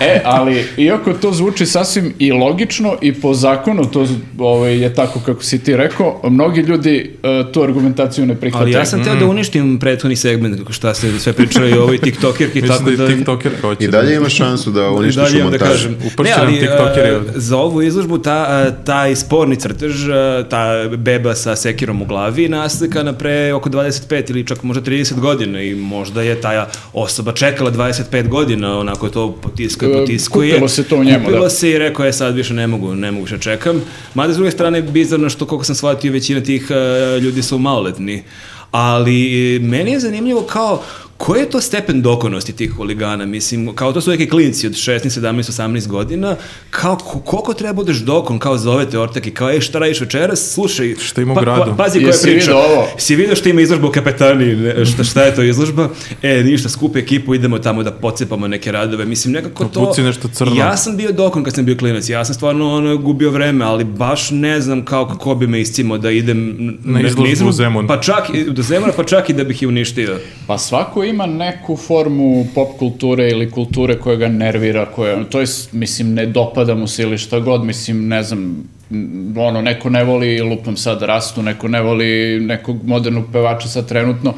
E, ali iako to zvuči sasvim i logično i po zakonu to z- ovaj, je tako kako si ti rekao, mnogi ljudi eh, tu argumentaciju ne prihvataju. Ali ja sam teo da uništim prethodni segment, kako šta ste sve pričali o ovoj tiktokerki, tako Mislim da da... je TikToker hoće. I dalje imaš šansu da I uništiš dalje u imam da montaži. kažem. Upršće nam e, tiktokeri ovde. za ovu izložbu ta, e, taj sporni crtež, e, ta beba sa sekirom u glavi naslikana pre oko 25 ili čak možda 30 godina i možda je ta osoba čekala 25 godina, onako to potiskuje, E, potiskuje. kupilo se to u njemu, Kupilo da. se i rekao je sad više ne mogu, ne mogu više čekam. Mada s druge strane je bizarno što koliko sam shvatio većina tih e, ljudi su maloletni. Ali e, meni je zanimljivo kao Koji je to stepen dokonosti tih huligana? Mislim, kao to su neki klinci od 16, 17, 18 godina, kao ko- koliko treba budeš dokon, kao zovete ortak i kao, ej, šta radiš večeras? Slušaj, pa, Šta ima u gradu? pazi koja Jesi je priča. vidio ovo? Si vidio što ima izložba u Kapetani, ne, šta, šta je to izložba? E, ništa, skupi ekipu, idemo tamo da pocepamo neke radove. Mislim, nekako to... Puci nešto crno. Ja sam bio dokon kad sam bio klinac, ja sam stvarno ono, gubio vreme, ali baš ne znam kao kako bi me iscimo da idem Na izložbu u Zemun. Pa čak, i- do Zemuna, pa čak i da bih je uništio. Pa svako ima neku formu pop kulture ili kulture koja ga nervira, koja, to je, mislim, ne dopada mu se ili šta god, mislim, ne znam, m, ono, neko ne voli, lupam sad rastu, neko ne voli nekog modernog pevača sad trenutno,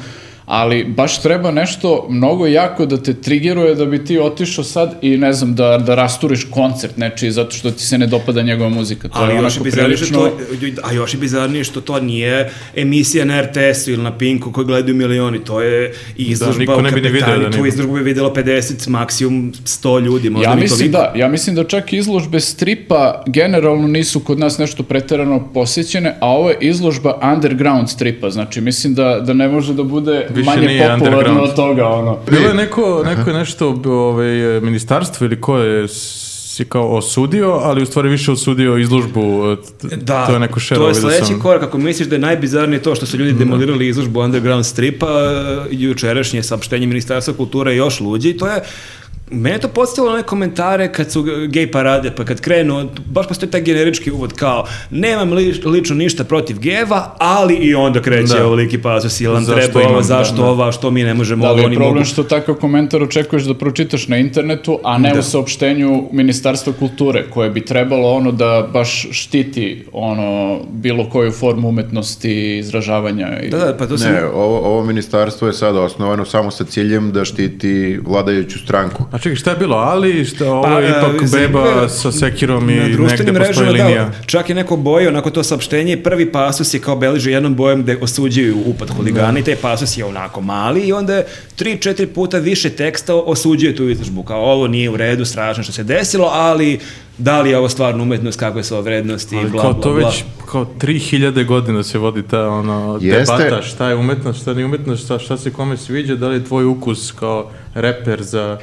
ali baš treba nešto mnogo jako da te triggeruje da bi ti otišao sad i ne znam, da, da rasturiš koncert nečiji zato što ti se ne dopada njegova muzika. To Ali još je je onako bizarnije što, prilično... to, a još je bizarnije što to nije emisija na RTS-u ili na Pinku koju gledaju milioni, to je i izložba Da, niko u ne bi ni video Kapetani, da tu nema. izložbu bi videlo 50, maksimum 100 ljudi, možda Ja ni mislim toliko. da, ja mislim da čak izložbe stripa generalno nisu kod nas nešto preterano posjećene, a ovo je izložba underground stripa, znači mislim da, da ne može da bude Više manje nije popularno underground. od toga, ono. Bilo je neko, neko je nešto ovaj, ministarstvo ili ko je si kao osudio, ali u stvari više osudio izložbu. t- Da, to je neko Da. šero. to je sledeći korak. Ako misliš da je najbizarnije to što su ljudi demolirali izložbu underground stripa, e, jučerašnje saopštenje Ministarstva kulture je još luđi, to je Mene je to postavilo na one komentare kad su gej parade, pa kad krenu, baš postoji taj generički uvod kao nemam li, lično ništa protiv geva, ali i onda kreće Da. ovoliki pasos, jel nam Zašto treba ovo, imam, zašto da, da. ova, što mi ne možemo, Da ovo, li oni je problem mogu. što takav komentar očekuješ da pročitaš na internetu, a Da. ne u saopštenju Ministarstva kulture, koje bi trebalo ono da baš štiti ono bilo koju formu umetnosti, izražavanja i... Da, da, pa to sam... Ne, ovo, ovo ministarstvo je sad osnovano samo sa ciljem da štiti vladajuću stranku. A čekaj, šta je bilo? Ali, šta, ovo je Pa, ipak e, zanimljivo beba je, sa sekirom i na Pa negde društvenim postoji mrežama, linija. da, čak je neko boje onako to saopštenje, prvi pasus je kao beleži jednom bojem gde osuđuju upad Da. huligana i taj pasus je onako mali i onda je tri, četiri puta više teksta osuđuje tu izložbu, kao ovo nije u redu, strašno što se desilo, ali da li je ovo stvarno umetnost, kakve su ovo vrednosti, Ali bla, kao bla, to bla. već kao 3000 godina se vodi ta ono, Jeste. debata šta je umetnost, šta nije umetnost, šta, šta se kome sviđa, da li je tvoj ukus kao reper za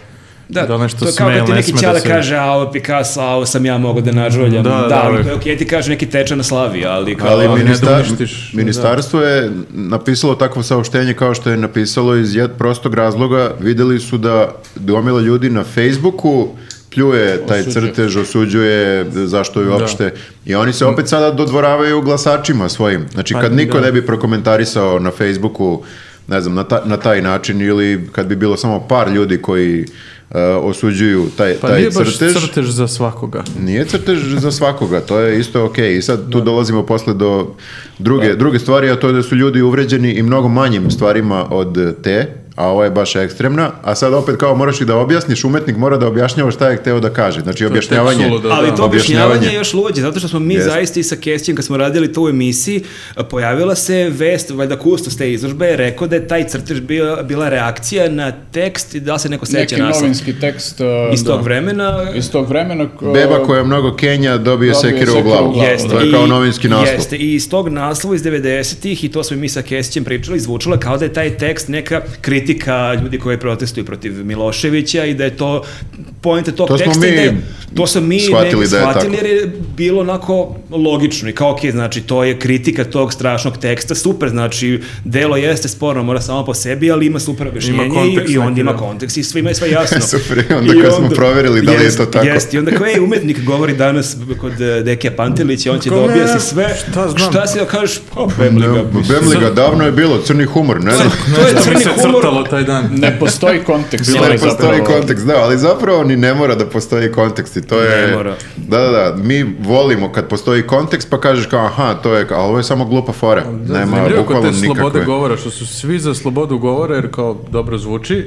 da, li nešto to je sme kao ili kad ti ne neki sme ćale da se... kaže, a ovo je Picasso, a ovo sam ja mogao da nažuljam. Da, Da, da, ali uvek. to je okej, ti kaže neki teča na slavi, ali kao... Ali ali ne da ministar- douništiš, ministarstvo je napisalo takvo saopštenje kao što je napisalo iz jed prostog razloga. Videli su da gomila ljudi na Facebooku pljuje taj crtež, osuđuje zašto je Da. uopšte. I oni se opet sada dodvoravaju glasačima svojim. Znači Pa, kad niko da. ne bi prokomentarisao na Facebooku ne znam, na, ta- na taj način ili kad bi bilo samo par ljudi koji e, osuđuju taj, Pa taj nije baš crtež. crtež za svakoga. Nije crtež za svakoga, to je isto ok. I sad tu dolazimo posle do druge, druge stvari, a to je da su ljudi uvređeni i mnogo manjim stvarima od te, a ovo je baš ekstremna. A sad opet kao moraš i da objasniš, umetnik mora da objašnjava šta je hteo da kaže. Znači tek objašnjavanje. suludo, da. Ali to Pa Objašnjavanje. objašnjavanje je još luđe, zato što smo mi Jeste. zaista i sa Kestijem, kad smo radili to u emisiji, a, pojavila se vest, valjda kustos te izložbe je rekao da je taj crtež bila, bila reakcija na tekst i da li se neko seća Neki nas novinski tekst... uh, iz tog da. vremena. Iz tog vremena... uh, Beba koja je mnogo Kenja dobije Dobije sekiru u sekiru u glavu. glavu, Jeste, To je i- kao novinski naslov. da. Jeste, i iz tog naslova iz 90-ih, i to smo i mi sa Kesićem pričali, zvučalo je kao da je taj tekst neka kritika ljudi koji protestuju protiv Miloševića i da je to pojenta tog To smo teksta. i mi da je- to smo mi shvatili shvatili, da je shvatili tako. jer je bilo onako logično i kao, ok, znači to je kritika tog strašnog teksta, super, znači delo jeste sporno, mora samo po sebi, ali ima super objašnjenje kontekst i, i neki, onda ima da. kontekst i svima je sve jasno. Super, i onda kad smo proverili da li je jest- to tako. jest, i onda kao, ej, umetnik govori danas kod e, Dekija Pantelića, on će Kao, da ne, objasni sve. šta znam. Šta si da kažeš? Pa, Bemli ga. Ne, Bemliga, davno je bilo, crni humor, ne znam. To je Da bi crni se humor. crtalo taj dan. Ne postoji kontekst. Bilo je je Ne zapravo- postoji kontekst, da, ali zapravo ni ne mora da postoji kontekst i to je... mora. Da, da, da, mi volimo kad postoji kontekst pa kažeš kao aha, to je, ali ovo je samo glupa fora. Da, Nema zanimljivo je kod bukvalno te slobode nikakve. govora, što su svi za slobodu govora jer kao dobro zvuči,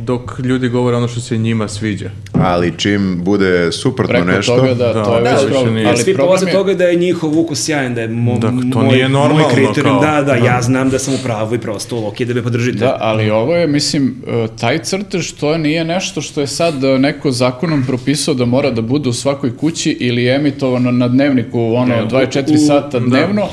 dok ljudi govore ono što se njima sviđa. Ali čim bude suprotno preko nešto... toga da, Da, to je da, već više problem. nije. Ali Ali svi problem polaze je, toga da je njihov ukus sjajan, da je mo, Dakle, to moj, nije normalno moj kriterijum. kao- Da, da, da. ja znam da sam u pravu i prosto, ok, da me podržite. da, ali ovo je, mislim, e, taj crtež to nije nešto što je sad e, neko zakonom propisao da mora da bude u svakoj kući ili emitovano na dnevniku, ono, 24 sata dnevno.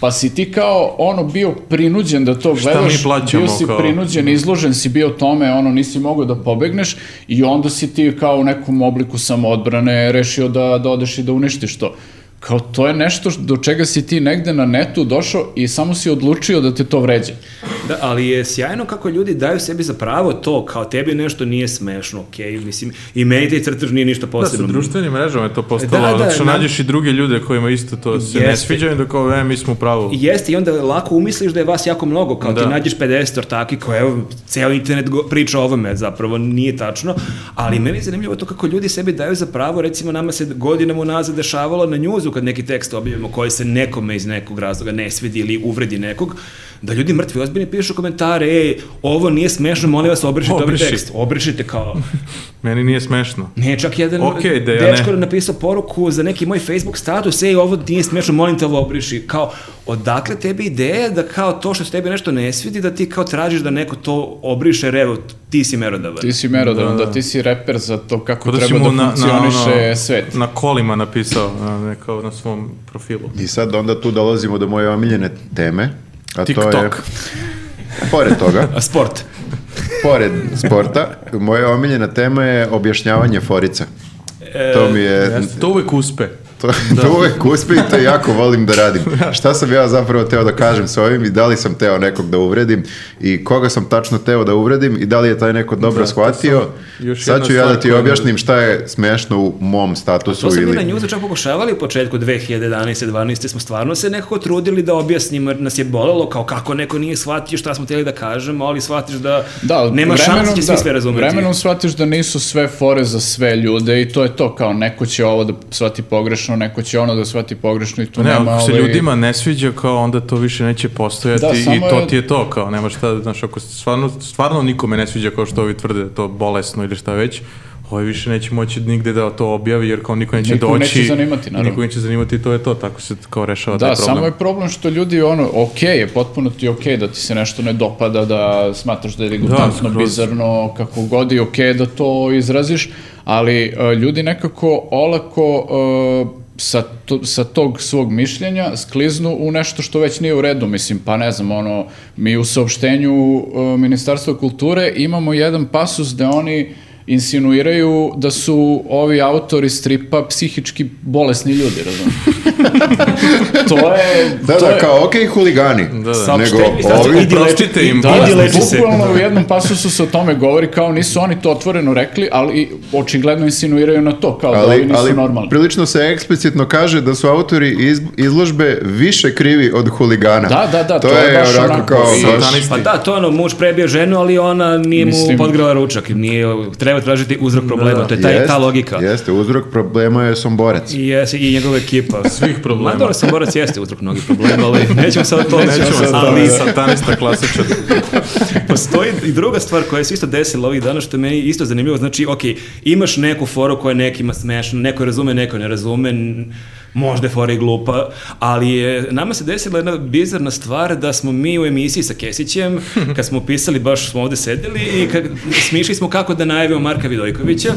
Pa si ti kao ono bio prinuđen da to Šta gledaš, mi plaćamo bio si kao? Da. prinuđen, izložen si bio tome, ono nisi mogao da pobegneš i onda si ti kao u nekom obliku samoodbrane rešio da, da odeš i da uništiš to. Kao to je nešto š- do čega si ti negde na netu došao i samo si odlučio da te to vređa. Da, ali je sjajno kako ljudi daju sebi za pravo to, kao tebi nešto nije smešno, okej, mislim, i meni taj crtež nije ništa Da, sa posebno. društvenim mrežama je to postalo, Da, da, zato što na- nađeš i druge ljude kojima isto to se ne Jeste. sviđa i da kao, e, mi smo u pravu. I Jeste, i onda lako umisliš da je vas jako mnogo, kao ti Da. nađeš 50 ortaki koje, evo, ceo internet go, priča o ovome, zapravo nije tačno, ali meni je zanimljivo to kako ljudi sebi daju za pravo, recimo nama se godinama unazad dešavalo na njuzu kad neki tekst objavimo koji se nekome iz nekog razloga ne svidi ili uvredi nekog, da ljudi mrtvi ozbiljni pišu komentare, ej, ovo nije smešno, molim vas, obrišite ovaj Obriši. tekst, obrišite kao, Meni nije smešno. Ne, čak jedan Ok, ideja, dečko ne. je napisao poruku za neki moj Facebook status, ej, ovo ti nije smešno, molim te ovo obriši. Kao, odakle tebi ideja da kao to što se tebi nešto ne svidi, da ti kao tražiš da neko to obriše, jer evo, ti si merodavan. Ti si merodavan, da. ti si reper za to kako Kao da si treba mu da na, na, funkcioniše ono, svet. na kolima napisao, na, ne, kao na svom profilu. Da, I sad onda tu dolazimo do moje omiljene teme, a to je... TikTok. Pored toga, A, Sport. pored sporta, moja omiljena tema je objašnjavanje forica. to mi je, Jeste, To uvek uspe. to, Da. to uvek uspe i to jako volim da radim. Šta sam ja zapravo teo da kažem sa ovim i da li sam teo nekog da uvredim i koga sam tačno teo da uvredim i da li je taj neko dobro Da, to shvatio. sam- još jedna Sad ću ja da stvar ti koju- objasnim šta je smešno u mom statusu To smo mi na ili... njuzu čak pokušavali u početku 2011. 12. smo stvarno se nekako trudili da objasnimo, jer nas je bolelo kao kako neko nije shvatio šta smo htjeli da kažemo, ali shvatiš da, Da, nema šanse da će svi da, sve razumeti. Vremenom shvatiš da nisu sve fore za sve ljude i to je to, kao neko će ovo da shvati pogrešno, neko će ono da shvati pogrešno i tu Pa Ne, nema... ako se ovaj, ljudima ne sviđa, kao onda to više neće postojati Da, i samo to je- ti je to, kao nema šta, znaš, ako se stvarno, stvarno nikome ne sviđa kao što ovi tvrde, da je to bolesno ili šta već, ovaj više neće moći nigde da to objavi jer kao niko neće Nikog doći. neće zanimati, naravno. Nikog neće zanimati i to je to, tako se kao rešava Da, taj problem. samo je problem što ljudi, ono, ok, je potpuno ti ok da ti se nešto ne dopada, da smatraš da je degutantno, skroz. bizarno, kako god i ok da to izraziš, ali e, ljudi nekako olako e, sa, to- sa tog svog mišljenja skliznu u nešto što već nije u redu, mislim, pa ne znam, ono, mi u saopštenju e, Ministarstva kulture imamo jedan pasus gde oni insinuiraju da su ovi autori stripa psihički bolesni ljudi, razumiješ? to je... Da, to da, je- kao okej huligani, Da, nego Saopštenje, saopštenje. ovi... Idi leči- Oprostite im, idi Da, da, leči se. bukvalno u jednom pasusu se o tome govori kao nisu oni to otvoreno rekli, ali i očigledno insinuiraju na to, kao da ovi Ali, nisu ali normalni. prilično se eksplicitno kaže da su autori iz, izložbe više krivi od huligana. Da, da, da, to, to je je baš onako onako kao i- baš... Satanisti. Pa da, to je ono, muž prebio ženu, ali ona nije Mislim- mu podgrala ručak. Nije, treba tražiti uzrok problema, to je ta, Da, Jest, ta logika. Jeste, uzrok problema je somborec. I, jes, I njegova ekipa. Svih problema. Ma dobro, Saborac jeste uzrok mnogih problema, ali nećemo sad o tome. Nećemo sad, ali ali satanista klasičan. postoji i druga stvar koja se isto desila ovih dana, što je meni isto zanimljivo. Znači, ok, imaš neku foru koja je nekima smešna, neko je razume, neko ne razume, n- možda je fora i glupa, ali je, nama se desila jedna bizarna stvar da smo mi u emisiji sa Kesićem, kad smo pisali, baš smo ovde sedeli i kad, smišli smo kako da najavimo Marka Vidojkovića,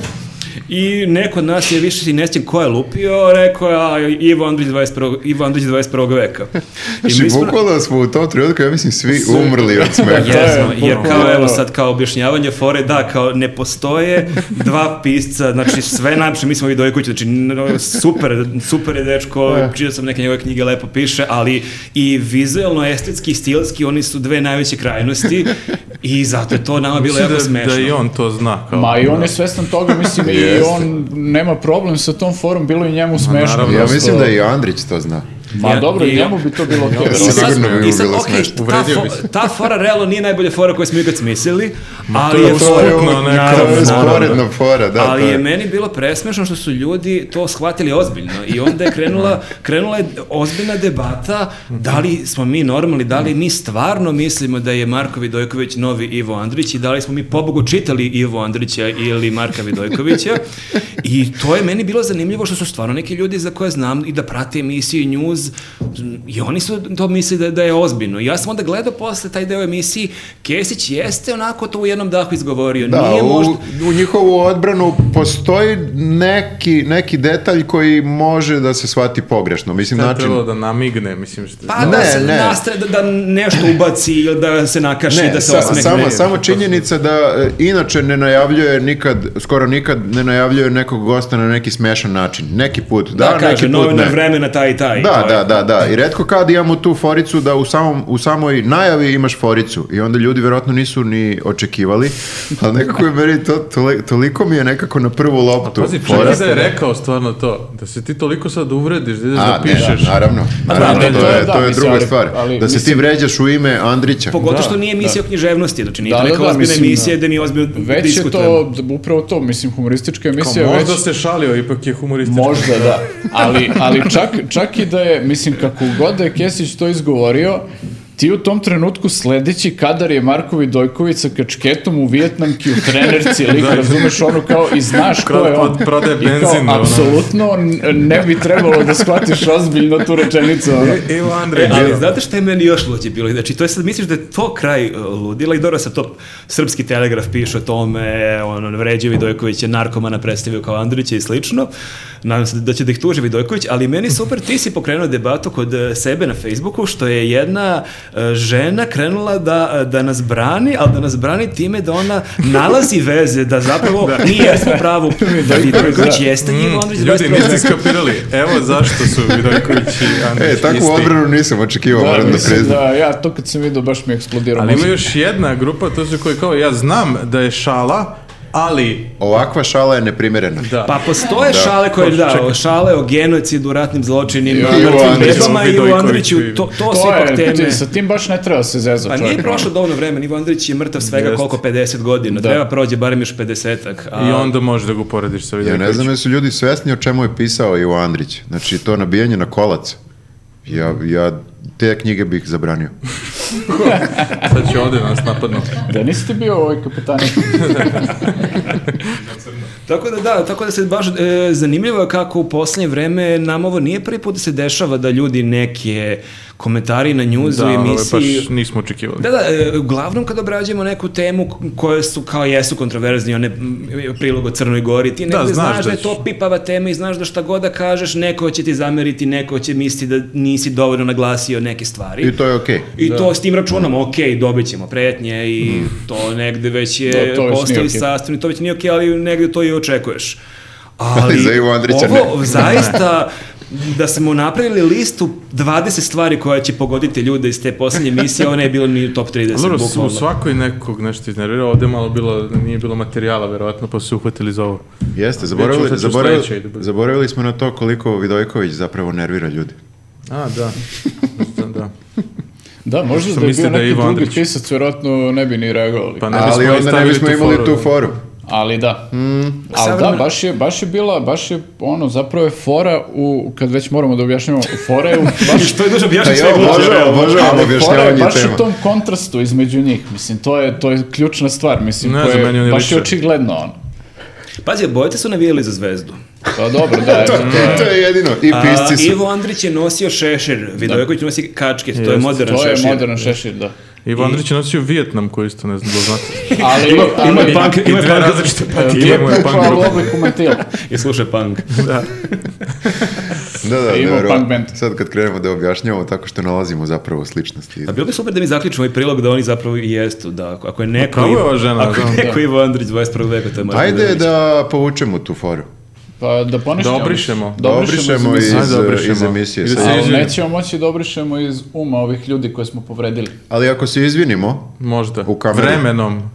I neko od nas je više si ne sjećam ko je lupio, rekao je "A, Ivo Andrić 21. Ivo Andrić 21. veka. I Znači, mi smo- Da, bukvalno smo u tom trenutku, ja mislim, svi umrli od To smeha. je Jesmo, jer bukvalno kao evo ono. sad kao objašnjavanje fore, da, kao ne postoje dva pisca, znači sve najpše, mi smo i Dojković, znači n- super, super je dečko, čitao sam neke njegove knjige, lepo piše, ali i vizuelno, estetski, i stilski, oni su dve najveće krajnosti i zato je to nama bilo Mislim jako da, smešno. da i on to zna. Kao, Ma i on je svestan toga, mislim, i Jeste. on nema problem sa tom forum, bilo je njemu smešno. naravno. Ja prosto. mislim da i Andrić to zna. Ma Ja- dobro, i i- njemu bi to bilo okej. I verovatno. sad, Sigurno bi mu i sad, bilo okej, smešno. ta, Uvredio bi se. fo, ta fora realno nije najbolja fora koju smo ikad smislili, ali je je fora... usputno neka, To Pa Naravno, je naravno. sporedna fora, da. ali to je meni bilo presmešno što su ljudi to shvatili ozbiljno i onda je Da. krenula, krenula je ozbiljna debata da li smo mi normalni, da li mi stvarno mislimo da je Marko Vidojković novi Ivo Andrić i da li smo mi pobogu čitali Ivo Andrića ili Marka Vidojkovića i to je meni bilo zanimljivo što su stvarno neki ljudi za koje znam i da prate emisije i news skroz i oni su to misli da, da je ozbiljno. I ja sam onda gledao posle taj deo emisiji, Kesić jeste onako to u jednom dahu izgovorio. Da, Nije u, možda... u njihovu odbranu postoji neki, neki detalj koji može da se shvati pogrešno. Mislim, Sad način... trebalo da namigne, mislim što... Pa da Ne, se ne. nastre, da, da nešto ubaci ili da se nakaši, da se sa- osmehne. Samo, samo činjenica da e, inače ne najavljuje nikad, skoro nikad ne najavljuje nekog gosta na neki smešan način. Neki put da, da, neki kaže, put novinar ne. vremena taj i taj. Da, To je- da, da, da. I redko kad imamo tu foricu da u, samom, u samoj najavi imaš foricu i onda ljudi verovatno nisu ni očekivali, ali nekako je meni to, tole- toliko mi je nekako na prvu loptu. Pazi, fora. čak i da je rekao stvarno to, da se ti toliko sad uvrediš, da ideš A, da ne, pišeš. da, naravno, naravno, da, to da, je, da, to je mislim, druga ali- stvar. ali da se ti mislim- vređaš u ime Andrića. Pogotovo Da, što nije emisija o književnosti, znači nije Da, to da, neka da, ozbiljna mislim, da. emisija da mi ozbiljno Već je diskutujemo. to, upravo to, mislim, humoristička Kao, emisija već... možda se šalio, ipak je humoristično. Možda da, ali, ali čak, čak i da je, mislim, kako god da je Kesić to izgovorio, ti u tom trenutku sledeći kadar je Markovi Dojković sa kačketom u Vijetnamki, u trenerci, lik, razumeš ono kao i znaš ko je on. Krod- prodaje I kao, benzin, ono. apsolutno n- ne bi trebalo da shvatiš ozbiljno tu rečenicu. Ono. Evo Andrej, E, ali bio. znate što je meni još luđe bilo? Znači, to je sad, misliš da je to kraj uh, ludila i dobro sad to srpski telegraf piše o tome, ono, vređe Vidojković je narkomana predstavio kao Andrića i slično. Nadam se da će da ih tuži Vidojković, ali meni je super, ti si pokrenuo debatu kod uh, sebe na Facebooku, što je jedna uh, žena krenula da, uh, da nas brani, ali da nas brani time da ona nalazi veze, da zapravo da. mi jesmo pravo, da Vidojković jeste mm, Ivo Andrić. Ljudi, niste skapirali. Evo zašto su Vidojković i Andrej E, takvu odbranu nisam očekivao, moram da mislim, priznam. da, ja to kad sam vidio baš mi je eksplodirao. Ali ima mozak. još jedna grupa, to su koji kao, ja znam da je šala, ali... Ovakva šala je neprimerena. Da. Pa postoje šale koje, Ko- da, čekaj. šale o genocidu, ratnim zločinima, I o mrtvim Andriću, bebama i o Vidojkoviću Andriću, i- to, to, su To ipak je, teme. ti, sa tim baš ne treba se zezati. Pa nije prošlo dovoljno vremena, Ivo Andrić je mrtav svega Jeste. koliko 50 godina, Da. treba prođe barem još 50-ak. a- I onda možeš da ga uporediš sa Ja Vidojkovićem. ne znam jesu ljudi svesni o čemu je pisao Ivo Andrić. Znači, to nabijanje na kolac. Ja, ja te knjige bih zabranio. Sad će ovde da nas napadnu. Da niste bio ovaj kapetan. Tako da da, tako da se baš e, zanimljivo je kako u posljednje vreme nam ovo nije prvi put da se dešava da ljudi neke komentari na njuzu Da, i ovo emisiji... baš nismo očekivali. Da, da, e, uglavnom kad obrađujemo neku temu k- koje su kao jesu kontroverzne, one m, prilog o Crnoj Gori, ti negde znaš znaš, da da je ćeš. to pipava tema i znaš da šta god da kažeš, neko će ti zameriti, neko će misliti da nisi dovoljno naglasio neke stvari. I to je okej. I to s tim računom, ok, dobit ćemo pretnje i to negde već je To- to već postoji nije okej. sastavni, to već nije ok, ali negde to i očekuješ. Ali Za Ivo Andrića ne. ovo zaista da smo napravili listu 20 stvari koja će pogoditi ljude iz te posljednje emisije, ovo ne je bilo ni u top 30 Dobro, su u bukvalno. svakoj nekog nešto iznervirao, ovde je malo bilo, nije bilo materijala, verovatno, pa su se uhvatili za ovo. Jeste, zaboravili, Vidjet ćemo šta će u zaboravili, sledećoj da bude. zaboravili smo na to koliko Vidojković zapravo nervira ljudi. A, da. da, da. Da, možda Sam da je bio mislio da je neki Ivo drugi Andrić. pisac, vjerojatno ne bi ni reagovali. Pa ne Ali bismo onda ne stavili da. bismo imali tu foru. Ali da. Ali da, Savremena- baš je, baš je bila, baš je ono, zapravo je fora u, kad već moramo da objašnjamo, fora je u, baš, Što je duže Pa objašnjeno ja sve gluđe. obožavam, obožavam da ali fora je objašnjavanje baš tema. u tom kontrastu između njih, mislim, to je, to je ključna stvar, mislim, Ne koja znam, meni je, oni baš je liče. očigledno ono. Pazi, obojte su navijali za zvezdu. Pa dobro, da, To, eto, to je jedino. I A, pisci su. Ivo Andrić je nosio šešir, Vidojković nosi kačket, to je Jeste. modern to šešir. je modern šešir, da. Ivo Andrić je nosio Vijetnam, koji isto ne znam da znate. E, Ali, ima, Ima je punk, ima I je dve punk, različite patike, Ima imamo je punk u grupa. obliku mantila. i slušaj punk. Da, da, Imao nevjerovatno. punk band. Sad kad krenemo da objašnjavamo tako što nalazimo zapravo sličnosti. A bilo bi super da mi zaključimo ovaj prilog da oni zapravo i jestu, da ako- ako je neko... Kako je Ivo- ova žena, Ako je da. neko Ivo Andrić 21. veka, to je Marko Ajde Vidojković. da povučemo tu foru. Pa da poništimo. Da obrišemo. Da obrišemo iz, mislim. Ajde, iz, obrišemo. emisije. I da sad. se Ali izvinim. nećemo moći da obrišemo iz uma ovih ljudi koje smo povredili. Ali ako se izvinimo, Možda. U kameru. Vremenom.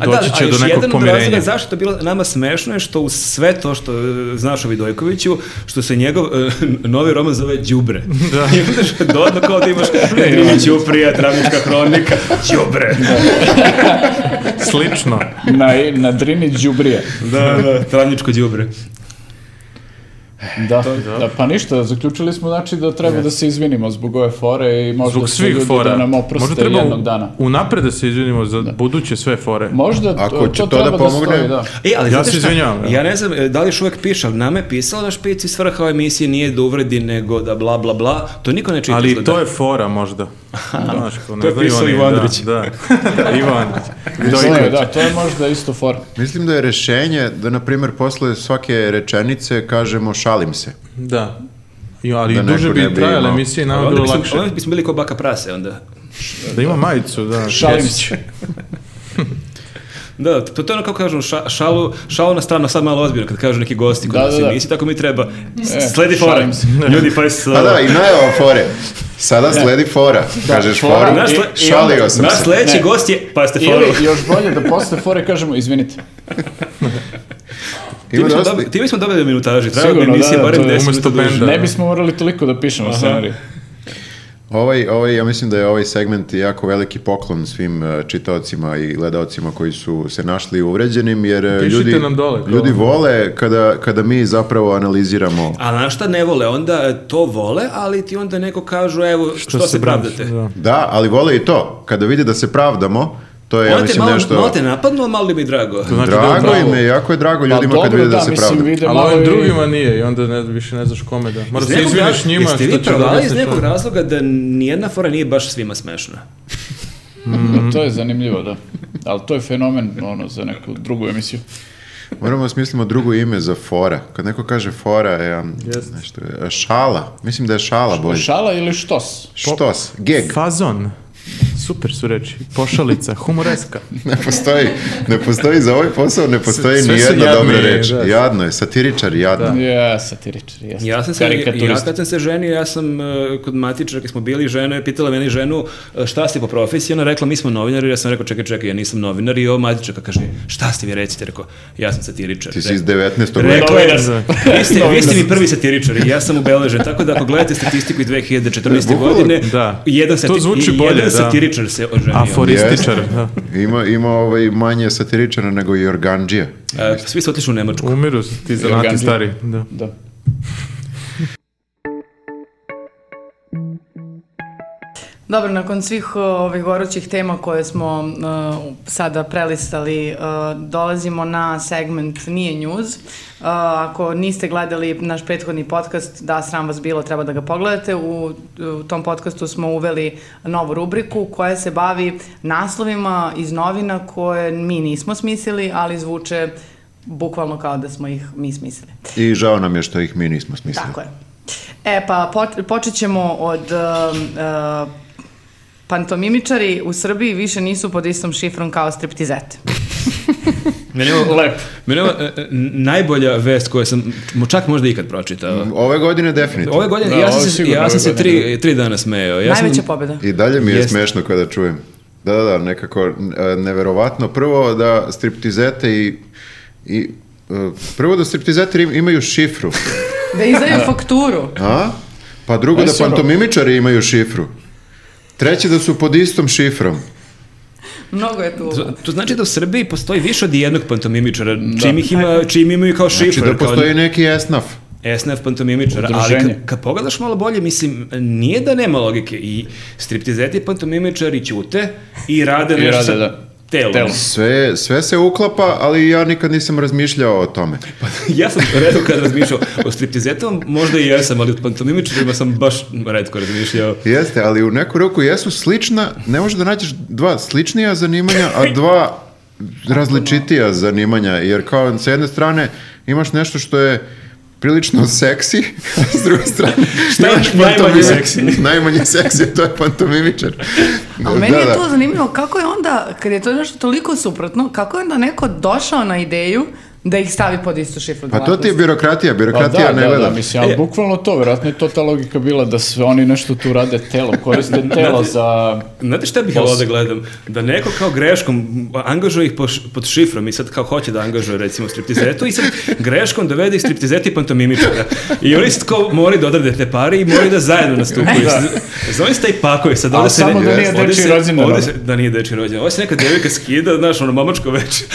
A da, Doći će a do još nekog jedan od razloga pomirenja. zašto je to bilo nama smešno je što u sve to što e, znaš o Vidojkoviću, što se njegov e, novi roman zove Đubre. Da. I onda što dodno kao da imaš Katrine Ćuprija, Travnička hronika, Đubre. Slično. Na, na drini džubrije. da. Da, da, Travničko Đubre. Da, da, pa ništa, zaključili smo znači da treba da se izvinimo zbog ove fore i možda Zbog se svih ljudi fora. da nam oproste Možda treba jednog u- dana. unapred da se izvinimo za buduće sve fore. Možda Ako to, će to to da treba da, pomogne- stoji, da. E, ali Ja znate se šta, izvinjavam, ja. Ja ne znam e, da li još uvek piše, ali nama je pisalo na špici svrha ove emisije nije da uvredi nego da bla bla bla. To niko ne čita. da- Ali izgleda. to je fora možda. Znaš, ko ne To je znaju pisao oni, Ivanović. Da, da. Ivanović. To je, Dojković. da, to je možda isto for. Mislim da je rešenje da, na primjer, posle svake rečenice kažemo šalim se. Da. Jo, ali Da duže neko ne bi bi trajale imao. emisije, Ali nama bi onda bilo bismo, lakše. onda bismo bili kao baka prase onda. Da ima majicu, da. Šalim Jesić. se. Da, to, to je ono kao kažu, ša, šalu, šalu na stranu, sad malo ozbiljno kad kažu neki gosti kod Da, nas da, da. emisiji, tako mi treba. S- E, sledi fora. šalim se. Ljudi, pa je s... A da, i najava fore. Sada sledi fora. Kažeš fora foru, Naš, i- sle- i onda- šalio sam naš se. sledeći Ne. gost je, pa ste foru. Ili još bolje da posle fore kažemo izvinite. Ima Time smo, dosta, dobi, time smo dobili minutaži, treba bi Sigurno, emisije da, da, barem to je 10 umesto minuta duže. Da. benda. Ne bismo morali toliko da pišemo scenarij. Pa Ovaj, ovaj, ja mislim da je ovaj segment jako veliki poklon svim eh, čitaocima i gledaocima koji su se našli uvređenim, jer eh, Pišite ljudi, nam dole, kao- ljudi vole kada, kada mi zapravo analiziramo. A znaš šta ne vole? Onda e, to vole, ali ti onda neko kažu, evo, što, se, braniš, pravdate? Da. Da, ali vole i to. Kada vide da se pravdamo, to je, ja Malo te, mislim, malo, nešto... malo te napadnu, a malo mi je drago. znači da je Drago upravo. im je, jako je drago Pa ljudima kad dobro, vide da, da, se mislim, pravdamo. vide Ali malo ovim i- drugima nije i onda ne, više ne znaš kome da. Moraš Iz se nekog izviniš razloga- njima Jeste što vi će da provali iz objasniš nekog ono. razloga da nijedna fora nije baš svima smešna? To je zanimljivo, da. Ali to je fenomen ono, za neku drugu emisiju. Moramo da smislimo drugo ime za fora. Kad neko kaže fora, je, um, Jeste. nešto, je, šala. Mislim da je šala bolje. Šala ili štos? Štos, geg. Fazon. Super su reči. Pošalica, humoreska. Ne postoji, ne postoji za ovaj posao, ne postoji sve ni su jedna jadni, dobra reč. da. Jadno je, satiričar, jadno. Ja, satiričar, jesam. Ja sam se, ja kad sam se ženio, ja sam e, kod matičara kad smo bili žena, je pitala meni ženu e, šta ste po profesiji, ona je rekla mi smo novinari, ja sam rekao čekaj, čekaj, ja nisam novinar i ovo matičarka kaže šta ste vi recite, rekao ja sam satiričar. Ti si Rekao- iz 19. veka. Rekla je, Novinar. vi ste, vi ste mi prvi satiričar i ja sam ubeležen, tako da ako gledate statistiku iz 2014. E, Bukvalno, godine, da. jedan, To zvuči i bolje, jedan da. satiričar se oženio. Aforističar. Jeste. Da. Ima, ima ovaj manje satiričara nego i organđija. E, svi su otišli u Nemačku. Umiru su ti zanati Organđija. stari. Da. Da. Dobro, nakon svih o, ovih gorućih tema koje smo e, sada prelistali, e, dolazimo na segment Nije news. E, ako niste gledali naš prethodni podcast, da, sram vas bilo, treba da ga pogledate, u, u tom podcastu smo uveli novu rubriku koja se bavi naslovima iz novina koje mi nismo smislili, ali zvuče bukvalno kao da smo ih mi smislili. I žao nam je što ih mi nismo smislili. Tako je. E, pa pot- počet ćemo od... um, uh, pantomimičari u Srbiji više nisu pod istom šifrom kao striptizete. Meni je ovo- meni je ovo, e, e, najbolja vest koju sam mo- čak možda ikad pročitao. Ove godine definitivno. Ove godine, Da, ja ovo sam je se, sigurno ja sam ove se godine, tri, tri dana smejao. Ja sam- Najveća pobjeda. I dalje mi je Jeste. smešno kada čujem. Da, da, da, nekako n- e, neverovatno. Prvo da striptizete i... i e, prvo da striptizete im- imaju šifru, Da izdaju fakturu. a? Pa drugo Pa da sigurno. pantomimičari imaju šifru. Treće da su pod istom šifrom. Znači, Mnogo je tu. To, to znači da u Srbiji postoji više od jednog pantomimičara, Da. čim ih ima, čim imaju kao šifra. Znači da postoji kao neki esnaf. SNF pantomimičara, ali Udruženje. kad, kad pogledaš malo bolje, mislim, nije da nema logike. I striptizeti i pantomimičari ćute i rade nešto rade, sa da. telom. Telom. Sve, sve se uklapa, ali ja nikad nisam razmišljao o tome. ja sam redko kad razmišljao o striptizetom, možda i jesam, ali o pantomimičarima sam baš redko razmišljao. Jeste, ali u neku roku jesu slična, ne možeš da nađeš dva sličnija zanimanja, a dva različitija zanimanja, jer kao s jedne strane imaš nešto što je prilično seksi, a s druge strane Šta je imaš najmanje pantomimi- seksi? Najmanje seksi, to je pantomimičar. Ali meni Da, je da. to zanimljivo kako je onda, kad je to nešto toliko suprotno, kako je onda neko došao na ideju da ih stavi pod istu šifru. Pa to ti je djelatnosti? birokratija, Pa birokratija da, ne da, gleda. da, mislim, ali E. bukvalno to, vjerojatno je to ta logika bila da sve oni nešto tu rade telo, koriste telo za... Znate šta bih ja ovde gledam? Da neko kao greškom angažuje ih po š- pod šifrom i sad kao hoće da angažuje recimo striptizetu i sad greškom dovede ih striptizeti i pantomimičara. I oni sad kao moraju da odrade te pare i moraju da zajedno nastupaju. Zove se taj pakoj. Sad Da. Ali ovde se samo da nije ovde dečiji se- rođendan, ovde ono. se- Da nije deči rođendan. Ovde se neka devojka skida, znaš, ono mamačko već, a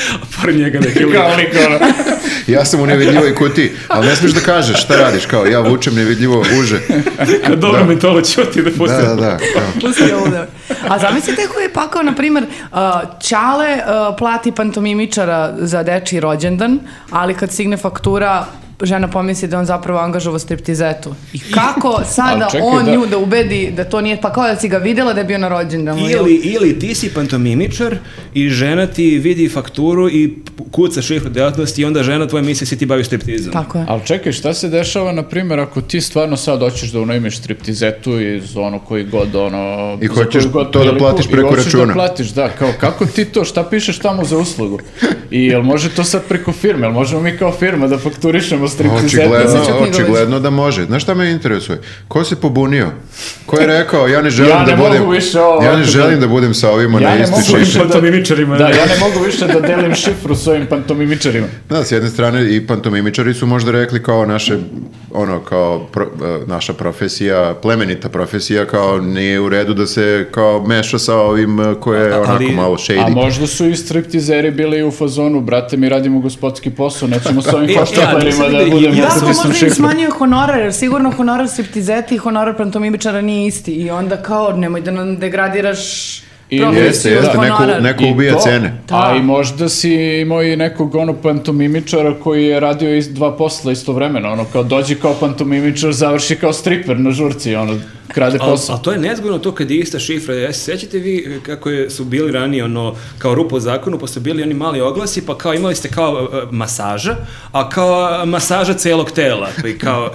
par njega neki lik. Kao lik, ono, ja sam u nevidljivoj kutiji, ali ne smiješ da kažeš šta radiš, kao ja vučem nevidljivo uže. Kad dobro Da. mi to čuti da Da, pustim. da, da. kao. Pusti ovo da... A zamislite koji je pakao, na primjer, uh, Čale uh, plati pantomimičara za dečiji rođendan, ali kad stigne faktura, žena pomisli da je on zapravo angažovao striptizetu. I kako sada Ali čekaj, on da. nju da ubedi da to nije, pa kao da si ga videla da je bio na rođendanu. jel? Ili, ili ti si pantomimičar i žena ti vidi fakturu i kuca šifru delatnosti i onda žena tvoja misli si ti baviš striptizom. Tako je. Ali čekaj, šta se dešava, na primjer, ako ti stvarno sad hoćeš da unajmiš striptizetu iz ono koji god, ono... I za hoćeš koju god to da priliku platiš preko I hoćeš računa. da platiš, da, kao kako ti to, šta pišeš tamo za uslugu? I jel može to sad preko firme, jel možemo mi kao firma da fakturišemo striptizetu? Očigledno, Znači, knjigovođa. očigledno da može. Znaš šta me interesuje? Ko se pobunio? Ko je rekao, ja ne želim Ja ne da mogu budem... više ovo, ja ne ovako želim da- da budem sa ovima Ja na ne isti mogu šifri. više Pantomimičarima. Da, ja ne mogu više da delim šifru s ovim pantomimičarima. Da, s jedne strane i pantomimičari su možda rekli kao naše, ono, kao pro- e, naša profesija, plemenita profesija, kao nije u redu da se kao meša sa ovim e, koje je A- onako ali- malo A shady. možda su i striptizeri bili u fazonu, brate, mi radimo gospodski posao, nećemo s ovim E, ja hoštaparima nisam da vidio- budemo ja Da, sam samo pritisnu možda im šifru. smanjuje honorar, jer sigurno honorar striptizeti i honorar pantomimičara nije isti. I onda kao, nemoj da nam degradiraš I profesiju, Jeste, jeste, neko, honorar. neko I ubija to, cene. A Da. i možda si imao i nekog ono pantomimičara koji je radio is- dva posla istovremeno, ono kao dođe kao pantomimičar, završi kao striper na žurci, ono, krade A, posao. a to je nezgodno to kad je ista šifra. Ja se sećate vi eh, kako je, su bili ranije ono, kao rupa u zakonu, pa su bili oni mali oglasi, pa kao imali ste kao e, e, masaža, a kao e, masaža celog tela. Pa i kao,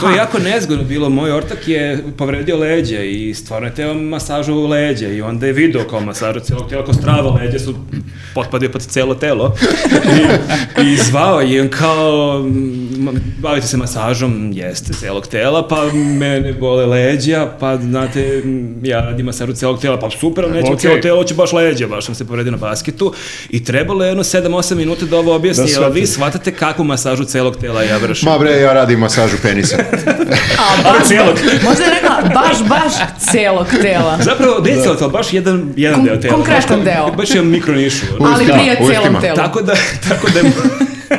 to je jako nezgodno bilo. Moj ortak je povredio leđe i stvarno je teo masažu u leđe i onda je video kao masažu celog tela, kao strava leđe su potpadio pod celo telo. I, i zvao je on kao, "Ma, bavite se masažom, jeste, celog tela, pa mene bole leđa, pa znate, m, ja radim masažu celog tela, pa super, ali nećemo Okej. celo telo, hoću baš leđa, baš sam se povredio na basketu. I trebalo je jedno 7-8 minuta da ovo objasni, Da ali vi shvatate kakvu masažu celog tela ja vršim. Ma bre, ja radim masažu penisa. A, Ali baš, celog. možda je rekla, baš, baš celog tela. Zapravo, ne celo telo, baš jedan, jedan Kon- deo tela. konkretan baš, deo. Baš jedan mikronišu. Ali Ustima, prije ustima. celom telu. Tako da, tako da je-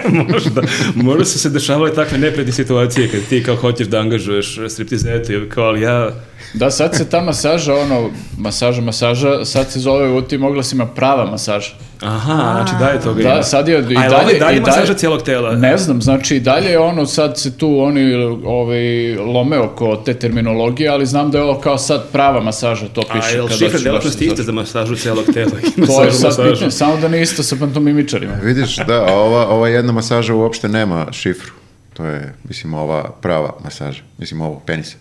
možda, možda su se dešavale takve nepredne situacije kad ti kao hoćeš da angažuješ striptizetu i kao, ali ja... Da, sad se ta masaža, ono, masaža, masaža, sad se zove u tim oglasima prava masaža. Aha, znači da je toga ima. Da, sad je i A je li ovo dalje... i dalje i masaža cijelog tela? Ne znam, znači i dalje je ono, sad se tu oni ovaj, lome oko te terminologije, ali znam da je ovo kao sad prava masaža, to piše. A je li kad šifra hoćeš delatnosti baš ista za masažu cijelog tela? i To je masažu sad masaža? pitanje, samo da nije isto sa pantomimičarima. Vidiš, da, a ova, ova jedna masaža uopšte nema šifru. To je, mislim, ova prava masaža. Mislim, ovo, penisa.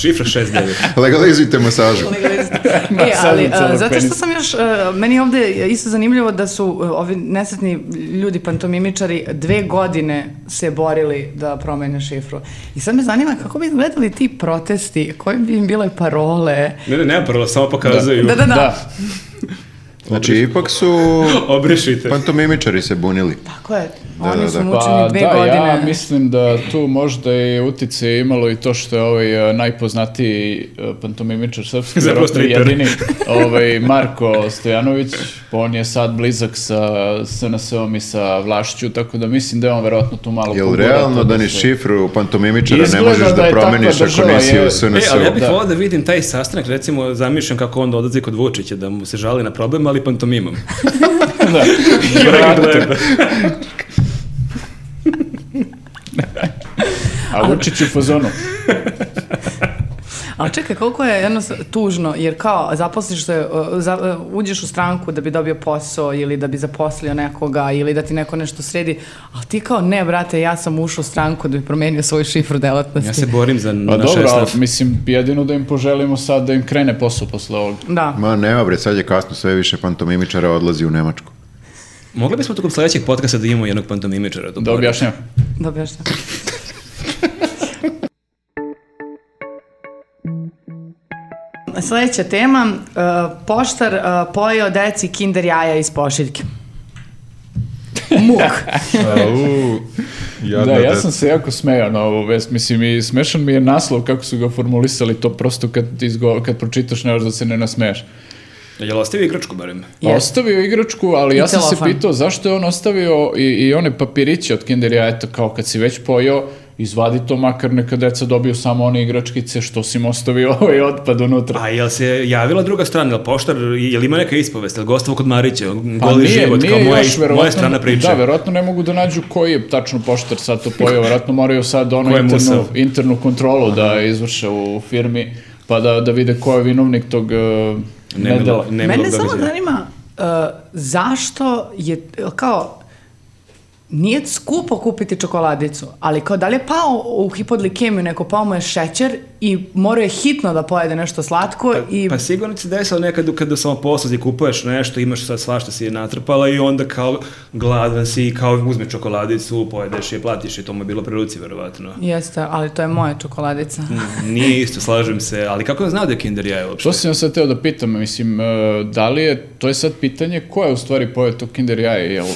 Šifra 69. Legalizujte da masažu. E, ali, Masaža a, celog zato što penisa. sam još, a, meni je ovde isto zanimljivo da su a, ovi nesretni ljudi pantomimičari dve godine se borili da promene šifru. I sad me zanima kako bi izgledali ti protesti, koje bi im bile parole. Ne, ne, nema prvo, samo pokazuju. Da, da, da. Da, Znači, ipak su Obrišite. Pa pantomimičari se bunili. Tako Pa je. Da, Oni da, su da. mučeni pa dve da, godine. ja mislim da tu možda i utice imalo i to što je ovaj e, najpoznatiji e, pantomimičar srpski, Zapravo verovatno i striper. jedini, ovaj Marko Stojanović, pa on je sad blizak sa SNS-om i sa vlašću, tako da mislim da je on verovatno tu malo Jel pogurao realno to da ni se- šifru pantomimičara ne Izgleda možeš da da je takva promeniš ako država, nisi je. u E, ali ja SNS-u? bih Da. volao da vidim taj sastanak, recimo zamišljam kako onda odlazi kod Vučića, da mu se žali na problem, ali pantomimom. da, I ovaj ga verovatno. gleda. a Vučić u fazonu. Ali čekaj, koliko je jedno s- tužno, jer kao zaposliš se, uh, za, uh, uđeš u stranku da bi dobio posao ili da bi zaposlio nekoga ili da ti neko nešto sredi, a ti kao ne, brate, ja sam ušao u stranku da bi promenio svoju šifru delatnosti. Ja se borim za Pa naš dobro, stav. ali mislim, jedino da im poželimo sad da im krene posao posle ovog. Da. Ma nema bre, sad je kasno, sve više pantomimičara odlazi u Nemačku. Mogli bismo tokom sledećeg podcasta da imamo jednog pantomimičara. Da pored. objašnjam. Da objašnjam. Sljedeća tema, uh, poštar uh, pojeo deci kinder jaja iz pošiljke. Muk. A, u, Da, jadna ja deca. sam se jako smejao na ovu vest, mislim i smešan mi je naslov kako su ga formulisali, to prosto kad, ti izgo- kad pročitaš ne možeš da se ne nasmeješ. Jel ostavio igračku barem? Jeste. Ostavio igračku, ali I ja sam se celofan. pitao zašto je on ostavio i, i one papiriće od Kinder jajeta, kao kad si već pojeo, izvadi to makar neka deca dobiju samo one igračkice što si im ostavio ovaj otpad unutra. A jel se javila druga strana, jel poštar, jel ima neka ispovest, jel gostovo kod Marića, goli Pa nije, život, nije kao moja, još, moja verovatno- strana priče. Da, verovatno ne mogu da nađu koji je tačno poštar sad to pojeo, verovatno moraju sad Ko ono je musav? internu, internu kontrolu da izvrše u firmi, pa da, da vide ko je vinovnik tog uh, Nemilo- nedela. nemilo Mene samo događaja. zanima uh, zašto je, kao, nije skupo kupiti čokoladicu, ali kao da li je pao u hipodlikemiju neko, pao mu je šećer i morao je hitno da pojede nešto slatko i... Pa sigurno se desilo nekad kada u samoposluzi kupuješ nešto, imaš sad svašta si je natrpala i onda kao gladan si i kao uzme čokoladicu, pojedeš je, platiš je, to mu je bilo pri ruci verovatno. Jeste, ali to je moja čokoladica. Nije isto, slažem se, ali kako je znao da je kinder jaje uopšte? To sam ja sad teo da pitam, mislim, e, da li je, to je sad pitanje, ko je u stvari pojeo to kinder jaje, jel?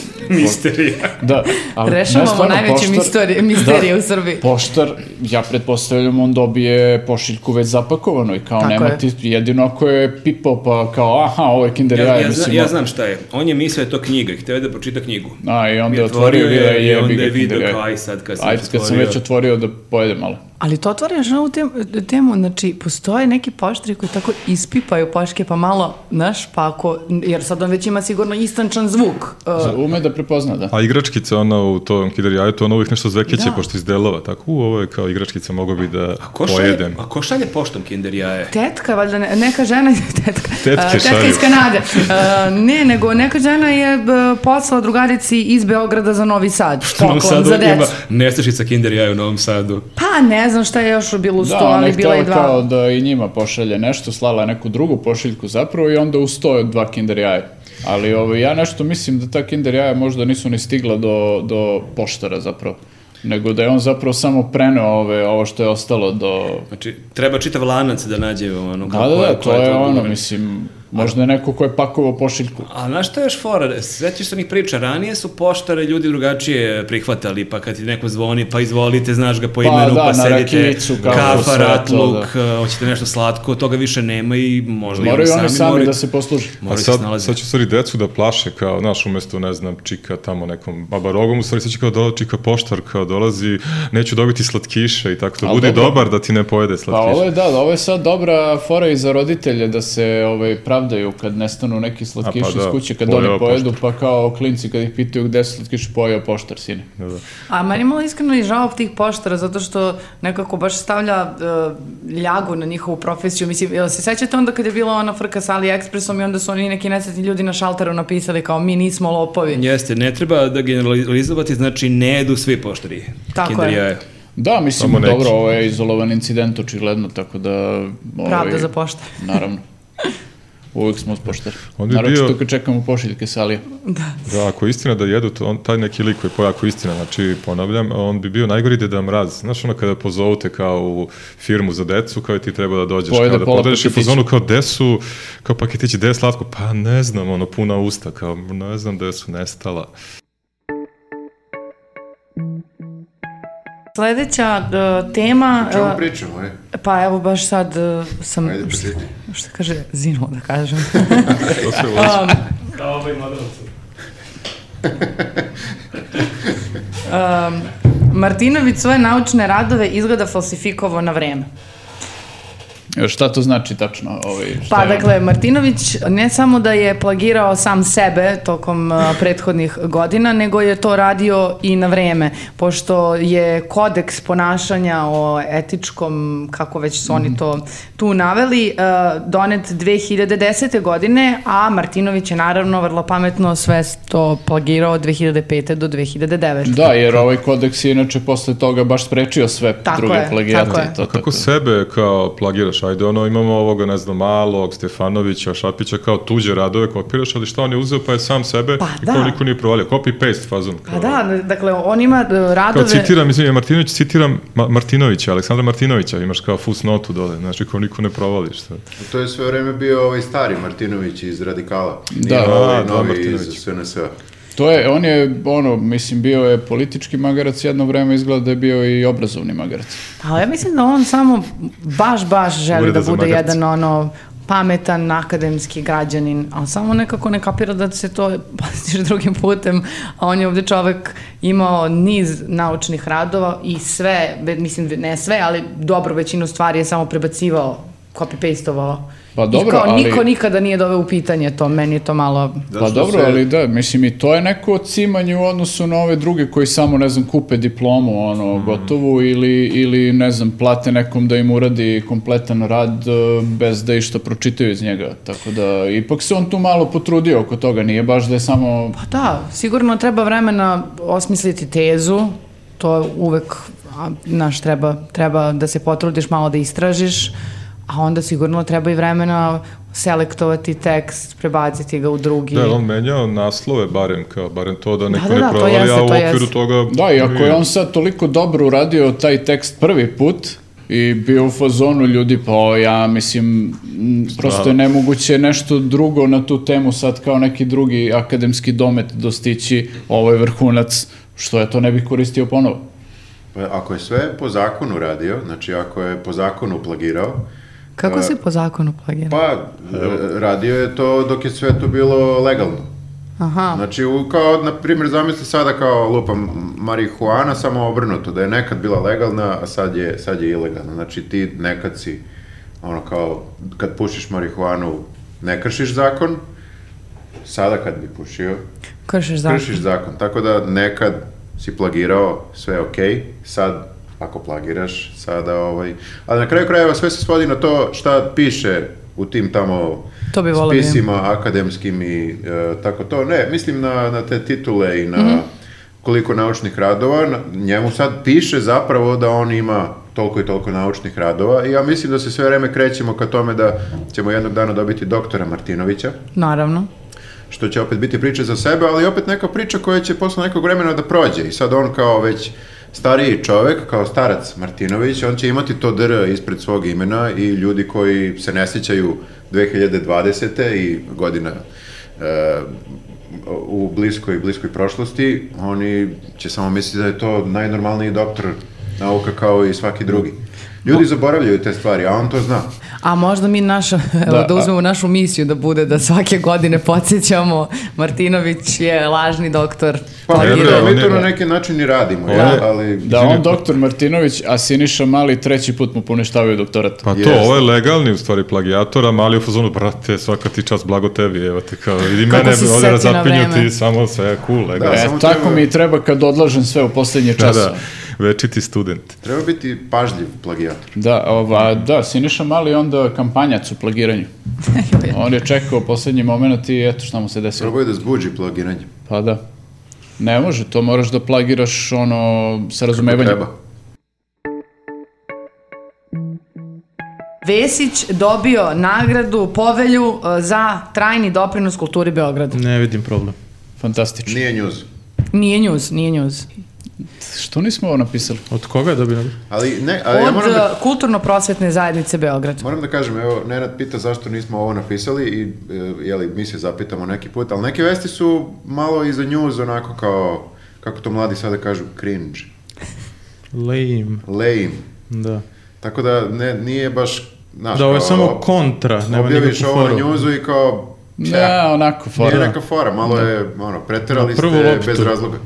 Misterija. Da, ali, ne, Rešavamo stvarno, najveće poštar- Da. misterije, misterije u Srbiji. Poštar, ja pretpostavljam, on dobije pošiljku već zapakovano i kao Tako nema je. ti, jedino ako je pipao pa kao, aha, ovo je kinder Ja, jaje, ja, zna, mislim, ja znam šta je. On je mislio da je to knjiga i htio je da pročita knjigu. A, i onda I je otvorio otvorio, otvorio je je, i onda jebi je ga video kinder jaje. kao, aj sad kad sam Aj, već kad sam otvorio. već otvorio da pojedem malo. Ali to otvaraš ovu temu, temu, znači, postoje neki poštri koji tako ispipaju poške, pa malo, znaš, pa ako, jer sad on već ima sigurno istančan zvuk. Uh, Ume da prepozna, da. A igračkice ona u tom kider jajetu, ona uvijek nešto zvekiće Da. pošto iz delova, tako u ovo je kao igračkica mogo bi da A ko šalje, pojedem. a ko šalje poštom kinder jaje? Tetka, valjda ne, neka žena je tetka. Tetke A, tetka šalju. iz Kanade. A, ne, nego neka žena je b, poslala drugarici iz Beograda za Novi Sad. U Novom Poklon Sadu za decu. ima nestašica kinder jaje u Novom Sadu. Pa ne znam šta je još bilo uz to, Da, ona ali je bila je htjela dva. kao da i njima pošalje nešto, slala je neku drugu pošiljku zapravo i onda uz to je dva kinder jaja. Ali ovo, ja nešto mislim da ta kinder jaja možda nisu ni stigla do, do poštara zapravo. Nego da je on zapravo samo preneo ove, ovo što je ostalo do... Znači, treba čitav lanac da nađe ono Da, da, ko da, ko to je ono, odgovorno. mislim, možda je neko ko je pakovao pošiljku. A znaš šta je još fora? Svećiš se onih priča, ranije su poštare ljudi drugačije prihvatali, pa kad ti neko zvoni, pa izvolite, znaš ga po Pa imenu, pa, da, na sedite, rakijicu, kako, kafa, sve ratluk, to, eh, hoćete nešto slatko, toga više nema i možda i da. Moraju oni sami moraju- da se posluže. A moraju se sad, snalaze. sad će u stvari decu da plaše kao, znaš, umesto, ne znam, čika tamo nekom babarogom, u stvari sad će kao dolazi čika poštar, kao dolazi, neću dobiti slatkiše i tako to. Al Budi dobro. dobar da ti ne pojede Pa slatkiše. ovo je, da, ovo je sad dobra fora i za roditelje da se ovaj, pravdaju kad nestanu neki slatkiši A, pa da, iz kuće, kad pojeo oni pojedu, pa kao klinci kad ih pitaju gde su slatkiši, pojeo poštar, sine. Da, da. A meni je malo iskreno i žao tih poštara, zato što nekako baš stavlja e, ljagu na njihovu profesiju. Mislim, jel se sećate onda kad je bila ona frka sa AliExpressom i onda su oni neki nesretni ljudi na šalteru napisali kao mi nismo lopovi. Jeste, ne treba da generalizovati, znači ne jedu svi poštari. Tako kinder je. jaje. Da, mislim, Samo neki. dobro, ovo je izolovan incident očigledno, tako da... Ovaj, Pravda za poštar. Naravno. Uvijek smo uz poštar. On bi Naravno bio- kad čekamo pošiljke sa Alija. Da, ako je istina da jedu, to on, taj neki lik koji poje, ako je istina, znači ponavljam, on bi bio najgori deda mraz. Znaš ono kada pozovu te kao u firmu za decu, kao i ti treba da dođeš, Pojede kao da pola podeliš i paketića. pozonu kao desu, kao paketići, gde je slatko? Pa ne znam, ono, puna usta, kao ne znam gde su nestala. Sledeća e, tema... O čemu e, pričamo, e? Pa evo baš sad e, sam... Ajde, šta- pročiti. Šta kaže, zinuo da kažem. Um, To sve voli. um, Martinović svoje naučne radove izgleda falsifikovao na vreme. Šta to znači tačno? Ovaj, šta Pa je- dakle, Martinović ne samo da je plagirao sam sebe tokom a, prethodnih godina, nego je to radio i na vreme, pošto je kodeks ponašanja o etičkom, kako već su Mhm. oni to tu naveli, a, donet 2010. godine, a Martinović je naravno vrlo pametno sve to plagirao od 2005. do 2009. Da, jer ovaj kodeks je inače posle toga baš sprečio sve Tako druge je, plagijate. tako je. i to, Kako tako da. sebe kao plagiraš? Ajde, ono, imamo ovoga, ne znam, Malog, Stefanovića, Šapića, kao tuđe radove kopiraš, ali šta on je uzeo pa je sam sebe Pa i da. kao niko nije provalio. Copy-paste fazon. Pa kao- da, dakle, on ima e, Kao radove... citiram, mislim, ja Martinović, citiram Ma Martinovića, Aleksandra Martinovića, imaš kao fusnotu dole, znači kao niko ne provališ. Šta. To je sve vreme bio ovaj stari Martinović iz Radikala. Da. Nije ovaj A, da, novi Martinović. iz SNS-a. To je, on je, ono, mislim, bio je politički magarac, jedno vreme izgleda da je bio i obrazovni magarac. Pa ja mislim da on samo baš, baš želi Ureda da za bude magarce. jedan ono pametan, akademski građanin, ali samo nekako ne kapira da se to paziš drugim putem, a on je ovde čovek imao niz naučnih radova i sve, be- mislim ne sve, ali dobro većinu stvari je samo prebacivao, copy-pastovao. Pa dobro, I kao ali- niko nikada nije doveo u pitanje to, meni je to malo... Zato Pa što dobro, se- ali da, mislim i to je neko cimanje u odnosu na ove druge koji samo, ne znam, kupe diplomu, ono, Mhm. gotovu, ili, ili, ne znam, plate nekom da im uradi kompletan rad e, bez da išta pročitaju iz njega. Tako da, ipak se on tu malo potrudio oko toga, nije baš da je samo... Pa da, sigurno treba vremena osmisliti tezu, to uvek, a, znaš, treba, treba da se potrudiš malo da istražiš, a onda sigurno treba i vremena selektovati tekst, prebaciti ga u drugi. Da, je on menjao naslove barem, kao, barem to da neko da, da, ne to provali, jeste, a u to jeste. okviru toga... Da, i ako je on sad toliko dobro uradio taj tekst prvi put, i bio u fazonu ljudi, pa o, ja mislim, m, prosto je nemoguće nešto drugo na tu temu sad kao neki drugi akademski domet dostići, ovo je vrhunac, što je to ne bih koristio ponovo. Pa Ako je sve po zakonu radio, znači ako je po zakonu plagirao, Kako Da. se po zakonu plagira? pa e, radio je to dok je sve to bilo legalno. Pa, Aha, Znači, u, kao, na primjer, zamisli sada kao lupa marihuana, samo obrnuto, da je nekad bila legalna, a sad je, sad je ilegalna. Znači, ti nekad si, ono kao, kad pušiš marihuanu, ne kršiš zakon, sada kad bi pušio, kršiš zakon. kršiš zakon. Tako da nekad si plagirao, sve je okej, sad ako plagiraš, sada ovaj... Ali na kraju krajeva sve se svodi na to šta piše u tim tamo To bi volao da imam. spisima akademskim i e, tako to. Ne, mislim na, na te titule i na Mhm. koliko naučnih radova. Na- Njemu sad piše zapravo da on ima toliko i toliko naučnih radova i ja mislim da se sve vreme krećemo ka tome da ćemo jednog dana dobiti doktora Martinovića Naravno. što će opet biti priča za sebe, ali opet neka priča koja će posle nekog vremena da prođe. I sad on kao već stariji čovek, kao starac Martinović, on će imati to dr ispred svog imena i ljudi koji se ne sjećaju 2020. i godina e, u bliskoj bliskoj prošlosti, oni će samo misliti da je to najnormalniji doktor nauka kao i svaki drugi. Ljudi zaboravljaju te stvari, a on to zna. A možda mi naša, evo, a- da, uzmemo našu misiju da bude da svake godine podsjećamo Martinović je lažni doktor. Pa, ne, plagirao. ne, mi to ne. na neki način i radimo, Da. jel? ali... Da on pa- doktor Martinović, a Siniša Mali treći put mu poništavaju doktorat. Pa to, Jeste. ovo je legalni u stvari plagijator, a mali je u fazonu, brate, svaka ti čast, blago tebi, evo te kao, vidi Kako mene, si se ovdje setio na razapinju vreme. ti, samo sve je cool, legal. Da, e, samo tako treba- mi i treba kad odlažem sve u posljednje Da, da, časove. večiti student. Treba biti pažljiv plagijator. Da, ova, da, Siniša Mali je onda kampanjac u plagiranju. On je čekao poslednji moment i eto šta mu se desilo. Probaj da zbuđi plagiranje. Pa da. Ne može, to moraš da plagiraš ono sa razumevanjem. Treba. Vesić dobio nagradu, povelju e, za trajni doprinos kulturi Beograda. Ne vidim problem. Fantastično. Nije njuz. Nije njuz, nije njuz. Što nismo ovo napisali? Od koga da bi... Ali ne, Od ali ja moram da, e, kulturno-prosvetne zajednice Beograd. moram da kažem, evo, Nenad pita zašto nismo ovo napisali i, e, jeli, mi se zapitamo neki put, ali neke vesti su malo i za njuz, onako kao, kako to mladi sada kažu, cringe, Lame, lame. da. Tako da ne, nije baš, znaš, Da, ovo je kao, samo ob- kontra, nema objaviš nikakvu ovo na foru. njuzu i kao, Ne, onako, Nije fora. neka fora, malo je, ono, preterali Na Da. prvu ste loptu. bez razloga.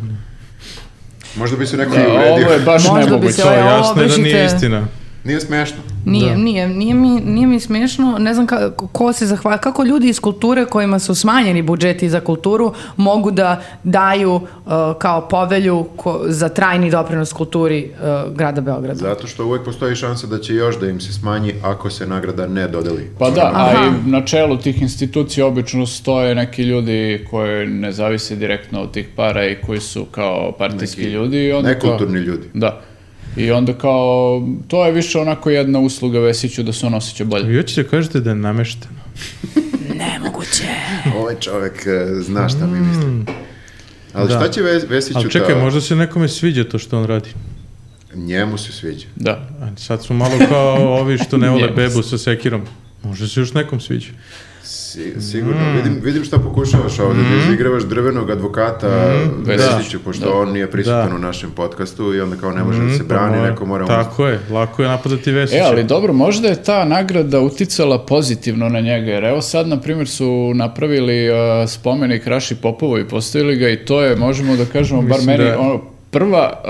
Možda bi se neko i Da, uvredio. ovo je baš Možda bi nemoguće. se To je Ovo jasno je da nije obrišite. istina. Nije smešno. Nije, nije, nije mi, nije mi smiješno, ne znam ka- ko se zahvala, kako ljudi iz kulture kojima su smanjeni budžeti za kulturu mogu da daju e, kao povelju ko- za trajni doprinos kulturi e, grada Beograda. Zato što uvek postoji šansa da će još da im se smanji ako se nagrada ne dodeli. Pa da, a Aha. i na čelu tih institucija obično stoje neki ljudi koji ne zavise direktno od tih para i koji su kao partijski ljudi. I onda kao, Nekulturni ljudi. Da. I onda kao, to je više onako jedna usluga Vesiću da se on osjeća Pa bolje. Vi hoćete kažete da je namešteno. Nemoguće. Ovaj čovek e, zna šta mi misli. Ali Da. šta će Ves- Vesiću Ali čekaj, da- možda se nekome sviđa to što on radi. Njemu se sviđa. Da. A sad smo malo kao ovi što ne vole Njemu bebu sa sekirom. Možda se još nekom sviđa. Si, sigurno. Vidim, vidim šta pokušavaš ovdje, da izigravaš drvenog advokata Vesiću, pošto on nije prisutan Da. u našem podcastu i onda kao ne može da se brani, neko mora... mu- Tako je, lako je napadati Vesića. E, ali dobro, možda je ta nagrada uticala pozitivno na njega, jer evo sad, na primjer, su napravili uh, spomenik Raši Popovu i postavili ga i to je, možemo da kažemo, bar Mislim meni, da je- ono, prva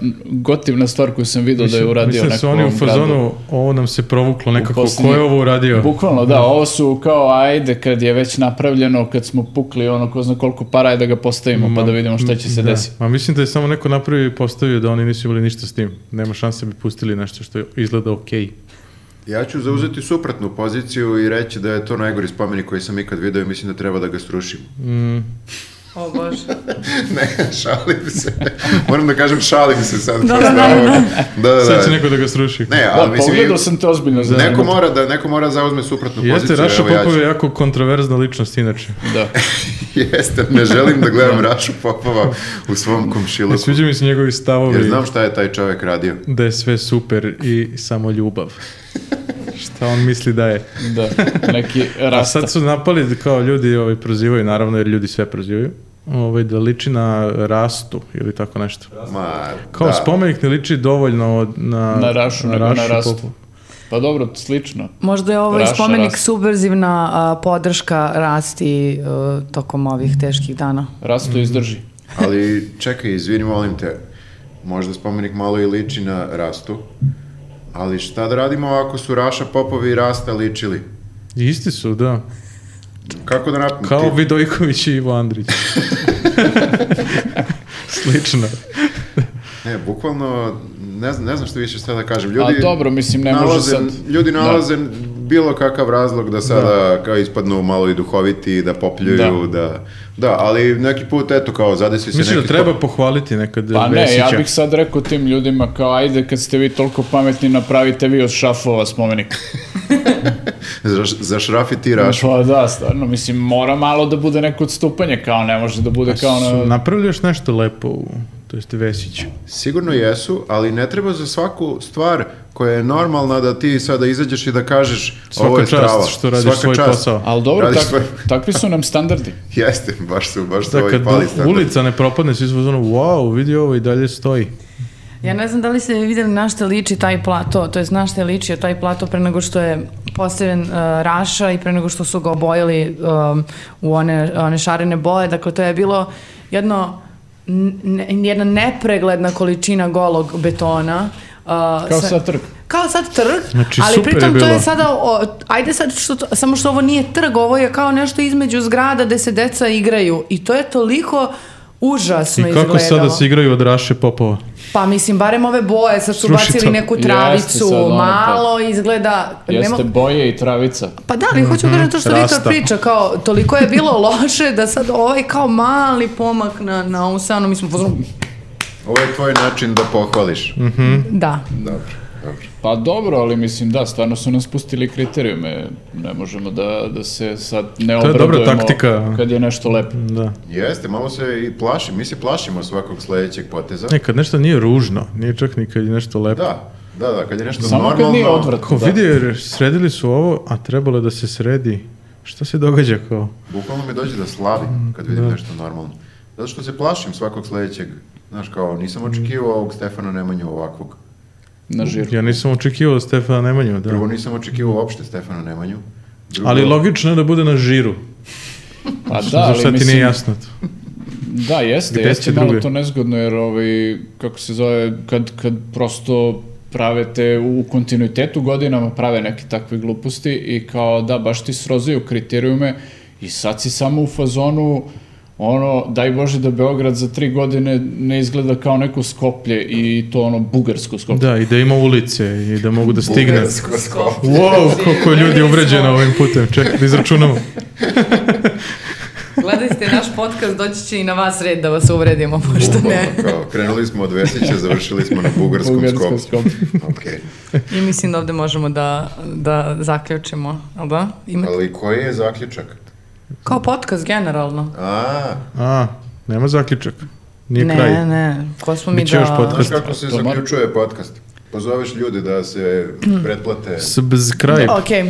uh, gotivna stvar koju sam vidio da je uradio Mislim da neko su u oni u ovom gradu. fazonu, ovo nam se provuklo nekako, ko posljednji- je ovo uradio? Bukvalno, da, ovo su kao, ajde, kad je već napravljeno, kad smo pukli, ono, ko zna koliko para je da ga postavimo, pa da vidimo šta će se Da. desiti. Ma mislim da je samo neko napravio i postavio da oni nisu imali ništa s tim. Nema šanse da bi pustili nešto što izgleda okej. Ja ću zauzeti suprotnu poziciju i reći da je to najgori spomenik koji sam ikad video i mislim da treba da ga srušimo. O bože. ne, šalim se. Moram da kažem šalim se sad. Da, posle da, da, ovoga. Da, da, Sad će da. neko da ga sruši. Ne, Da, ali mislim... pogledao sam te ozbiljno za Neko mora da, neko mora da zauzme suprotnu Jeste, poziciju. Raša evo, ja ću- Popov je jako kontroverzna ličnost inače. Da. Jeste, ne želim da gledam Rašu Popova u svom Ne komšiluku. sviđa mi se njegovi Jer stavovi znam šta je taj čovek radio. da je sve super i samo ljubav. Šta on misli da je. Da, neki A rasta. sad su napali da kao ljudi ovaj, prozivaju, naravno jer ljudi sve prozivaju, ovaj, da liči na rastu ili tako nešto. Ma, Kao da. spomenik ne liči dovoljno od- na, Na Rašu, nego na Rastu. Popu. Pa dobro, slično. Možda je ovo i Raša, spomenik rast. subverzivna a, podrška rasti a, tokom ovih teških dana. Mhm. Rasto izdrži. Ali čekaj, izvini, molim te. Možda spomenik malo i liči na Rastu. Ali šta da radimo ako su Raša Popovi i Rasta ličili? Isti su, da. Kako da napravimo? Kao Vidojković i Ivo Andrić. Slično. Ne, bukvalno, ne znam, ne znam što više šta da kažem. A Ljudi dobro, mislim, ne može nalaze, sad... da. ljudi nalaze bilo kakav razlog da sada kao ispadnu malo i duhoviti, da popljuju, da. da... ali neki put, eto, kao zadesi se Mislim da neki treba pohvaliti nekad Pa ne, Vesića. ja bih sad rekao tim ljudima kao ajde kad ste vi toliko pametni napravite vi od šafova spomenik. Zaš- zašrafiti rašu. Pa da, stvarno, mislim mora malo da bude neko odstupanje kao ne može da bude kao Pa Su ono... napravili još nešto lepo u to jest Vesić. Sigurno jesu, ali ne treba za svaku stvar koja je normalna da ti sada izađeš i da kažeš Svaka ovo je čast strava. što radiš svoj posao. Ali dobro, Radiš tak- svoj- takvi su nam standardi. Jeste, baš su, baš su Da, ovi kad pali u- standard. ulica ne propadne, svi smo zvonu, wow, vidi ovo i dalje stoji. Ja ne znam da li ste vidjeli na šta liči taj plato, to je na šta je ličio taj plato pre nego što je postavljen e, Raša i pre nego što su ga obojili um, u one, one šarene boje. Dakle, to je bilo jedno, n- ne- jedna nepregledna količina golog betona. e, Kao sa- sad trg. kao sad trg, Znači, ali super je pritom to je bilo. sada, o, ajde sad, što, to- samo što ovo nije trg, ovo je kao nešto između zgrada gde se deca igraju i to je toliko užasno I kako izgledalo. sada se igraju od Raše Popova? Pa mislim, barem ove boje, sad su Sruši bacili to. neku Jeste, travicu, sad ono, malo pa- izgleda... Pa nema- Jeste boje i travica. Pa da, ali hoću kažem to što Viktor Mhm, rasta. priča, kao, toliko je bilo loše da sad ovaj kao mali pomak na, na ovu stranu, mi smo pozvali, Ovo je tvoj način da pohvališ. da. Dobro, dobro. Pa dobro, ali mislim da, stvarno su nas pustili kriterijume. Ne možemo da, da se sad ne dobra obradujemo taktika. kad je nešto lepo. Da. Jeste, malo se i plašim, mi se plašimo svakog sledećeg poteza. Nekad nešto nije ružno, nije čak ni kad je nešto lepo. Da, da, da, kad je nešto Samo normalno... kad nije odvratno. Ko da. vidi, jer sredili su ovo, a trebalo je da se sredi. Šta se događa kao? Bukvalno mi dođe da slavim kad vidim nešto normalno. Zato što se plašim svakog sledećeg. Znaš, kao, nisam očekivao ovog Stefana Nemanju ovakvog. na žiru. Ja nisam očekivao od Stefana Nemanju, da. Prvo, nisam očekivao uopšte Stefana Nemanju. Drugo, Ali logično je da bude na žiru. Pa da, Da, ali Zašto ti mislim, nije jasno to? Da, jeste, Gde jeste će malo drugi? to nezgodno jer ovaj, kako se zove, kad, kad prosto pravete u kontinuitetu godinama prave neke takve gluposti i kao da baš ti srozaju kriterijume i sad si samo u fazonu ono, daj Bože da Beograd za tri godine ne izgleda kao neko skoplje i to ono bugarsko skoplje. Da, i da ima ulice i da mogu da stigne. Bugarsko skop. Wow, koliko je ljudi uvređeno ovim putem. Čekaj, da izračunamo. Gledajte naš podcast, doći će i na vas red da vas uvredimo, pošto ne. Bukvalno, kao, krenuli smo od Vesića, završili smo na bugarskom, skopu. Bugarsko skoplje. Okej. I mislim da ovde možemo da, da zaključimo, ali da? Ima, Ali koji je zaključak? kao podcast generalno. A, A, nema zaključak. Nije ne, kraj. ne, ko smo mi Biće da... još podcast. znaš kako se To mora- zaključuje podcast? pozoveš ljude da se pretplate. Subscribe. Ok, e,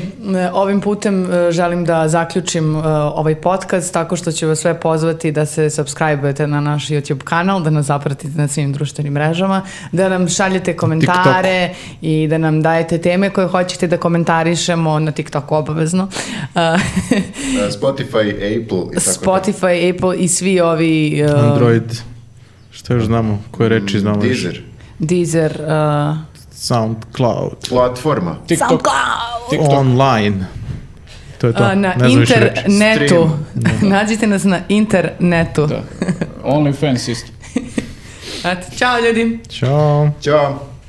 ovim putem e, želim da zaključim e, ovaj podcast tako što ću vas sve pozvati da se subscribe-ujete na naš YouTube kanal, da nas zapratite na svim društvenim mrežama, da nam šaljete komentare i da nam dajete teme koje hoćete da komentarišemo na TikToku obavezno. E, E, Spotify, Apple i tako da. Spotify, Apple i svi ovi... e, Android. Šta još znamo? Koje reči znamo? još? Mm, Znači, Deezer. Deezer. e, SoundCloud. Platforma. TikTok, Online. To je to. A, na ne znam više reči. internetu. Nađite nas na internetu. da. OnlyFans isto. Eto, Ćao ljudi. Ćao. Ćao.